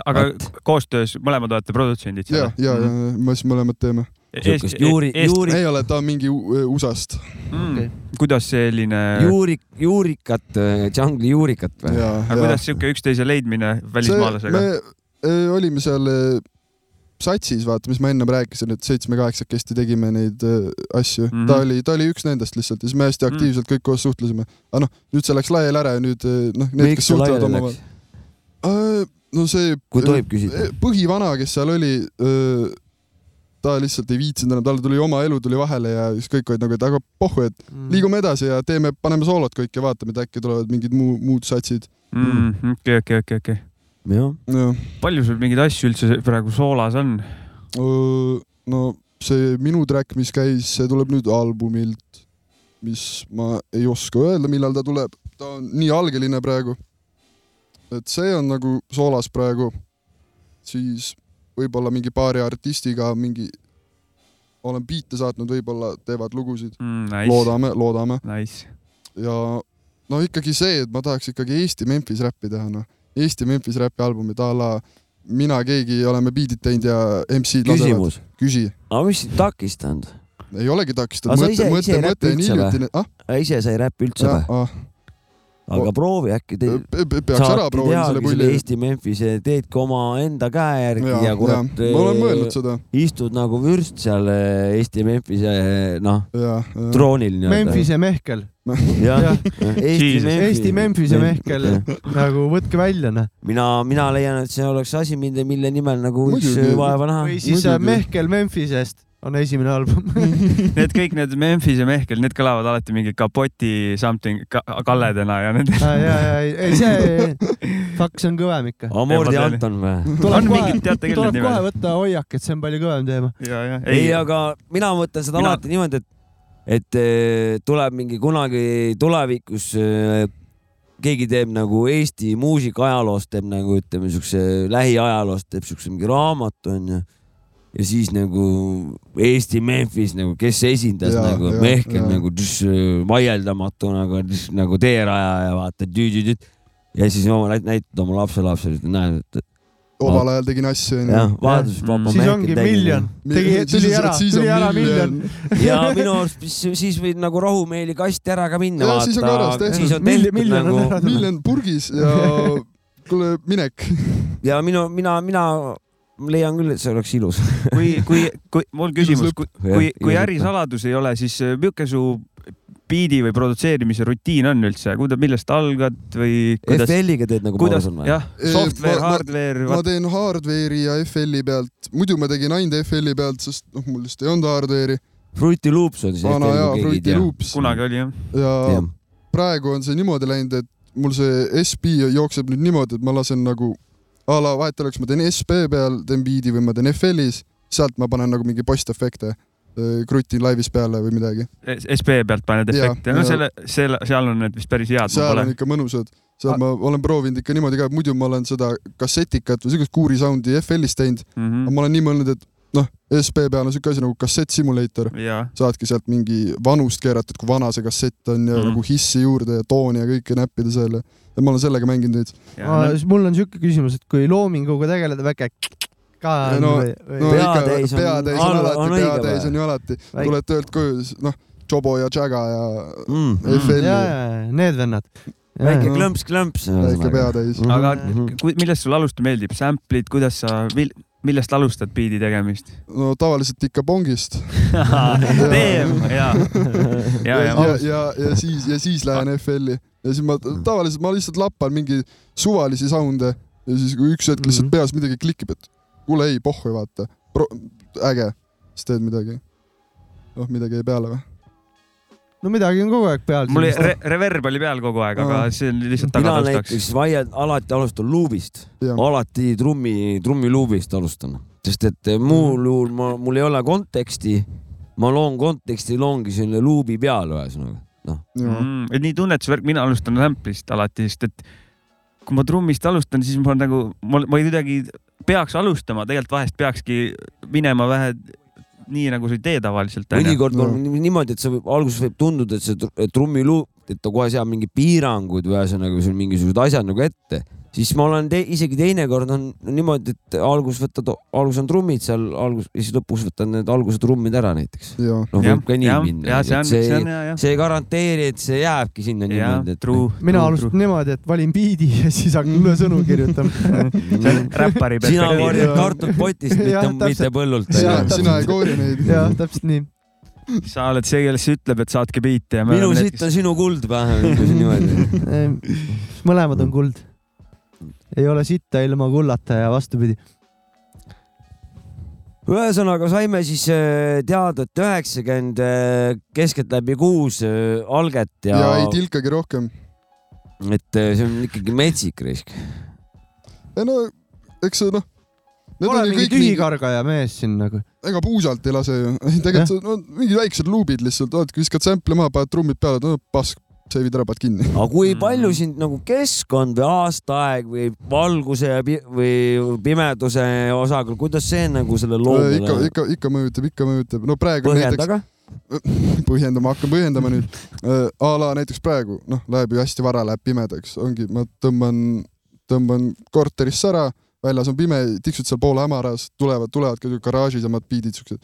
Speaker 3: aga koostöös mõlemad olete produtsendid Mhm.
Speaker 5: ja , ja , ja
Speaker 3: Mm.
Speaker 5: me siis mõlemad teeme .
Speaker 4: Sihukest juuri- juuri-
Speaker 5: ei ole , ta on mingi äh, U- USA-st
Speaker 3: Mm. kuidas selline ,
Speaker 4: juurik , juurikat , džungli juurikat või ?
Speaker 5: ja ,
Speaker 3: Äh. aga
Speaker 5: ja .
Speaker 3: kuidas sihuke üksteise leidmine välismaalasega ?
Speaker 5: me öö, olime seal öö, satsis , vaata , mis ma ennem rääkisin , et seitsme-kaheksakesti tegime neid öö, asju mm ,
Speaker 3: Mhm.
Speaker 5: -hmm. ta oli , ta oli üks nendest lihtsalt ja siis me hästi aktiivselt kõik koos suhtlesime . aga noh , nüüd see läks laiali ära ja nüüd öö, noh , need ,
Speaker 4: miks
Speaker 5: kes
Speaker 4: ta
Speaker 5: suhtlevad
Speaker 4: laiali
Speaker 5: omavahel Äh,
Speaker 4: läks ?,
Speaker 5: no see Äh,
Speaker 4: kui tohib küsida .
Speaker 5: põhivana , kes seal oli , ta lihtsalt ei viitsinud enam , tal tuli oma elu tuli vahele ja siis kõik olid nagu , et aga pohhu , et
Speaker 2: Mm.
Speaker 3: Mhm.
Speaker 5: liigume edasi ja teeme , paneme soolot kõik ja vaatame , et äkki tulevad mingid muu , muud satsid .
Speaker 3: Mhm, okei , okei , okei , okei .
Speaker 4: jah ,
Speaker 5: jah .
Speaker 3: palju sul mingeid asju üldse praegu soolas on ?
Speaker 5: Öö, no see minu track , mis käis , see tuleb nüüd albumilt , mis ma ei oska öelda , millal ta tuleb , ta on nii algeline praegu . et see on nagu soolas praegu , siis võib-olla mingi paari artistiga mingi , olen biite saatnud , võib-olla teevad lugusid ,
Speaker 3: Mhm, Nice ,
Speaker 5: loodame , loodame
Speaker 3: nice .
Speaker 5: ja no ikkagi see , et ma tahaks ikkagi Eesti Memphis räppi teha , noh . Eesti Memphis räppi albumid a la mina , keegi oleme biidid teinud ja MC-d lasevad .
Speaker 4: küsimus .
Speaker 5: küsi
Speaker 4: aga mis sind takistanud ?
Speaker 5: ei olegi takistanud ,
Speaker 4: Aga sa
Speaker 5: mõte mõte
Speaker 4: ise- , Äh, ise , ei
Speaker 5: mõte
Speaker 4: räpi
Speaker 5: on
Speaker 4: üldse
Speaker 5: hiljutine , ah ,
Speaker 4: ise sa ei räpi üldse või ?
Speaker 5: ah ,
Speaker 4: aga proovi äkki te
Speaker 5: Äh, peaks ära
Speaker 4: saate
Speaker 5: proovima selle
Speaker 4: teagi selle
Speaker 5: pulli .
Speaker 4: Eesti Memphise , teedki omaenda käe järgi ja, ja kurat äh,
Speaker 5: ma olen mõelnud seda .
Speaker 4: istud nagu vürst seal eh, Eesti Memphise eh, noh ,
Speaker 5: ja , ja .
Speaker 4: troonil nii-öelda .
Speaker 2: Memphise Mehkel ,
Speaker 4: jah Äh,
Speaker 2: jah , Eesti Memphise Mehkel nagu võtke välja , noh .
Speaker 4: mina , mina leian , et see oleks asi , mille , mille nimel nagu võiks
Speaker 5: Muidugi.
Speaker 4: vaeva näha
Speaker 2: või . siis
Speaker 5: muidugi.
Speaker 2: äh, Mehkel Memphisest on esimene album .
Speaker 3: Need kõik need Memphis ja Mehkel , need kõlavad alati mingi kapoti something ka kalledena ja need .
Speaker 5: Ah,
Speaker 2: ja , ja , ei see , faks on kõvem ikka .
Speaker 4: Amordi
Speaker 3: Teevad
Speaker 4: Anton või ?
Speaker 3: on
Speaker 2: tuleb kohe
Speaker 3: mingid , teate küll need
Speaker 2: tuleb kohe
Speaker 3: nimed .
Speaker 2: võtta hoiak , et see on palju kõvem teema .
Speaker 3: ja , ja ,
Speaker 4: ei , aga mina mõtlen seda
Speaker 3: Mina-
Speaker 4: alati niimoodi , et , et eh, tuleb mingi kunagi tulevikus eh, keegi teeb nagu Eesti muusika ajaloost teeb nagu ütleme siukse lähiajaloost teeb siukse mingi raamatu onju . ja siis nagu Eesti Memphis nagu , kes esindas
Speaker 5: Jaa,
Speaker 4: ja, nagu
Speaker 5: jaa,
Speaker 4: Mehkel
Speaker 5: jaa.
Speaker 4: nagu tš, vaieldamatu nagu , nagu teerajaja vaata tüütüütüüt ja siis oma näit- näitad oma lapselapsele , ütled näed , et
Speaker 5: omal ajal tegin asju ,
Speaker 4: jah
Speaker 5: onju .,
Speaker 4: vaadus
Speaker 3: Mm.
Speaker 4: papa
Speaker 3: Ma
Speaker 2: siis ongi miljon . tegi , tuli ära , tuli ära miljon .
Speaker 4: ja minu arust , mis siis võib nagu rahumeeli kasti ära ka minna
Speaker 5: Jaa,
Speaker 4: vaata .
Speaker 5: siis on korras tehtud.
Speaker 4: siis on
Speaker 2: Miljon-
Speaker 4: tehtud
Speaker 2: miljon on ära
Speaker 4: nagu
Speaker 5: miljon purgis ja kuule , minek .
Speaker 4: ja minu , mina , mina leian küll , et see oleks ilus .
Speaker 3: kui , kui , kui mul küsimus , kui , kui , kui
Speaker 4: Jah,
Speaker 3: ärisaladus ei ole , siis äh, milline su biidi või produtseerimise rutiin on üldse , kuidas , millest algad või kuidas ,
Speaker 4: FL-iga teed nagu Paulus
Speaker 3: kuidas
Speaker 4: on , või ?
Speaker 3: jah ,
Speaker 5: Eh,
Speaker 3: software ,
Speaker 5: ma- ma-
Speaker 3: hardware ,
Speaker 5: ma teen hardware'i ja FL-i pealt , muidu ma tegin ainult FL-i pealt , sest noh , mul vist ei olnud hardware'i .
Speaker 4: Fruity Loops on siis
Speaker 5: vana hea
Speaker 4: FL-iga , keegi ei
Speaker 5: Fruity
Speaker 4: tea .
Speaker 5: Loops
Speaker 3: kunagi oli jah .
Speaker 5: ja praegu on see niimoodi läinud , et mul see SB jookseb nüüd niimoodi , et ma lasen nagu a la vahet ei ole , kas ma teen SB peal , teen beat'i või ma teen FL-is , sealt ma panen nagu mingi postefekte , krutin laivis peale või midagi .
Speaker 3: SB Eh, pealt paned
Speaker 5: Jah,
Speaker 3: efekte ,
Speaker 5: jah.
Speaker 3: no selle , selle , seal on need vist päris head , ma
Speaker 5: seal
Speaker 3: pole
Speaker 5: on . ikka mõnusad , seal ma olen proovinud ikka niimoodi ka , muidu ma olen seda kassetikat või siukest kuuri sound'i FL-is teinud ,
Speaker 3: Mhm.
Speaker 5: aga
Speaker 3: Mm.
Speaker 5: ma olen nii mõelnud , et noh , SB peal on siuke asi nagu kassettsimulator ,
Speaker 3: ja ,
Speaker 5: saadki sealt mingi vanust keeratud , kui vana see kassett on ja
Speaker 3: Mhm.
Speaker 5: mm. nagu hissi juurde ja tooni ja kõike näppida seal ja ja ma olen sellega mänginud neid .
Speaker 3: ja no,
Speaker 2: mul on siuke küsimus , et kui loominguga tegeleda , väike ka
Speaker 5: Ja no-
Speaker 2: või-
Speaker 5: no
Speaker 2: või-
Speaker 4: Pea
Speaker 5: ikka ,
Speaker 4: täis on-
Speaker 5: peatäis on
Speaker 4: on- on
Speaker 5: alati ,
Speaker 4: õige
Speaker 5: peatäis
Speaker 4: või?
Speaker 5: on ju alati .
Speaker 2: Väike-
Speaker 5: tuled töölt koju , siis noh , Jobo ja Jaga ja
Speaker 4: Mm.
Speaker 5: FL-i
Speaker 2: jaa , jaa , need vennad .
Speaker 4: väike
Speaker 5: Jaa.
Speaker 4: klõmps-klõmps .
Speaker 5: väike peatäis .
Speaker 3: aga
Speaker 4: Mhm.
Speaker 3: ku- millest sulle alusta meeldib , sample'id , kuidas sa , millest alustad biidi tegemist ?
Speaker 5: no tavaliselt ikka pongist .
Speaker 3: Damn , ja , ja ,
Speaker 5: ja ,
Speaker 3: ja
Speaker 5: ja, , ja , ja siis , ja siis lähen FL-i ja siis ma tavaliselt ma lihtsalt lappan mingi suvalisi sound'e ja siis , kui üks hetk lihtsalt
Speaker 2: Mhm.
Speaker 5: peas midagi klikib , et kuule ei , pohhu vaata , äge , siis teed midagi . noh , midagi jäi peale või ?
Speaker 2: no midagi on kogu aeg peal .
Speaker 3: mul re reverb oli peal kogu aeg , aga
Speaker 5: Aa.
Speaker 3: see oli lihtsalt
Speaker 4: mina
Speaker 3: tagatõustaks
Speaker 4: näiteks . vaiel- , alati alustan luubist ,
Speaker 5: jah ,
Speaker 4: alati trummi , trummiluubist alustan , sest et eh,
Speaker 5: Mhm.
Speaker 4: muul juhul ma , mul ei ole konteksti , ma loon konteksti , loongi selle luubi peale ühesõnaga , noh .
Speaker 5: jah ,
Speaker 3: Mm, et nii tunnetusvärk , mina alustan sample'ist alati , sest et kui ma trummist alustan , siis ma nagu , ma , ma kuidagi peaks alustama , tegelikult vahest peakski minema vähe nii nagu sa ei tee tavaliselt .
Speaker 4: mõnikord
Speaker 5: No.
Speaker 4: on no. niimoodi , et see võib , alguses võib tunduda , et see tr- et trummiluup , et ta kohe seab mingi piirangud või ühesõnaga sul mingisugused asjad nagu ette , siis ma olen te, isegi teinekord on niimoodi , et alguses võtad , alguses on trummid seal algus ja siis lõpus võtad need alguse trummid ära näiteks .
Speaker 5: jah .
Speaker 4: noh , võib ka nii
Speaker 3: ja,
Speaker 4: minna
Speaker 3: ja . see on , see on
Speaker 4: see,
Speaker 3: ja , jah .
Speaker 4: see ei garanteeri , et see jääbki sinna
Speaker 3: jah ,
Speaker 4: niimoodi , et
Speaker 3: true .
Speaker 2: mina alustan niimoodi , et valin biidi ja siis hakkan üle sõnu kirjutama .
Speaker 3: see on räppari
Speaker 4: Mm. sina
Speaker 3: perspektiiv .
Speaker 4: korjad kartulit potist ,
Speaker 2: Jah,
Speaker 4: mitte , mitte
Speaker 2: täpselt.
Speaker 4: põllult .
Speaker 5: sina ,
Speaker 2: Jaa,
Speaker 5: sina ei koori neid .
Speaker 2: jah , täpselt nii .
Speaker 3: sa oled see , kes ütleb , et saatke biite ja me
Speaker 4: minu
Speaker 3: oleme need ,
Speaker 4: sitt on
Speaker 3: kes
Speaker 4: sinu kuld pähe , ütleme niimoodi .
Speaker 2: mõlemad on kuld . ei ole sitta ilma kullata ja vastupidi .
Speaker 4: ühesõnaga saime siis äh, teada , et üheksakümmend äh, keskeltläbi kuus äh, alget ja,
Speaker 5: ja ei
Speaker 4: ja
Speaker 5: tilkagi rohkem .
Speaker 4: et äh, see on ikkagi metsik risk .
Speaker 5: ei no , eks see noh , need
Speaker 2: ole
Speaker 5: on ju
Speaker 2: mingi
Speaker 5: kõik mingi ,
Speaker 2: tühikargaja mees siin nagu .
Speaker 5: ega puusalt ei lase ju . ei
Speaker 2: Jah.
Speaker 5: tegelikult see on no, mingid väiksed luubid lihtsalt , oled , viskad sample'i maha , paned trummid peale , no pask , seivid ära , paned kinni .
Speaker 4: aga kui
Speaker 3: Mm.
Speaker 4: palju sind nagu keskkond või aastaaeg või valguse ja pi- või pimeduse osakaal , kuidas see nagu selle
Speaker 5: Äh,
Speaker 4: nagu
Speaker 5: ikka ,
Speaker 4: loomele
Speaker 5: ikka , ikka mõjutab , ikka mõjutab . no praegu näiteks ,
Speaker 4: põhjendaga ?
Speaker 5: põhjendama , hakkan põhjendama nüüd . A la näiteks praegu , noh , läheb ju hästi vara , läheb pimedaks , ongi , ma tõmban , tõmban korterisse ära , väljas on pime , tiksud seal poole hämaras , tulevad , tulevad ka garaažis omad biidid , siuksed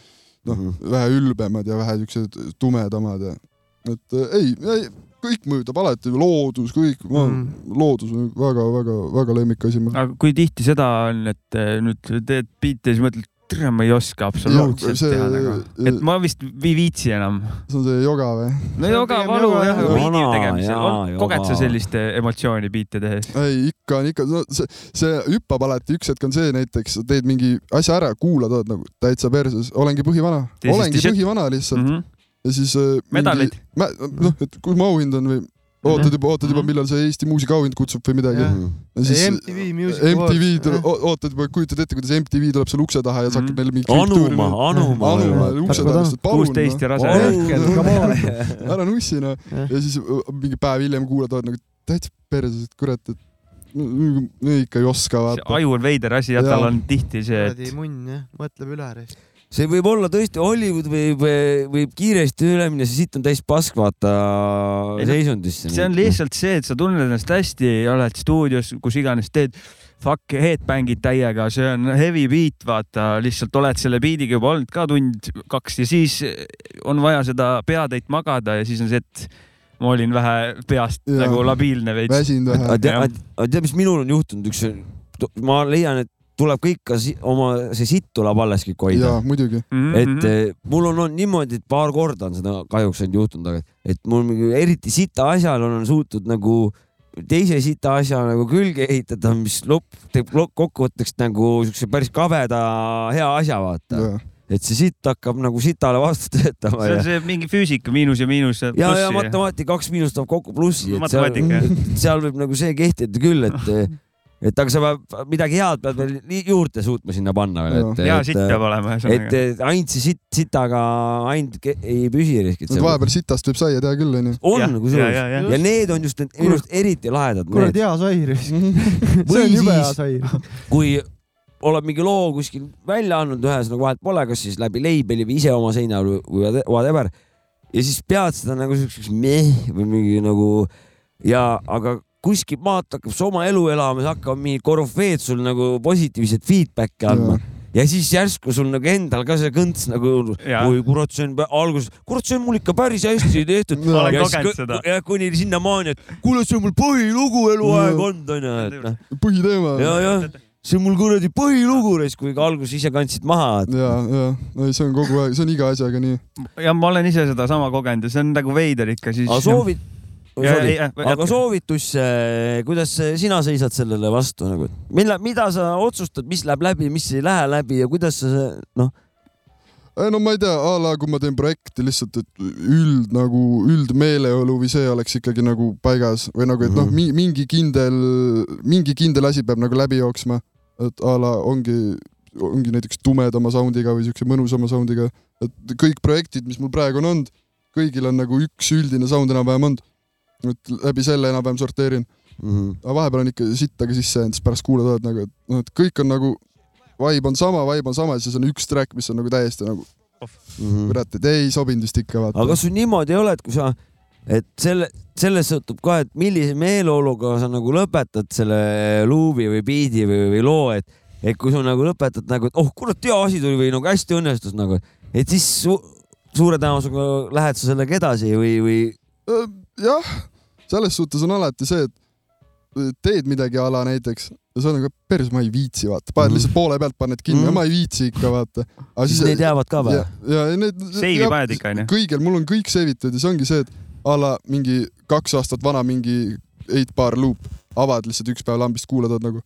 Speaker 5: noh , vähe ülbemad ja vähe siuksed tumedamad ja et äh, ei, ei , kõik mõjutab alati , loodus , kõik mm. , loodus on väga-väga-väga lemmikasi .
Speaker 3: aga kui tihti seda on , et eh, nüüd teed biite ja siis mõtled , tere , ma ei oska absoluutselt
Speaker 5: see-
Speaker 3: see... teha nagu , et ma vist ei viitsi enam .
Speaker 5: see on see joga või ?
Speaker 3: no joga
Speaker 2: pigem nagu-
Speaker 3: valu
Speaker 2: joga,
Speaker 3: jah ,
Speaker 4: jah.
Speaker 3: biidi
Speaker 4: Vana, jaa,
Speaker 3: tegemisel , koged sa
Speaker 4: joga.
Speaker 3: sellist eh, emotsiooni biite tehes ?
Speaker 5: ei , ikka on ikka no, , see , see hüppab alati , üks hetk on see näiteks , sa teed mingi asja ära , kuulad , oled nagu täitsa perses , olengi põhivana ,
Speaker 3: Ja siis
Speaker 5: olengi
Speaker 3: t-shirt.
Speaker 5: põhivana lihtsalt mm
Speaker 3: -hmm.
Speaker 5: -hmm. ja siis äh,
Speaker 3: medalid .
Speaker 5: mingi , noh , et kui ma auhind on või ootad juba , ootad juba ,
Speaker 3: Mhm.
Speaker 5: millal see Eesti muusikaauhind kutsub või midagi
Speaker 2: Jah.
Speaker 5: yeah. . ja siis
Speaker 2: MTV Music
Speaker 5: MTV tuleb ,
Speaker 2: Awards .
Speaker 5: ootad juba , kujutad ette , kuidas MTV tuleb sulle ukse taha ja sa hakkad
Speaker 3: Mhm.
Speaker 5: neile mingi
Speaker 4: anuma , anuma .
Speaker 5: anuma ukse taha , lihtsalt
Speaker 3: kuusteist
Speaker 5: palun , noh.
Speaker 3: ja rase .
Speaker 2: Rohkem, come on.
Speaker 4: Anuma .
Speaker 5: ära nussi noh .
Speaker 2: Jah.
Speaker 5: ja siis äh, mingi päev hiljem kuulad , oled nagu täitsa perses , et kurat , et no, no ikka ei oska
Speaker 3: see
Speaker 5: vaata .
Speaker 3: aju on veider asi ja
Speaker 5: Jaa.
Speaker 3: tal on tihti see ,
Speaker 2: kuradi
Speaker 3: et
Speaker 2: munn jah , mõtleb üle ära .
Speaker 4: see võib olla tõesti , Hollywood võib , võib kiiresti üle minna , see sitt on täis pask , vaata
Speaker 3: Ei no-
Speaker 4: seisundisse .
Speaker 3: see on lihtsalt see , et sa tunned ennast hästi , oled stuudios , kus iganes teed , fuck headbang'id täiega , see on heavy beat , vaata , lihtsalt oled selle beat'iga juba olnud ka tund , kaks ja siis on vaja seda peatäit magada ja siis on see , et ma olin vähe peast ja.
Speaker 5: Jaa.
Speaker 3: nagu labiilne veits .
Speaker 5: väsinud vähe
Speaker 4: aga .
Speaker 3: Jah.
Speaker 4: tead , tea, mis minul on juhtunud , üks , ma leian , et tuleb kõik ka si oma , see sitt tuleb alles kõik hoida
Speaker 5: jaa , muidugi .
Speaker 3: Mhm,
Speaker 4: et eh, mul on olnud niimoodi , et paar korda on seda kahjuks ainult juhtunud , aga et mul mingi eriti sita asjal on suutnud nagu teise sita asja nagu külge ehitada , mis lõpp teeb lop- kokkuvõtteks nagu siukse päris kabeda hea asja , vaata . et see sitt hakkab nagu sitale vastu töötama
Speaker 3: see
Speaker 4: ja
Speaker 3: on , see mingi füüsika miinus ja miinus ja
Speaker 4: ja , ja
Speaker 3: plussi .
Speaker 4: matemaatika kaks miinust toob kokku plussi .
Speaker 3: Matemaatika, jah.
Speaker 4: seal võib nagu see kehtida küll , et , et aga sa pead midagi head pead veel nii- juurde suutma sinna panna veel , et .
Speaker 3: hea sitt peab olema ,
Speaker 4: et
Speaker 3: ühesõnaga .
Speaker 4: et ainult see sitt , sitaga ainult ke- ei püsi riskid .
Speaker 5: Nad vahepeal sitast võib saia teha küll , onju .
Speaker 4: on kusjuures .
Speaker 3: ja,
Speaker 4: ja need on just need minu arust eriti lahedad
Speaker 2: kuradi
Speaker 4: mehed ,
Speaker 2: hea sair . see
Speaker 4: Või
Speaker 2: on jube hea
Speaker 4: siis-
Speaker 2: sair .
Speaker 4: kui oled mingi loo kuskil välja andnud , ühesõnaga vahet pole , kas siis läbi label'i või ise oma seina või või whate- whatever . ja siis pead seda nagu siukseks meh või mingi nagu ja , aga kuskil maalt hakkab see oma elu elama , siis hakkavad mingid korüfeed sul nagu positiivset feedback'i andma . ja siis järsku sul nagu endal ka see kõnts nagu ,
Speaker 3: Jaa.
Speaker 4: oi kurat , see on pä- alguses , kurat , see on mul ikka päris hästi tehtud .
Speaker 5: Ma
Speaker 3: olen kogenud seda.
Speaker 4: ja kuni sinnamaani , et kuule , see on mul põhilugu eluaeg
Speaker 5: Jaa.
Speaker 4: olnud onju , et noh ,
Speaker 5: põhiteema .
Speaker 4: ja ,
Speaker 5: ja ,
Speaker 4: ja see on mul kuradi põhilugu , kuigi alguses ise kandsid maha .
Speaker 5: ja , ei , see on kogu aeg , see on iga asjaga nii .
Speaker 3: ja ma olen ise sedasama kogenud ja see on nagu veider ikka siis .
Speaker 4: aga soovid ,
Speaker 3: Ja, ja, ja,
Speaker 4: aga
Speaker 3: jätka.
Speaker 4: soovitus , kuidas sina seisad sellele vastu nagu , mille , mida sa otsustad , mis läheb läbi , mis ei lähe läbi ja kuidas sa see- noh ,
Speaker 5: ei no ma ei tea , a la kui ma teen projekti lihtsalt , et üld nagu üldmeeleolu või see oleks ikkagi nagu paigas või nagu , et noh , mingi kindel , mingi kindel asi peab nagu läbi jooksma . et a la ongi , ongi näiteks tumedama soundiga või siukse mõnusama soundiga , et kõik projektid , mis mul praegu on olnud , kõigil on nagu üks üldine sound enam-vähem olnud . et läbi selle enam-vähem sorteerin . aga vahepeal on ikka sitta ka sisse jäänud , siis pärast kuulad , oled nagu , et noh , et kõik on nagu , vibe on sama , vibe on sama ja siis on üks track , mis on nagu täiesti nagu kurat , et ei sobinud vist ikka vaata
Speaker 4: Mm. aga . kas sul niimoodi ei ole , et kui sa , et selle , sellest sõltub ka , et millise meeleoluga sa nagu lõpetad selle luuvi või biidi või , või loo , et , et kui sa nagu lõpetad nagu , et oh kurat , hea asi tuli või nagu hästi õnnestus nagu , et siis su, suure tõenäosusega lähed sa sellega edasi või , või
Speaker 5: jah , selles suhtes on alati see , et teed midagi a la näiteks ja sa oled nagu päris , ma ei viitsi vaata , paned
Speaker 4: Mhm.
Speaker 5: lihtsalt poole pealt paned kinni ja
Speaker 4: Mhm.
Speaker 5: ma ei viitsi ikka vaata .
Speaker 4: siis need jäävad ka või
Speaker 5: ja ,? ja need .
Speaker 3: Seivi paned ikka, onju.
Speaker 5: kõigil , mul on kõik seivitud ja see ongi see , et a la mingi kaks aastat vana mingi eight bar loop , avad lihtsalt üks päev lambist , kuulad , oled nagu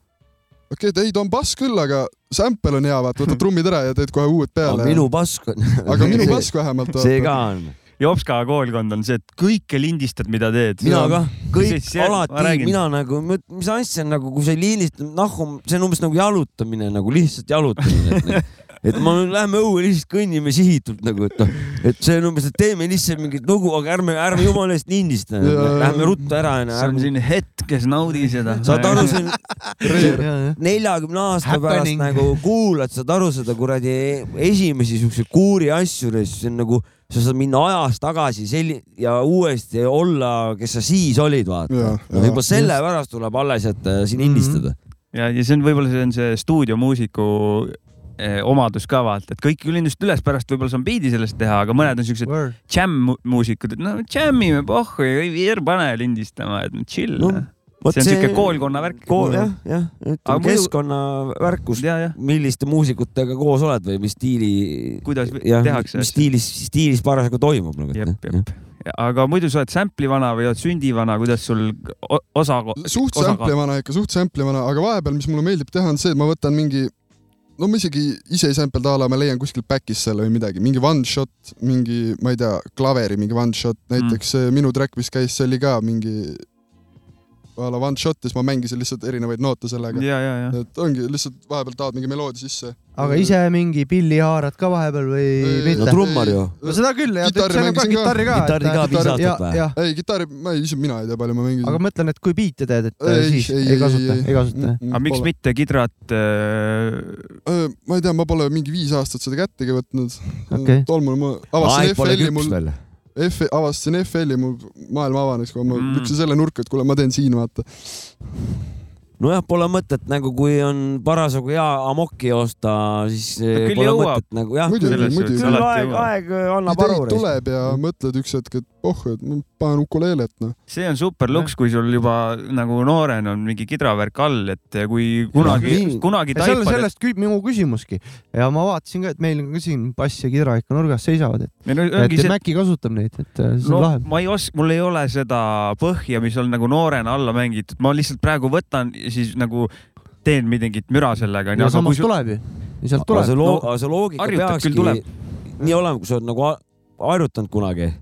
Speaker 5: okei okay, , ei ta on bass küll , aga sample on hea , vaata , võtad trummid ära ja teed kohe uued peale .
Speaker 4: minu pask on .
Speaker 5: aga minu bass vähemalt .
Speaker 4: see ka on ,
Speaker 3: Jopska koolkond on see , et kõike lindistad , mida teed .
Speaker 4: mina ka , kõik
Speaker 3: See- see- ma
Speaker 4: alati ,
Speaker 3: räägin.
Speaker 4: mina nagu , mis asja on nagu , kui sa liinistad , nahku , see on umbes nagu jalutamine nagu lihtsalt jalutamine , et nagu- et ma , lähme õue lihtsalt kõnnime sihitult nagu , et noh , et see on umbes , et teeme lihtsalt mingit lugu , aga ärme , ärme jumala eest lindista ,
Speaker 5: Jaa.
Speaker 4: lähme ruttu ära
Speaker 3: see on
Speaker 4: onju .
Speaker 3: siin hetkes , naudi seda .
Speaker 4: saad aru , see on
Speaker 2: jah ,
Speaker 4: neljakümne aasta
Speaker 2: Happening.
Speaker 4: pärast nagu kuulad , saad aru seda kuradi esimesi siukseid kuuri asju , see on nagu , sa saad minna ajas tagasi selli- ja uuesti olla , kes sa siis olid , vaata Noh,
Speaker 5: Jaa, . jaa.
Speaker 4: juba sellepärast tuleb alles , et äh, siin
Speaker 2: Mhm.
Speaker 4: lindistada .
Speaker 3: ja , ja see on võib-olla see on see stuudiomuusiku eh, omadus ka vaata , et kõik küll endast üles , pärast võib-olla saan biidi sellest teha , aga mõned on siuksed džämmmuusikud , et no džämmime pohhu ja ei er- pane lindistama , et no chill
Speaker 4: No,
Speaker 3: no, . see on siuke koolkonna värk .
Speaker 4: kool , jah , Mhm. jah ,
Speaker 3: Aga
Speaker 4: ütleme
Speaker 3: mõju-
Speaker 4: keskkonnavärkus ,
Speaker 3: ja , jah ,
Speaker 4: milliste muusikutega koos oled või mis stiili ,
Speaker 3: kuidas vi-
Speaker 4: jah ,
Speaker 3: tehakse
Speaker 4: mis stiilis , stiilis parasjagu toimub nagu .
Speaker 3: jep , jep . aga muidu sa oled sample'i vana või oled sündi vana , kuidas sul o- osa ,
Speaker 5: suht
Speaker 3: Osakaal.
Speaker 5: sample vana ikka , suht sample vana , aga vahepeal , mis mulle meeldib teha , on see , et ma võtan mingi , no ma isegi ise ei sample'da a la ma leian kuskilt back'ist selle või midagi , mingi one shot , mingi , ma ei tea , klaveri mingi one shot , näiteks mm. minu track , mis käis , see oli ka mingi a la one shot , siis ma mängisin lihtsalt erinevaid noote sellega .
Speaker 3: ja , ja , ja .
Speaker 5: et ongi lihtsalt vahepeal tahad mingi meloodia sisse .
Speaker 2: aga ise mingi pilli haarad ka vahepeal või
Speaker 4: no
Speaker 2: mitte ?
Speaker 4: trummar ju .
Speaker 2: no seda küll jah ,
Speaker 5: Kitarri
Speaker 2: seal on ka
Speaker 5: mängisin ka.
Speaker 2: kitarri ka .
Speaker 4: Kitarri ka viis aastat või?
Speaker 2: jah ,
Speaker 5: ei , kitarri , ma ei , ise mina ei tea , palju ma mängisin .
Speaker 2: aga ma mõtlen , et kui biite teed , et ei, siis ei, ei kasuta , ei kasuta .
Speaker 3: aga miks mitte kidrat äh,
Speaker 5: ma ei tea , ma pole mingi viis aastat seda kättegi võtnud
Speaker 2: Okei. .
Speaker 5: tol mul , ma avastasin FL-i mul , F- , avastasin FL-i , mu maailm avanes , kui ma
Speaker 3: Mm.
Speaker 5: mm. lükkasin selle nurka , et kuule , ma teen siin , vaata .
Speaker 4: nojah , pole mõtet nagu , kui on parasjagu hea amoki osta , siis eh,
Speaker 3: küll
Speaker 4: pole
Speaker 3: jõuab.
Speaker 4: mõtet nagu jah .
Speaker 5: Muidugi,
Speaker 3: selles
Speaker 5: muidugi.
Speaker 3: suhtes
Speaker 5: Küll
Speaker 4: küll
Speaker 3: alati
Speaker 4: aeg ,
Speaker 3: jõuab .
Speaker 4: aeg eh, annab aru
Speaker 5: ideid . tuleb ja
Speaker 4: Mm.
Speaker 5: mõtled üks hetk , et oh , et ma panen ukuleelet , noh .
Speaker 3: see on super luks , kui sul juba nagu noorena on mingi kidravärk all , et kui kunagi
Speaker 4: Jah, nii. ,
Speaker 3: kunagi
Speaker 2: ja seal on
Speaker 3: taipad ,
Speaker 2: sellest kü minu küsimuski ja ma vaatasin ka , et meil on ka siin bass ja kidra ikka nurgas seisavad , et ,
Speaker 3: et meil on- ongi
Speaker 2: et
Speaker 3: see ,
Speaker 2: Maci kasutab neid , et äh, see on
Speaker 3: no
Speaker 2: lahe .
Speaker 3: ma ei os- , mul ei ole seda põhja , mis on nagu noorena alla mängitud , ma lihtsalt praegu võtan ja siis nagu teen mingit müra sellega , onju ,
Speaker 2: no
Speaker 3: aga kui
Speaker 2: samas
Speaker 3: sul ,
Speaker 2: tuleb ju , sealt
Speaker 4: aga see
Speaker 2: tuleb .
Speaker 4: loo-
Speaker 3: No, ,
Speaker 4: aga see loogika
Speaker 3: harjutad küll tuleb.
Speaker 4: peakski nii olema , kui sa oled nagu a- harjutanud kunagi ,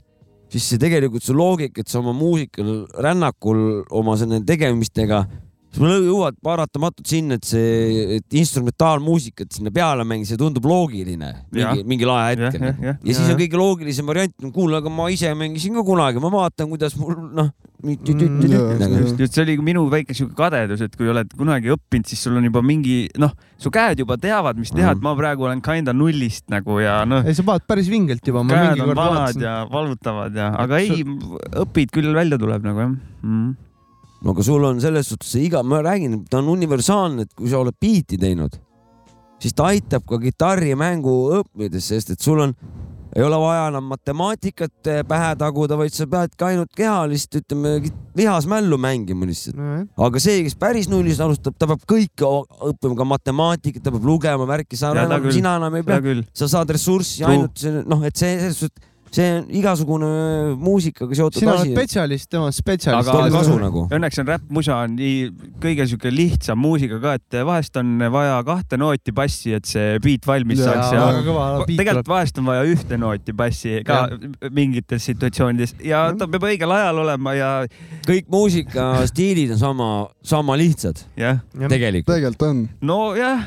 Speaker 4: siis see tegelikult see loogika , et sa oma muusikal rännakul oma selle tegemistega , sa lõ- jõuad paratamatult sinna , et see et instrumentaalmuusikat sinna peale mängida , see tundub loogiline
Speaker 3: Jah.
Speaker 4: mingi, nagu. mingil
Speaker 3: jah ,
Speaker 4: ajahetkel
Speaker 3: jah , jah .
Speaker 4: ja siis on kõige loogilisem variant , kuule , aga ma ise mängisin ka kunagi , ma vaatan , kuidas mul noh .
Speaker 3: Mm,
Speaker 5: jaa.
Speaker 4: ja nagu
Speaker 3: just , just see oli minu väike siuke kadedus , et kui oled kunagi õppinud , siis sul on juba mingi noh , su käed juba teavad , mis teha , et ma praegu olen kinda nullist nagu ja noh ,
Speaker 2: ei , sa paned päris vingelt juba .
Speaker 3: käed on vanad ja valutavad ja , aga
Speaker 2: Et
Speaker 3: ei , õpid küll välja tuleb nagu jah mm. .
Speaker 4: no aga sul on selles suhtes see iga , ma räägin , ta on universaalne , et kui sa oled biiti teinud , siis ta aitab ka kitarrimängu õppides , sest et sul on , ei ole vaja enam matemaatikat eh, pähe taguda , vaid sa peadki ainult kehalist , ütleme , lihasmällu mängima lihtsalt . aga see , kes päris nullist alustab , ta peab kõike o- õppima , ka matemaatikat , ta peab lugema värki , sa
Speaker 3: Seda
Speaker 4: enam ,
Speaker 3: küll.
Speaker 4: sina enam ei pea
Speaker 3: hea , küll ,
Speaker 4: sa saad ressurssi
Speaker 3: True.
Speaker 4: ainult see- noh , et see , selles suhtes , see on igasugune muusikaga seotud
Speaker 2: sina oled
Speaker 4: asi .
Speaker 2: spetsialist , tema on spetsialist .
Speaker 4: Aga- Tol kasu nagu.
Speaker 3: õnneks on räppmusa on nii kõige siuke lihtsam muusika ka , et vahest on vaja kahte nooti bassi , et see beat valmis
Speaker 5: Jaa,
Speaker 3: saaks ja
Speaker 5: jaa.
Speaker 2: väga kõva
Speaker 3: Va-
Speaker 2: piit
Speaker 3: tegelikult
Speaker 2: tuleb .
Speaker 3: vahest on vaja ühte nooti bassi ka mingites situatsioonides ja ta peab õigel ajal olema ja
Speaker 4: kõik muusikastiilid on sama , sama lihtsad
Speaker 3: jah ,
Speaker 4: tegelikult .
Speaker 5: tegelikult on .
Speaker 3: nojah ,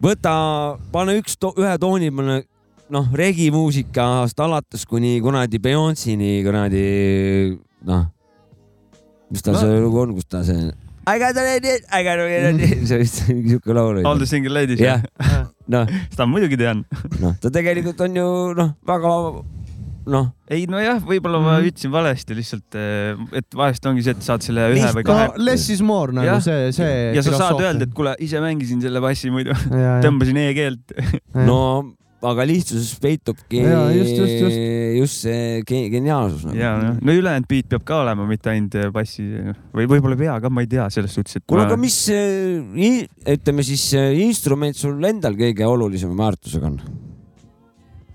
Speaker 4: võta , pane üks , ühe tooni , pane noh , regimuusikast alates kuni kuradi Beyonce'ini kuradi noh , mis tal
Speaker 3: No.
Speaker 4: see lugu on , kus ta see I got a lady , I got a lady , see vist mingi siuke laul
Speaker 3: All
Speaker 4: oli
Speaker 3: the . single ladies
Speaker 4: jah , noh ,
Speaker 3: seda ma muidugi tean .
Speaker 4: noh , ta tegelikult on ju noh , väga noh ,
Speaker 3: ei nojah , võib-olla ma ütlesin valesti lihtsalt , et vahest ongi see , et saad selle ühe või
Speaker 2: no
Speaker 3: kahe
Speaker 2: less is more nagu
Speaker 3: Jah.
Speaker 2: see , see .
Speaker 3: ja sa saad öelda , et kuule , ise mängisin selle bassi muidu ,
Speaker 2: et .
Speaker 3: tõmbasin e-keelt .
Speaker 4: no aga lihtsuses peitubki
Speaker 2: Jaa, just, just, just.
Speaker 4: just see ge- geniaalsus nagu.
Speaker 3: ja . noh , no ülejäänud beat peab ka olema , mitte ainult äh, bassi noh. või võib-olla ei pea ka , ma ei tea selles suhtes , et .
Speaker 4: kuule , aga mis , ütleme siis eh, instrument sul endal kõige olulisema väärtusega on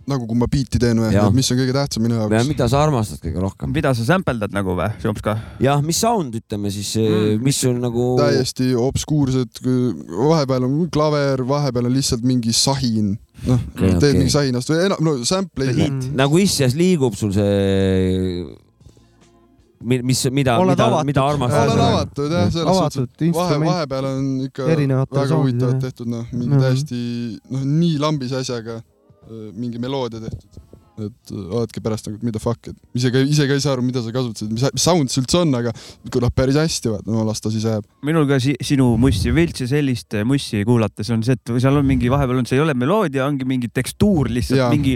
Speaker 5: nagu kui ma biiti teen või
Speaker 4: Jaa. ,
Speaker 5: mis on kõige tähtsam minu
Speaker 4: ja
Speaker 5: jaoks .
Speaker 4: mida sa armastad kõige rohkem ?
Speaker 3: mida sa sampeldad nagu või , Jomska ?
Speaker 4: jah , mis sound , ütleme siis
Speaker 3: Mm.
Speaker 4: mm. , mis sul nagu ,
Speaker 5: täiesti obskuursed , vahepeal on klaver , vahepeal on lihtsalt mingi sahin . noh
Speaker 4: Okei,
Speaker 5: okay, , teed
Speaker 4: okei.
Speaker 5: okay. mingi sahinast või enam , no sample'i .
Speaker 4: nagu issias liigub sul see , mis , mida ,
Speaker 2: Oled
Speaker 4: mida ,
Speaker 2: avatud.
Speaker 4: mida armastad ? nagu?
Speaker 5: olen avatud jah , selles suhtes ,
Speaker 2: avatud
Speaker 5: et vahe ,
Speaker 2: instrument .
Speaker 5: vahepeal on ikka
Speaker 2: erinevatele
Speaker 5: väga
Speaker 2: soundidele.
Speaker 5: huvitavalt tehtud , noh , mingi
Speaker 2: Mhm.
Speaker 5: täiesti , noh , nii lambise asjaga , mingi meloodia äh, tehtud . et äh, oledki pärast nagu , et mida fuck , et ise ka , ise ka ei saa aru , mida sa kasutasid , mis mis sound see üldse on , aga kõlab päris hästi , vaata , no las ta siis jääb .
Speaker 3: minul ka si sinu mussi või üldse sellist eh, mussi kuulates on see , et seal on mingi vahepeal on , see ei ole meloodia , ongi mingi tekstuur lihtsalt , mingi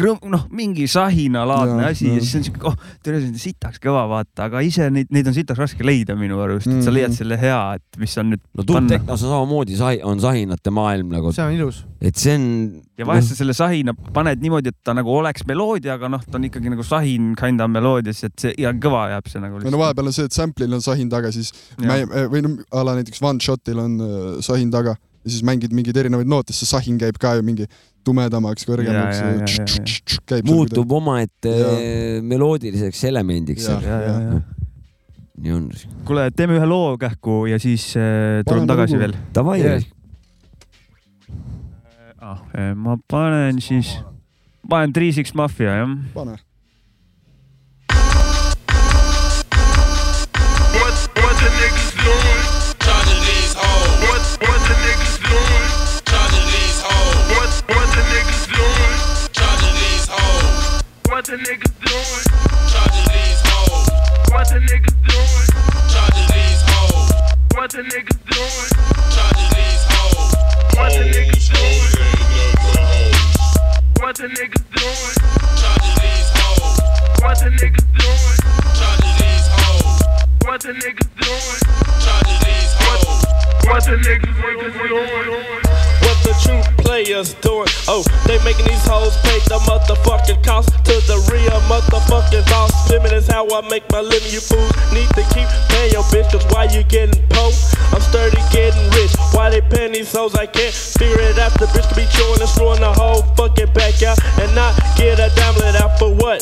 Speaker 3: krõm- , noh , mingi sahinalaadne
Speaker 5: Jaa,
Speaker 3: asi ja
Speaker 5: jaa.
Speaker 3: siis on siuke , oh , tere , see on sitaks kõva vaata , aga ise neid , neid on sitaks raske leida minu arust , et sa
Speaker 5: Mhm.
Speaker 3: leiad selle hea , et mis on nüüd
Speaker 4: no tuubtehnos on samamoodi sahi , on sahinate maailm nagu ,
Speaker 2: see on ilus .
Speaker 4: et see on .
Speaker 3: ja
Speaker 5: Mm.
Speaker 3: vahest sa selle sahina paned niimoodi , et ta nagu oleks meloodia , aga noh , ta on ikkagi nagu sahin kind of meloodias , et see ja kõva jääb see nagu
Speaker 5: või no . vahepeal on see , et sample'il on sahin taga , siis mä- äh, või no a la näiteks one shot'il on äh, sahin taga ja siis mängid mingeid erinevaid noote , siis see sahin käib ka ju mingi tumedamaks , kõrgemaks
Speaker 3: Jaa, jaa, jaa, ,
Speaker 5: käib . nagu
Speaker 4: muutub omaette
Speaker 5: Jaa.
Speaker 4: meloodiliseks elemendiks .
Speaker 5: Jaa.
Speaker 4: nii on .
Speaker 3: kuule , teeme ühe loo kähku ja siis äh,
Speaker 5: Paneme
Speaker 3: tulen tagasi
Speaker 5: lugu.
Speaker 3: veel
Speaker 4: Davai
Speaker 2: Jah.
Speaker 4: yeah. ,
Speaker 3: ah, . ma panen siis , panen Three Six Mafia jah .
Speaker 5: pane .
Speaker 8: What what the niggas doing? Charging these hoes. What what the niggas doing? Charging these hoes. What what the niggas doing? Charging these hoes. What the niggas doing? Charging these hoes. What the niggas doing? Charging these hoes. What the niggas doing? Charging these hoes. What the niggas doing? What the niggas doing? Charging these hoes. What the niggas doing? Charging these hoes. What the niggas doing? Charging these hoes. What the niggas doing?
Speaker 9: what the true players doing. Oh, they making these hoes pay the motherfucking cost to the real motherfucking boss. Living is how I make my living. You fools need to keep paying your bitch, cause why you getting po? I'm sturdy getting rich. Why they paying these hoes? I can't figure it out. The bitch could be chewing and screwing the whole fucking back out and not get a damn out for what?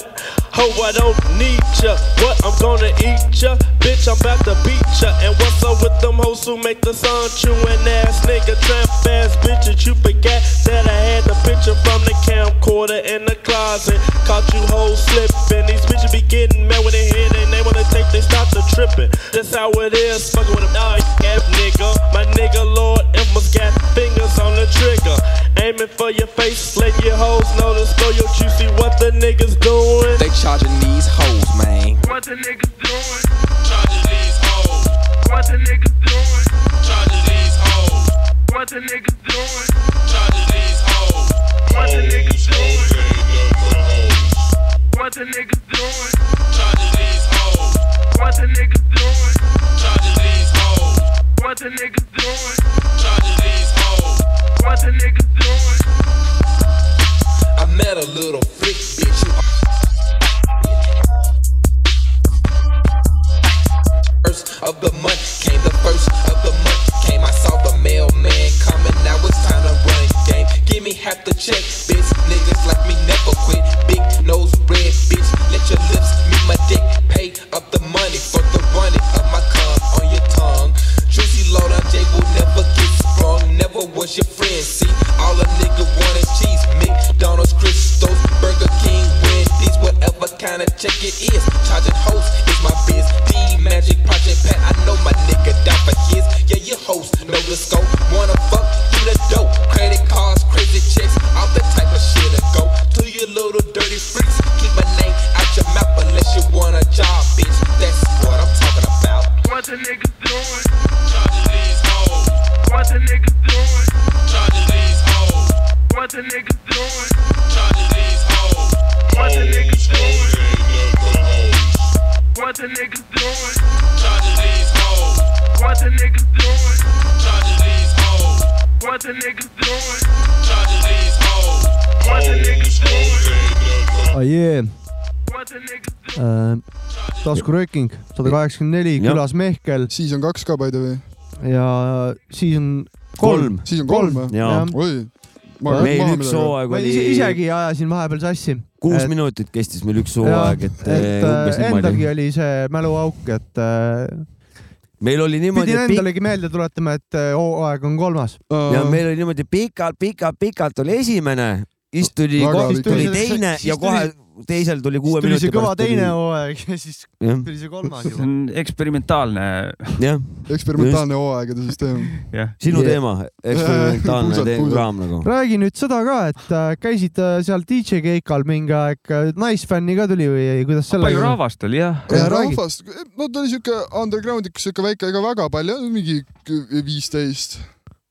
Speaker 9: Ho, I don't need ya. What? I'm gonna eat ya. Bitch, I'm about to beat ya. And what's up with them hoes who make the sun chewing ass nigga? Tramp ass bitches, you forget that I had the picture from the camcorder in the closet. Caught you hoes slipping. These bitches be getting mad when they hear they name wanna take they stop to tripping. That's how it is. Fucking with a dog ass nigga. My nigga Lord Emma's got fingers on the trigger. Aiming for your face, let your hoes know to score your juicy what the niggas doing.
Speaker 10: They charging these hoes, man.
Speaker 8: What the niggas doing? Charging these hoes. What the niggas doing? Charging these hoes. What the niggas doing? Charging these hoes. What the niggas doing? What the niggas doing? Charging these hoes. What the niggas doing? Charging these hoes. What the niggas doing? Charging these hoes. What the niggas doing?
Speaker 10: I met a little freak bitch who first of the month came the first of the month came I saw the mailman coming now it's time to run game give me half the check bitch niggas like me never quit big nose red bitch let your lips meet my dick pay up the money for the running of my cum on your tongue juicy load on J will never get sprung never was your friend see all a nigga wanted cheese McDonald's Christos Burger King Wendy's whatever kind of check it is charging hoes is my biz D Magic Project Pat I know my nigga down for his yeah your host know the scope wanna fuck you the dope credit cards crazy checks all that type of shit to go to your little dirty freaks keep my name out your mouth unless you want a job bitch that's what I'm talking about
Speaker 8: What the niggas doing? Charging these hoes. What the niggas doing? Charging these hoes. What the niggas doing? Charging these hoes. What the niggas doing? What the niggas doing? Charging these hoes. What the niggas doing? Charging these hoes. What the niggas doing? Charging these hoes. What the niggas doing?
Speaker 2: Oh yeah.
Speaker 8: What the niggas doing?
Speaker 2: Äh, taskurööking sada kaheksakümmend neli ,
Speaker 4: Jah.
Speaker 2: külas Mehkel
Speaker 5: siis on kaks ka by the way .
Speaker 2: ja siis on kolm,
Speaker 4: kolm .
Speaker 5: siis on kolm või ?
Speaker 4: jaa
Speaker 2: Jah. .
Speaker 5: oi .
Speaker 4: meil üks . hooaeg
Speaker 2: ma
Speaker 4: oli
Speaker 2: ise , isegi ajasin vahepeal sassi .
Speaker 4: kuus
Speaker 2: et-
Speaker 4: minutit kestis meil üks
Speaker 2: jah,
Speaker 4: hooaeg , et,
Speaker 2: et
Speaker 4: eh, umbes
Speaker 2: äh, endalgi
Speaker 4: niimoodi .
Speaker 2: oli see mäluauk , et äh,
Speaker 4: meil oli niimoodi ,
Speaker 2: pidin
Speaker 4: et pikk
Speaker 2: endalegi meelde tuletama , et äh, hooaeg on kolmas .
Speaker 4: ja meil oli niimoodi pikalt , pikalt , pikalt oli esimene , siis tuli
Speaker 5: Väga ,
Speaker 4: siis tuli
Speaker 2: pikalt.
Speaker 4: teine
Speaker 2: Siis
Speaker 4: ja
Speaker 2: tuli-
Speaker 4: kohe teisel tuli kuue
Speaker 2: tuli
Speaker 4: minuti
Speaker 2: see kõva
Speaker 4: pärast tuli-
Speaker 2: teine hooaeg ja siis
Speaker 4: Jah.
Speaker 2: tuli see kolmas
Speaker 3: see
Speaker 2: juba .
Speaker 3: on eksperimentaalne ,
Speaker 4: jah ,
Speaker 5: eksperimentaalne hooaegade süsteem .
Speaker 3: jah .
Speaker 4: sinu
Speaker 2: Jah.
Speaker 4: teema , eksperimentaalne
Speaker 5: Puusad,
Speaker 4: te-
Speaker 5: puusad.
Speaker 4: kraam nagu .
Speaker 2: räägi nüüd seda ka , et äh, käisid äh, seal DJ keikal mingi aeg , naisfänni ka tuli või ei, kuidas
Speaker 3: palju
Speaker 2: sellega ?
Speaker 3: rahvast oli jah ?
Speaker 2: Ja räägi.
Speaker 5: rahvast , no ta oli siuke undergroundikus siuke väike , ega väga palju , mingi viisteist .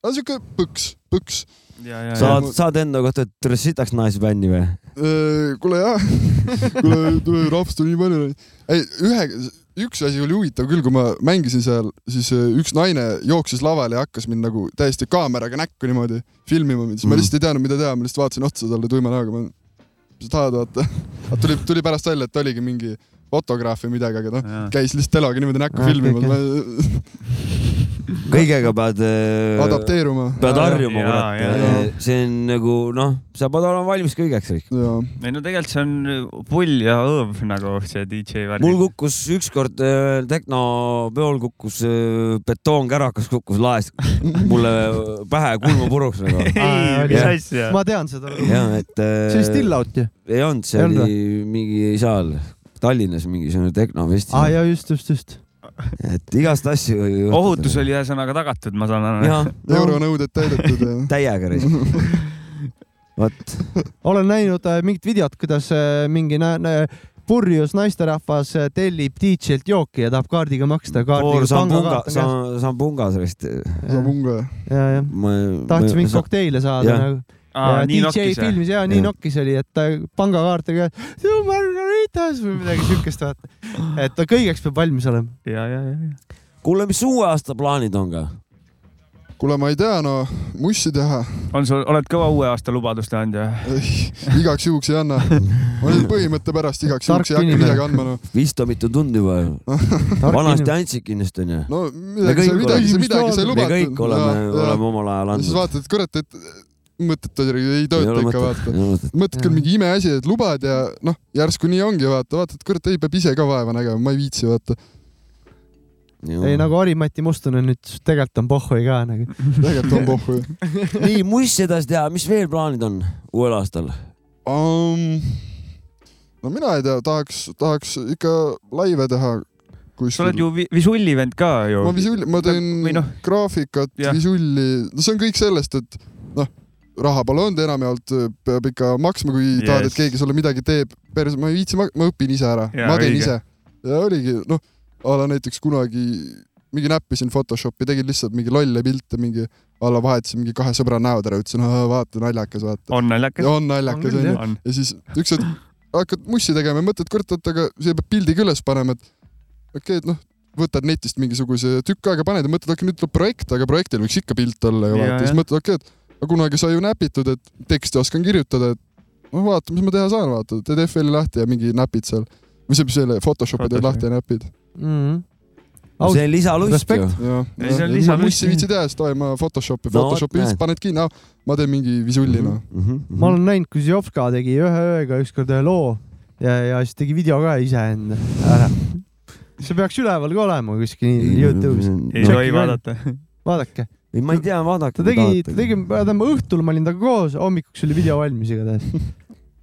Speaker 5: aga siuke põks , põks .
Speaker 3: ja , ja , ja
Speaker 5: Sa- .
Speaker 4: saad , saad enda kohta , et rassitaks naisbändi või ?
Speaker 5: Äh, kuule jah , kuule tule, rahvast on nii palju . ei , ühe , üks asi oli huvitav küll , kui ma mängisin seal , siis äh, üks naine jooksis lavale ja hakkas mind nagu täiesti kaameraga näkku niimoodi filmima mind , siis ma
Speaker 4: Mhm.
Speaker 5: lihtsalt ei teadnud , mida teha , ma lihtsalt vaatasin otsa talle tuima näoga , ma , mis sa tahad vaata . tuli , tuli pärast välja , et ta oligi mingi fotograaf või midagi , aga noh , käis lihtsalt teloga niimoodi näkku
Speaker 2: Ah,
Speaker 5: filmimas , ma
Speaker 4: kõigega pead äh,
Speaker 5: adapteeruma .
Speaker 4: pead harjuma ,
Speaker 3: Jaa,
Speaker 5: jaa.
Speaker 4: kurat . see on nagu noh , sa pead olema valmis kõigeks .
Speaker 5: jaa ,
Speaker 3: ei no tegelikult see on äh, pull ja hõõv nagu see DJ värk .
Speaker 4: mul kukkus ükskord äh, tehnopeol kukkus äh, betoonkärakas kukkus laest mulle pähe kulmu puruks nagu .
Speaker 2: Aa,
Speaker 3: ei ,
Speaker 2: oli
Speaker 3: mis
Speaker 4: jah.
Speaker 3: asja .
Speaker 2: ma tean seda .
Speaker 4: ja et . äh,
Speaker 2: see oli Still Out ju .
Speaker 4: ei olnud , see
Speaker 2: Ei olnud
Speaker 4: oli mingi ei saa Tallinnas mingisugune
Speaker 2: aa
Speaker 4: tehnofestival ,
Speaker 2: ja just , just , just .
Speaker 4: et igast asju .
Speaker 3: ohutus . oli ühesõnaga tagatud , ma saan aru .
Speaker 4: jah ,
Speaker 5: euronõuded täidetud ja
Speaker 4: täiega raisk . vot ,
Speaker 2: olen näinud äh, mingit videot , kuidas äh, mingi nä- nä- purjus naisterahvas äh, tellib DJ-lt jooki ja tahab kaardiga maksta .
Speaker 4: pool sambunga , sambungas vist .
Speaker 5: saab unga .
Speaker 2: ja , jah . tahtis mingeid kokteile saada
Speaker 4: Jah.
Speaker 2: nagu .
Speaker 3: aa , nii
Speaker 2: DJ
Speaker 3: nokkis või ?
Speaker 2: filmis ja nii
Speaker 4: Jah.
Speaker 2: nokkis oli , et ta pangakaartega "Two margaritas või midagi siukest vaata . et ta kõigeks peab valmis olema .
Speaker 3: ja , ja , ja ,
Speaker 4: kuule , mis uue aasta plaanid on ka ?
Speaker 5: kuule , ma ei tea , no mussi teha
Speaker 3: on sul , oled kõva uue aasta lubaduste andja ?
Speaker 5: Ei, igaks juhuks ei anna . ma nüüd põhimõtte pärast igaks
Speaker 2: Tark
Speaker 5: juhuks ei hakka
Speaker 2: inimene.
Speaker 5: midagi andma , noh .
Speaker 4: vist on mitu tundi juba ju . vanasti andsid kindlasti onju .
Speaker 5: no
Speaker 4: Me kõik
Speaker 5: midagi sai , midagi sai , midagi sai
Speaker 4: oleme- me kõik
Speaker 5: lubatud .
Speaker 4: oleme , oleme omal ajal
Speaker 5: ja siis
Speaker 4: andnud .
Speaker 5: vaatad , et kurat , et mõttetu oli , ei tööta ikka , vaata .
Speaker 4: vaata .
Speaker 5: mõtled
Speaker 2: Jah.
Speaker 5: küll mingi imeasi , et lubad ja noh , järsku nii ongi , vaata , vaatad , kurat , ei , peab ise ka vaeva nägema , ma ei viitsi , vaata .
Speaker 2: ei nagu Harimati Mustonen nüüd tegelikult on pohhui ka nagu .
Speaker 5: tegelikult on pohhu ju
Speaker 4: nii , muss edasi teha , mis veel plaanid on uuel aastal ?
Speaker 5: um, . no mina ei tea , tahaks , tahaks ikka laive teha
Speaker 3: sa oled
Speaker 5: kuskil .
Speaker 3: ju vi- Visulli vend ka ju
Speaker 5: ma . visulli , ma
Speaker 3: või
Speaker 5: teen
Speaker 3: noh.
Speaker 5: graafikat ,
Speaker 3: Jah.
Speaker 5: visulli , no see on kõik sellest , et noh , raha pole olnud enamjaolt , peab ikka maksma , kui yes. tahad ,
Speaker 3: Yes.
Speaker 5: et keegi sulle midagi teeb . päris , ma ei viitsi , ma õpin ise ära ,
Speaker 3: Jaa,
Speaker 5: ma teen
Speaker 3: õige.
Speaker 5: ise . ja oligi , noh , a la näiteks kunagi mingi näppisin Photoshopi , tegin lihtsalt mingi lolle pilte , mingi a la vahetasin mingi kahe sõbra näod ära , ütlesin , vaata naljakas , vaata .
Speaker 3: on naljakas ?
Speaker 5: on
Speaker 2: On
Speaker 5: naljakas
Speaker 2: küll,
Speaker 5: onju .
Speaker 3: on .
Speaker 5: ja siis üks hetk hakkad mussi tegema ja mõtled , kurat , oot , aga siia peab pildi ka üles panema , et okei okay, , et noh , võtad netist mingisuguse tükk aega paned ja mõtled , okei , nüüd tuleb projekt , aga projektil võiks ikka pilt olla ju
Speaker 3: Jaa,
Speaker 5: vaata , siis
Speaker 3: jah.
Speaker 5: mõtled , okei okay, , et aga kunagi sai ju näpitud , et teksti oskan kirjutada , et noh , vaata , mis ma teha saan , vaata , teed FL-i lahti ja mingi näpid seal või see , selle Photoshopi teed
Speaker 3: Photoshopi.
Speaker 5: lahti ja näpid .
Speaker 2: Mhm. Aus-
Speaker 4: see on lisalust
Speaker 2: Respekt.
Speaker 4: ju .
Speaker 5: ja ,
Speaker 3: Ei, see on
Speaker 5: ma
Speaker 3: lisalust.
Speaker 5: mussi ei viitsi teha , sest oi , ma Photoshopi ,
Speaker 4: No vot,
Speaker 5: Photoshopi
Speaker 4: näed.
Speaker 5: lihtsalt paned kinni , ma teen mingi visulli noh .
Speaker 3: Mm-hmm.
Speaker 4: Mhm,
Speaker 2: ma olen näinud , kui Zjovka tegi ühe ööga ükskord ühe loo ja , ja siis tegi video ka iseenda ära . see peaks üleval ka olema kuskil Youtube'is .
Speaker 3: ei
Speaker 2: Tšekki
Speaker 3: tohi
Speaker 2: ka.
Speaker 3: vaadata .
Speaker 2: vaadake ,
Speaker 4: ei , ma ei tea , vaadake .
Speaker 2: ta tegi , ta tegi , tähendab õhtul ma olin temaga koos , hommikuks oli video valmis igatahes .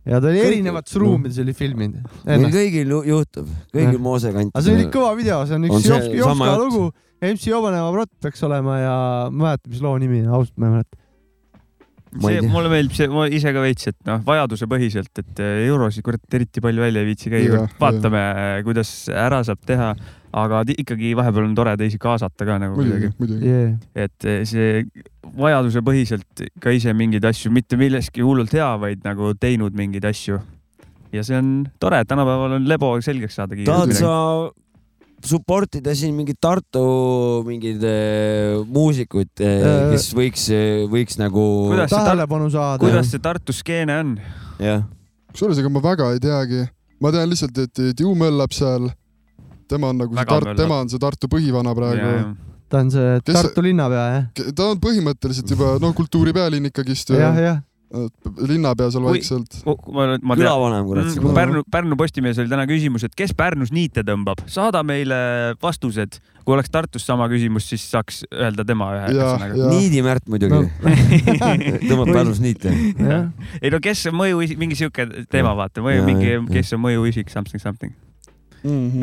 Speaker 2: ja ta oli
Speaker 4: Kõik-
Speaker 2: erinevates ruumides oli filminud
Speaker 4: meil
Speaker 2: ennast .
Speaker 4: kõigil ju- juhtub , kõigil Moose kantis .
Speaker 2: aga see oli kõva video , see on
Speaker 4: On
Speaker 2: üks
Speaker 4: see
Speaker 2: Jovska
Speaker 4: sama
Speaker 2: Jovska
Speaker 4: jutt?
Speaker 2: lugu , MC Jobaneva Brott peaks olema ja ma ei mäleta , mis loo nimi on , ausalt ma ei mäleta .
Speaker 4: Ma ei
Speaker 3: see ,
Speaker 4: tea.
Speaker 3: mulle meeldib see , ma ise ka veits , et noh , vajadusepõhiselt , et eh, eurosid kurat eriti palju välja ei viitsi käia
Speaker 5: Jah, ,
Speaker 3: vaatame , kuidas ära saab teha , aga ti- ikkagi vahepeal on tore teisi kaasata ka nagu
Speaker 5: muidugi
Speaker 3: kuidagi ,,
Speaker 5: muidugi .
Speaker 2: Yeah.
Speaker 3: et eh, see vajadusepõhiselt ka ise mingeid asju , mitte milleski hullult hea , vaid nagu teinud mingeid asju . ja see on tore , tänapäeval on lebo selgeks saada
Speaker 4: tahad
Speaker 3: kiirelt .
Speaker 4: sa support ida siin mingit Tartu mingeid eh, muusikuid ,
Speaker 2: Äh,
Speaker 4: kes võiks , võiks nagu ,
Speaker 3: Kuidas see tar-
Speaker 2: tähelepanu saada .
Speaker 3: kuidas see Tartu skeene on ?
Speaker 4: jah ,
Speaker 5: kusjuures ega ma väga ei teagi , ma tean lihtsalt , et et Ju möllab seal . tema on nagu see
Speaker 3: Väga
Speaker 5: Tartu ,
Speaker 3: möllab.
Speaker 5: tema on see Tartu põhivana praegu .
Speaker 2: ta on see
Speaker 5: Kes-
Speaker 2: Tartu linnapea jah ?
Speaker 5: ta on põhimõtteliselt juba noh , kultuuri pealinn ikkagist ju .
Speaker 2: jah , jah .
Speaker 5: linnapea seal
Speaker 3: Kui-
Speaker 5: vaikselt .
Speaker 3: Oh, ma, ma tean-
Speaker 4: külavanem kurat .
Speaker 3: Mm, Pärnu , Pärnu Postimehes oli täna küsimus , et kes Pärnus niite tõmbab , saada meile vastused . kui oleks Tartus sama küsimus , siis saaks öelda tema
Speaker 5: Jaa,
Speaker 3: ühe ühesõnaga .
Speaker 5: jaa.
Speaker 4: niidimärt muidugi
Speaker 2: No.
Speaker 4: no. . tõmbab Pärnus niite .
Speaker 2: jah ,
Speaker 3: ei no kes on mõju , mingi siuke teema , vaata , või
Speaker 4: Jaa,
Speaker 3: mingi
Speaker 4: jaa. ,
Speaker 3: kes on mõjuisik , something , something .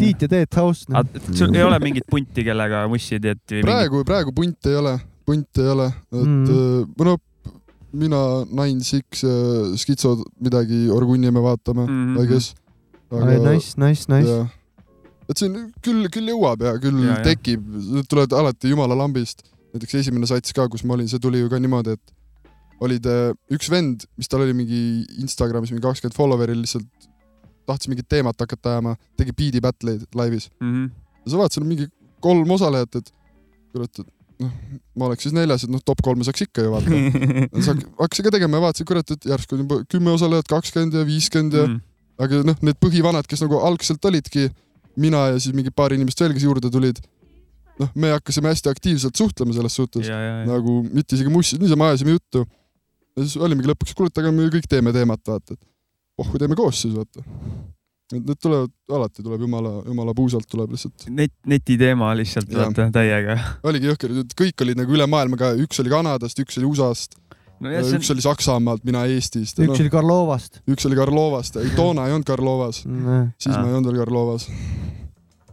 Speaker 2: Tiit ja Teet noh. House no. .
Speaker 3: sul ei ole mingit punti , kellega mussi teed ?
Speaker 5: praegu , praegu punti ei ole , punti ei ole , et
Speaker 2: Mhm.
Speaker 5: mm. no mina , Nine Six , Schizo midagi orgunni me vaatame mm ,
Speaker 3: Mhm.
Speaker 5: -hmm. I guess .
Speaker 2: Nice , nice , nice .
Speaker 5: et siin küll , küll jõuab ja küll
Speaker 3: Ja,
Speaker 5: ja,
Speaker 3: ja.
Speaker 5: tekib , tuled alati jumala lambist . näiteks esimene sats ka , kus ma olin , see tuli ju ka niimoodi , et olid äh, üks vend , mis tal oli mingi Instagramis mingi kakskümmend follower'i lihtsalt tahtis mingit teemat hakata ajama , tegi beat'i battle'id laivis .
Speaker 3: Mhm.
Speaker 5: ja sa vaatad , seal on mingi kolm osalejat , et kurat , et noh , ma oleks siis neljas , et noh , top kolme saaks ikka ju vaata . sa hakkasid ka tegema ja vaatasid , kurat , et järsku on juba kümme osalejat , kakskümmend ja viiskümmend ja mm. aga noh , need põhivanad , kes nagu algselt olidki , mina ja siis mingi paar inimest veel , kes juurde tulid , noh , me hakkasime hästi aktiivselt suhtlema selles suhtes yeah. , nagu mitte isegi mussid , niisama ajasime juttu . ja siis olimegi lõpuks , kurat , aga me ju kõik teeme teemat , vaata , et pohhu , teeme koos siis , vaata . et need tulevad , alati tuleb jumala , jumala puusalt tuleb lihtsalt .
Speaker 3: Net , netiteema lihtsalt ,
Speaker 5: Jaa.
Speaker 3: vaata , täiega .
Speaker 5: oligi jõhker , kõik olid nagu üle maailma ka , üks oli Kanadast , üks oli USA-st ,
Speaker 3: nojah , see
Speaker 5: üks
Speaker 3: on ,
Speaker 5: oli Saksamaalt , mina Eestist ,
Speaker 2: üks
Speaker 5: no,
Speaker 2: oli Karlovast . Mm,
Speaker 5: üks oli Karlovast , toona ei olnud Karlovas , siis
Speaker 3: Aa.
Speaker 5: ma ei olnud veel Karlovas .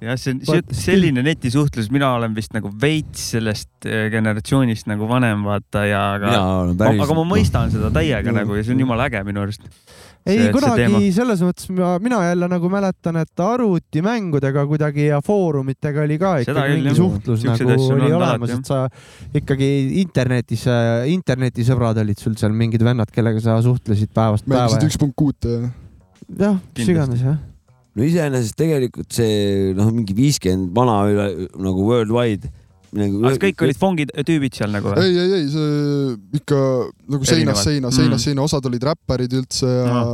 Speaker 3: jah , see on see- selline netisuhtlus , mina olen vist nagu veits sellest eh, generatsioonist nagu vanem , vaata ja aga
Speaker 4: mina . olen
Speaker 3: Ma,
Speaker 4: päris .
Speaker 3: aga ma mõistan seda täiega
Speaker 5: Mm.
Speaker 3: nagu ja see on jumala äge minu arust .
Speaker 2: ei
Speaker 3: see , teema.
Speaker 2: kunagi selles mõttes ma , mina jälle nagu mäletan , et arvutimängudega kuidagi ja foorumitega oli ka
Speaker 3: Seda
Speaker 2: ikkagi
Speaker 3: küll,
Speaker 2: mingi
Speaker 3: jah.
Speaker 2: suhtlus
Speaker 3: Siukseid
Speaker 2: nagu
Speaker 3: asju on
Speaker 2: oli
Speaker 3: olnud
Speaker 2: olemas ,
Speaker 3: alati,
Speaker 2: et sa ikkagi internetis , internetisõbrad olid sul seal mingid vennad , kellega sa suhtlesid päevast päeva
Speaker 5: mängisid . üks punkt kuute ja
Speaker 2: jah , mis
Speaker 3: Kindlasti.
Speaker 2: iganes jah .
Speaker 4: no iseenesest tegelikult see noh , mingi viiskümmend vana üle nagu worldwide .
Speaker 3: kas kõik olid fongid , tüübid seal nagu või ?
Speaker 5: ei , ei , ei see ikka nagu
Speaker 3: Erinevad.
Speaker 5: seinast seina ,
Speaker 3: Mm.
Speaker 5: seinast seina , osad olid räpparid üldse ja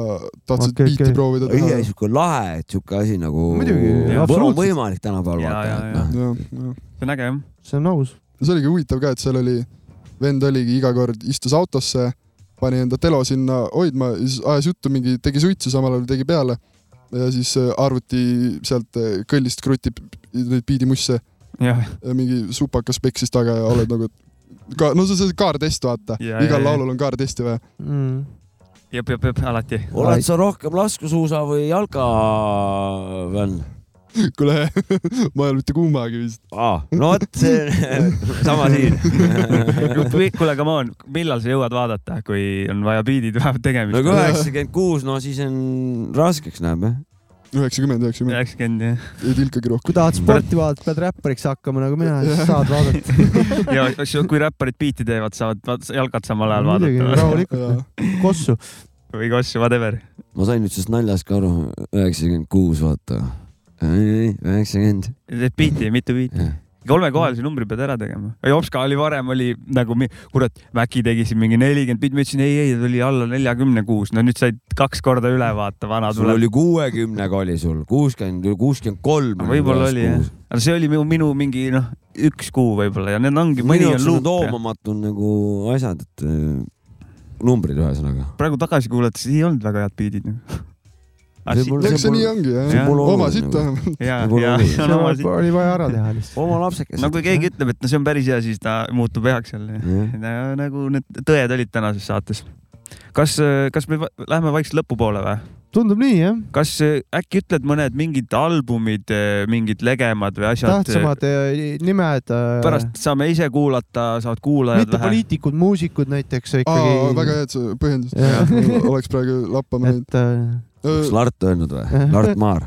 Speaker 5: tahtsid
Speaker 2: Okei,
Speaker 5: okay, biiti
Speaker 2: okei.
Speaker 5: okay. proovida teha
Speaker 4: õige . sihuke lahe , et sihuke asi nagu .
Speaker 2: Muidugi,
Speaker 4: on
Speaker 2: absoluutselt.
Speaker 4: võimalik tänapäeval
Speaker 3: Jaa,
Speaker 4: vaata
Speaker 3: jaa, ,
Speaker 4: et noh .
Speaker 5: jah , jah .
Speaker 3: see on äge jah .
Speaker 2: see on aus .
Speaker 5: see oligi huvitav ka , et seal oli , vend oligi iga kord istus autosse , pani enda telo sinna hoidma , siis ajas juttu mingi , tegi suitsu , samal ajal tegi peale ja siis äh, arvuti sealt äh, kõllist krutib neid piidimusse
Speaker 3: jah ,
Speaker 5: ja mingi supakas peksis taga ja oled nagu , et ka, no see , see kaartest vaata ,
Speaker 3: Jaa, jaa,
Speaker 5: igal
Speaker 3: jaa.
Speaker 5: laulul on kaartesti vaja .
Speaker 2: Mm.
Speaker 3: jep , jep , jep , alati .
Speaker 2: Ai.
Speaker 4: oled sa rohkem laskusuusa või jalka fänn ?
Speaker 5: kuule , ma ei ole mitte kummagi vist .
Speaker 4: Ah, no vot , see sama siin .
Speaker 3: kuule , come on , millal sa jõuad vaadata , kui on vaja biidid vahepeal
Speaker 4: no
Speaker 3: tegemist
Speaker 4: kui ? üheksakümmend kuus , no siis on raskeks näeb jah .
Speaker 5: üheksakümmend , üheksakümmend ,
Speaker 3: üheksakümmend jah .
Speaker 5: ei tilkagi
Speaker 2: kui
Speaker 5: rohkem .
Speaker 2: tahad sporti vaadata , pead räppariks hakkama nagu mina , siis saad vaadata .
Speaker 3: ja kas- kui räpparid biiti teevad , saavad vaat- jalgad samal ajal
Speaker 2: muidugi ,
Speaker 3: vaadata või-
Speaker 2: rahulikult , kossu .
Speaker 3: või kas whatever .
Speaker 4: ma sain nüüd sellest naljast ka aru , üheksakümmend kuus , vaata . üheksakümmend .
Speaker 3: teed biiti , mitu biiti . kolmekohalise numbri pead ära tegema . Jopska oli varem oli nagu , kurat , Mäki tegi siin mingi nelikümmend bitti , ma ütlesin ei , ei , ta oli alla neljakümne kuus , no nüüd said kaks korda üle vaata , vana
Speaker 4: sul
Speaker 3: tuleb .
Speaker 4: oli kuuekümnega oli sul , kuuskümmend , kuuskümmend kolm .
Speaker 3: võib-olla oli jah , aga see oli minu, minu mingi noh , üks kuu võib-olla ja need ongi , mõni
Speaker 4: mõni
Speaker 3: on
Speaker 4: on
Speaker 3: luup .
Speaker 4: loomamatu nagu asjad , et äh, numbrid ühesõnaga .
Speaker 3: praegu tagasi kuulates ei olnud väga head noh. biidid .
Speaker 4: Võib-olla
Speaker 5: eks see
Speaker 4: mul-
Speaker 5: nii ongi
Speaker 3: Jah.
Speaker 5: jah ,
Speaker 4: mul
Speaker 5: oma
Speaker 4: oluline
Speaker 5: sitt
Speaker 4: nagu.
Speaker 5: vähemalt .
Speaker 3: ja ,
Speaker 4: võib-olla
Speaker 3: ja
Speaker 4: oli. ,
Speaker 3: see on oma siit .
Speaker 2: oli vaja ära teha lihtsalt .
Speaker 4: oma lapsekest .
Speaker 3: no kui keegi ütleb , et no see on päris hea , siis ta muutub heaks jälle .
Speaker 4: Jah.
Speaker 3: nagu need tõed olid tänases saates . kas , kas me va- läheme vaikselt lõpupoole või ?
Speaker 2: tundub nii jah ,
Speaker 3: kas äh, äkki ütled mõned mingid albumid , mingid legemad või asjad ?
Speaker 2: tähtsamad eh, nimed .
Speaker 3: pärast saame ise kuulata , saavad kuulajad
Speaker 2: mitte poliitikud , muusikud näiteks eh,
Speaker 5: aa , väga
Speaker 2: ikkagi .
Speaker 5: hea , et sa põhjendasid
Speaker 2: Jah. .
Speaker 5: oleks praegu lappama neid
Speaker 2: et äh,
Speaker 4: kas Lart öelnud või ? Lart Maar .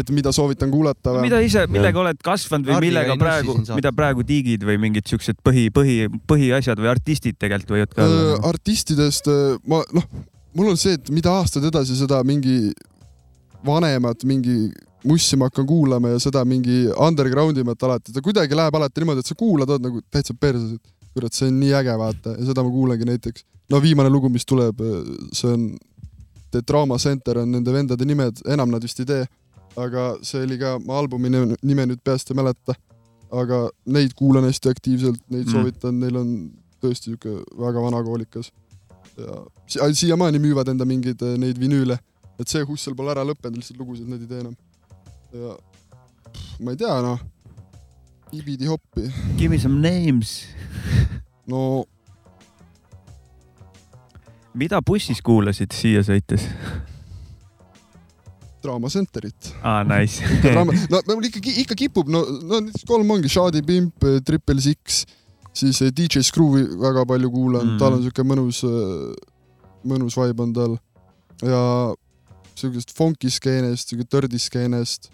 Speaker 5: et mida soovitan kuulata või ?
Speaker 3: mida ise , millega oled kasvanud või
Speaker 2: Hardiga
Speaker 3: millega
Speaker 2: ei nussi
Speaker 3: praegu
Speaker 2: siin , saates.
Speaker 3: mida praegu tiigid või mingid siuksed põhi , põhi , põhiasjad või artistid tegelikult võivad ka
Speaker 5: Öö,
Speaker 3: olla ?
Speaker 5: artistidest öö, ma noh , mul on see , et mida aastad edasi , seda mingi vanemat mingi mussi ma hakkan kuulama ja seda mingi underground imat alati , ta kuidagi läheb alati niimoodi , et sa kuulad , oled nagu täitsa perses , et kurat , see on nii äge , vaata , ja seda ma kuulangi näiteks . no viimane lugu , mis tuleb , see on The Trauma Center on nende vendade nimed , enam nad vist ei tee , aga see oli ka , ma albumi nime, nime nüüd peast ei mäleta , aga neid kuulan hästi aktiivselt , neid mm.
Speaker 3: Mm.
Speaker 5: soovitan , neil on tõesti niisugune väga vanakoolikas . ja si- ai- siiamaani müüvad enda mingeid eh, neid vinüüle , et see Hussel pole ära lõppenud , lihtsalt lugusid nad ei tee enam . ja pff, ma ei tea noh , ibidi hoppi ,
Speaker 2: Äh,
Speaker 3: Give me some names .
Speaker 5: no
Speaker 3: mida bussis kuulasid siia sõites ?
Speaker 5: Draama Centerit .
Speaker 3: aa , Ah, nice .
Speaker 5: no mul ikka , ikka kipub , no , no näiteks kolm ongi , Shadi Pimp , Triple Six , siis eh, DJ Screw'i väga palju kuulan
Speaker 3: Mm.
Speaker 5: mm. , tal on siuke mõnus , mõnus vibe on tal ja siukest funk'i skeenest , siuke dirty skeenest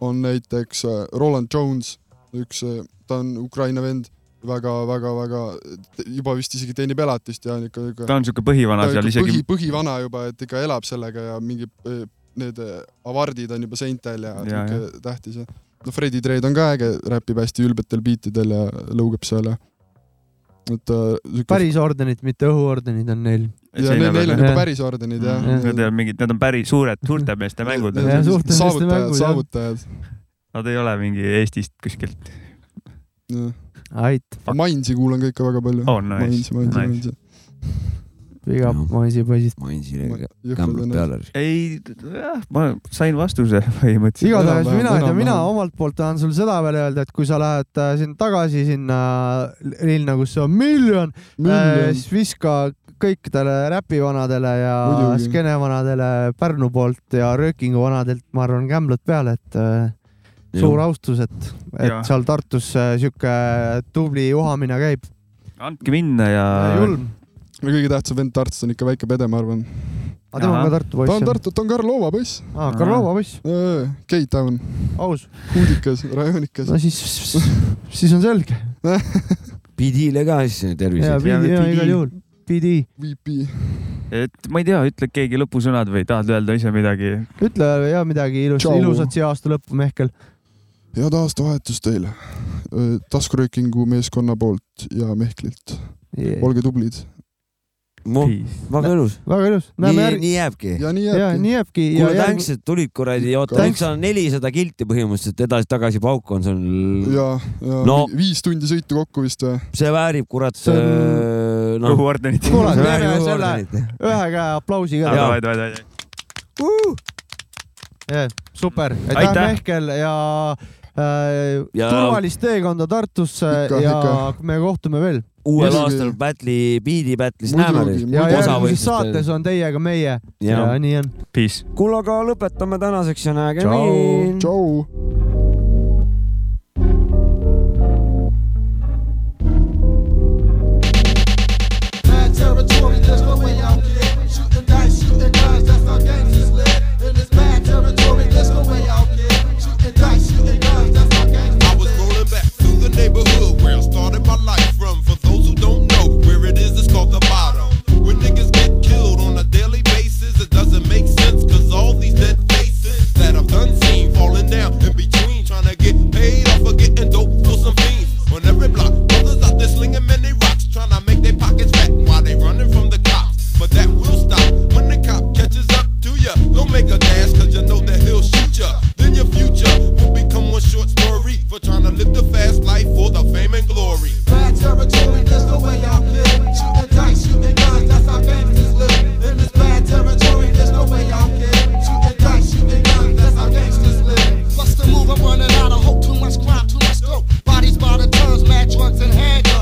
Speaker 5: on näiteks eh, Roland Jones , üks , ta on Ukraina vend väga, , väga-väga-väga juba vist isegi teenib elatist ja on ikka , ikka
Speaker 3: ta on siuke põhivana
Speaker 5: ta
Speaker 3: seal
Speaker 5: ikka
Speaker 3: isegi
Speaker 5: põhi , põhivana juba , et ikka elab sellega ja mingi eh, need eh, avardid on juba seintel ja,
Speaker 3: Ja,
Speaker 5: ja, ja. tähtis ja no Freddy Trade on ka äge , räpib hästi ülbetel biitidel ja lõugab seal ja et äh, siuke-
Speaker 2: päris ordenid , mitte õhuordenid on neil .
Speaker 5: ja neil, neil on
Speaker 2: peal.
Speaker 5: juba päris ordenid jah
Speaker 2: Jah.
Speaker 3: Need on mingid , need on päris suured , suurte meeste mängud .
Speaker 2: Jah. suhteliselt
Speaker 5: saavutajad
Speaker 2: mängud, , jah.
Speaker 5: saavutajad
Speaker 3: Nad ei ole mingi Eestist kuskilt .
Speaker 5: jah.
Speaker 2: ait ,
Speaker 5: Mainzi kuulan ka ikka väga palju
Speaker 3: Oh nice ,
Speaker 5: Mainzi , Mainzi ,
Speaker 3: nice .
Speaker 5: Mainzi
Speaker 2: viga
Speaker 4: Jah.
Speaker 2: maisipoisid .
Speaker 4: Mainsile
Speaker 5: jõhkrad
Speaker 4: kämblad
Speaker 5: on
Speaker 4: peale .
Speaker 3: ei , jah , ma sain vastuse põhimõtteliselt .
Speaker 2: igatahes
Speaker 5: Enam-vähem,
Speaker 2: mina ei tea , mina
Speaker 5: enam-vähem.
Speaker 2: omalt poolt tahan sulle seda veel öelda , et kui sa lähed äh, siin tagasi sinna linna , kus on miljon ,
Speaker 5: Miljon.
Speaker 2: Äh, siis viska kõikidele räpivanadele ja
Speaker 5: Muidugi.
Speaker 2: skeenevanadele Pärnu poolt ja Röökingu vanadelt , ma arvan , kämblad peale , et äh, suur austus , et , et
Speaker 3: Jah.
Speaker 2: seal Tartus äh, sihuke tubli juhamine käib .
Speaker 3: andke minna ja .
Speaker 2: julm ,
Speaker 5: ja kõige tähtsam vend Tartus on ikka väike pede , ma arvan
Speaker 2: aga Ah, tema
Speaker 3: Ahah.
Speaker 2: on ka Tartu
Speaker 5: ta on
Speaker 2: poiss .
Speaker 5: Tartu , ta on Karlova poiss Äh,
Speaker 2: aa , Karlova poiss ,
Speaker 5: K-Town ,
Speaker 2: aus .
Speaker 5: huudikas , rajoonikas
Speaker 2: no siis , siis on selge .
Speaker 4: pidile ka siis
Speaker 2: ja
Speaker 4: tervist .
Speaker 2: pidi , ja
Speaker 3: pidi.
Speaker 2: igal juhul , pidi .
Speaker 5: VP ,
Speaker 3: et ma ei tea , ütle keegi lõpusõnad või tahad öelda ise midagi ?
Speaker 2: ütle ja midagi ilusat
Speaker 5: Tšau. ,
Speaker 2: ilusat siia aasta lõppu , Mehkel .
Speaker 5: head aastavahetust teile öö, taskuröökingu meeskonna poolt ja Mehklilt , olge tublid
Speaker 4: väga elus .
Speaker 2: väga ilus , näeme
Speaker 4: nii ,
Speaker 2: järgi .
Speaker 4: nii jääbki .
Speaker 5: ja nii
Speaker 2: ja
Speaker 5: jääbki .
Speaker 2: nii jääbki ja
Speaker 4: kuule ,
Speaker 2: järg-
Speaker 4: tänks , et tulid kuradi , oota ,
Speaker 5: Thanks.
Speaker 4: tänks on nelisada kilti põhimõtteliselt edasi-tagasi pauku on sul .
Speaker 5: ja , ja
Speaker 4: No.
Speaker 5: no. viis tundi sõitu kokku vist või ?
Speaker 4: see väärib kurat ,
Speaker 2: See on-
Speaker 4: noh .
Speaker 3: õhuordenit .
Speaker 2: Kuule, teeme selle- ühe käe aplausi ka
Speaker 4: Jaa. .
Speaker 2: Yeah, super ,
Speaker 3: Aitäh!
Speaker 2: aitäh Mehkel ja äh,
Speaker 4: Ja-
Speaker 2: turvalist teekonda Tartusse
Speaker 5: Ikka,
Speaker 2: ja
Speaker 5: ikka.
Speaker 2: me kohtume veel
Speaker 4: uuel
Speaker 5: Muidugi.
Speaker 4: aastal Battle'i , Beat'i Battle'is
Speaker 5: Muidugi,
Speaker 4: näeme teid .
Speaker 2: ja
Speaker 5: Muidu
Speaker 2: järgmises saates on teiega meie ja,
Speaker 4: Jaa.
Speaker 2: ja nii on .
Speaker 3: Peace .
Speaker 4: kuule , aga lõpetame tänaseks ja nägemist .
Speaker 5: tšau .
Speaker 10: Mad territory, there's no way out there. Shoot the dice, shoot the guns, that's how gangsters live. In this mad territory, there's no way out there. Shoot the dice, shoot the guns, that's how gangsters live.
Speaker 8: I was rolling back through the neighborhood where I started my life from. For those who don't know, where it is, it's called the bottom. Where niggas get killed on a daily basis, it doesn't make sense, cause all these dead faces that I've done seen falling down in between, trying to get paid off for getting dope for some fiends. On every block, brothers out there slinging many rocks, trying to make their pockets fat while they running from the cops. But that will stop when the cop catches up to ya. Don't make a dash, cause you know that he'll shoot ya. Then your future will become one short story for trying to live the fast life for the fame and glory.
Speaker 10: Bad territory, there's no way out there. Shooting dice, shooting guns, that's how gangsters live. In this bad territory, there's no way out there. Shooting dice, shooting guns, that's how gangsters live.
Speaker 7: What's the move? I'm running out of hope. Too much crime, too much scope. Bodies by the tons, mad drugs and handguns.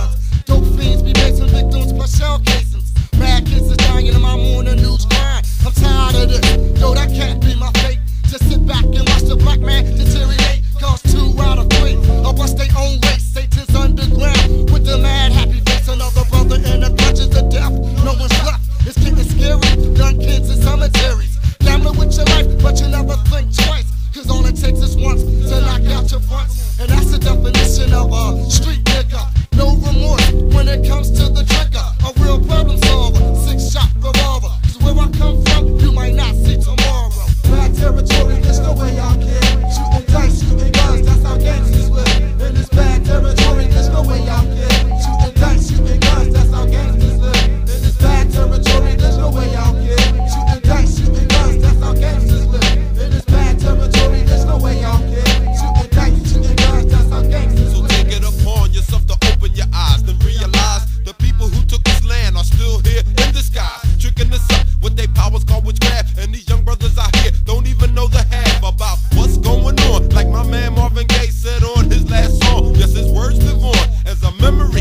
Speaker 11: memory.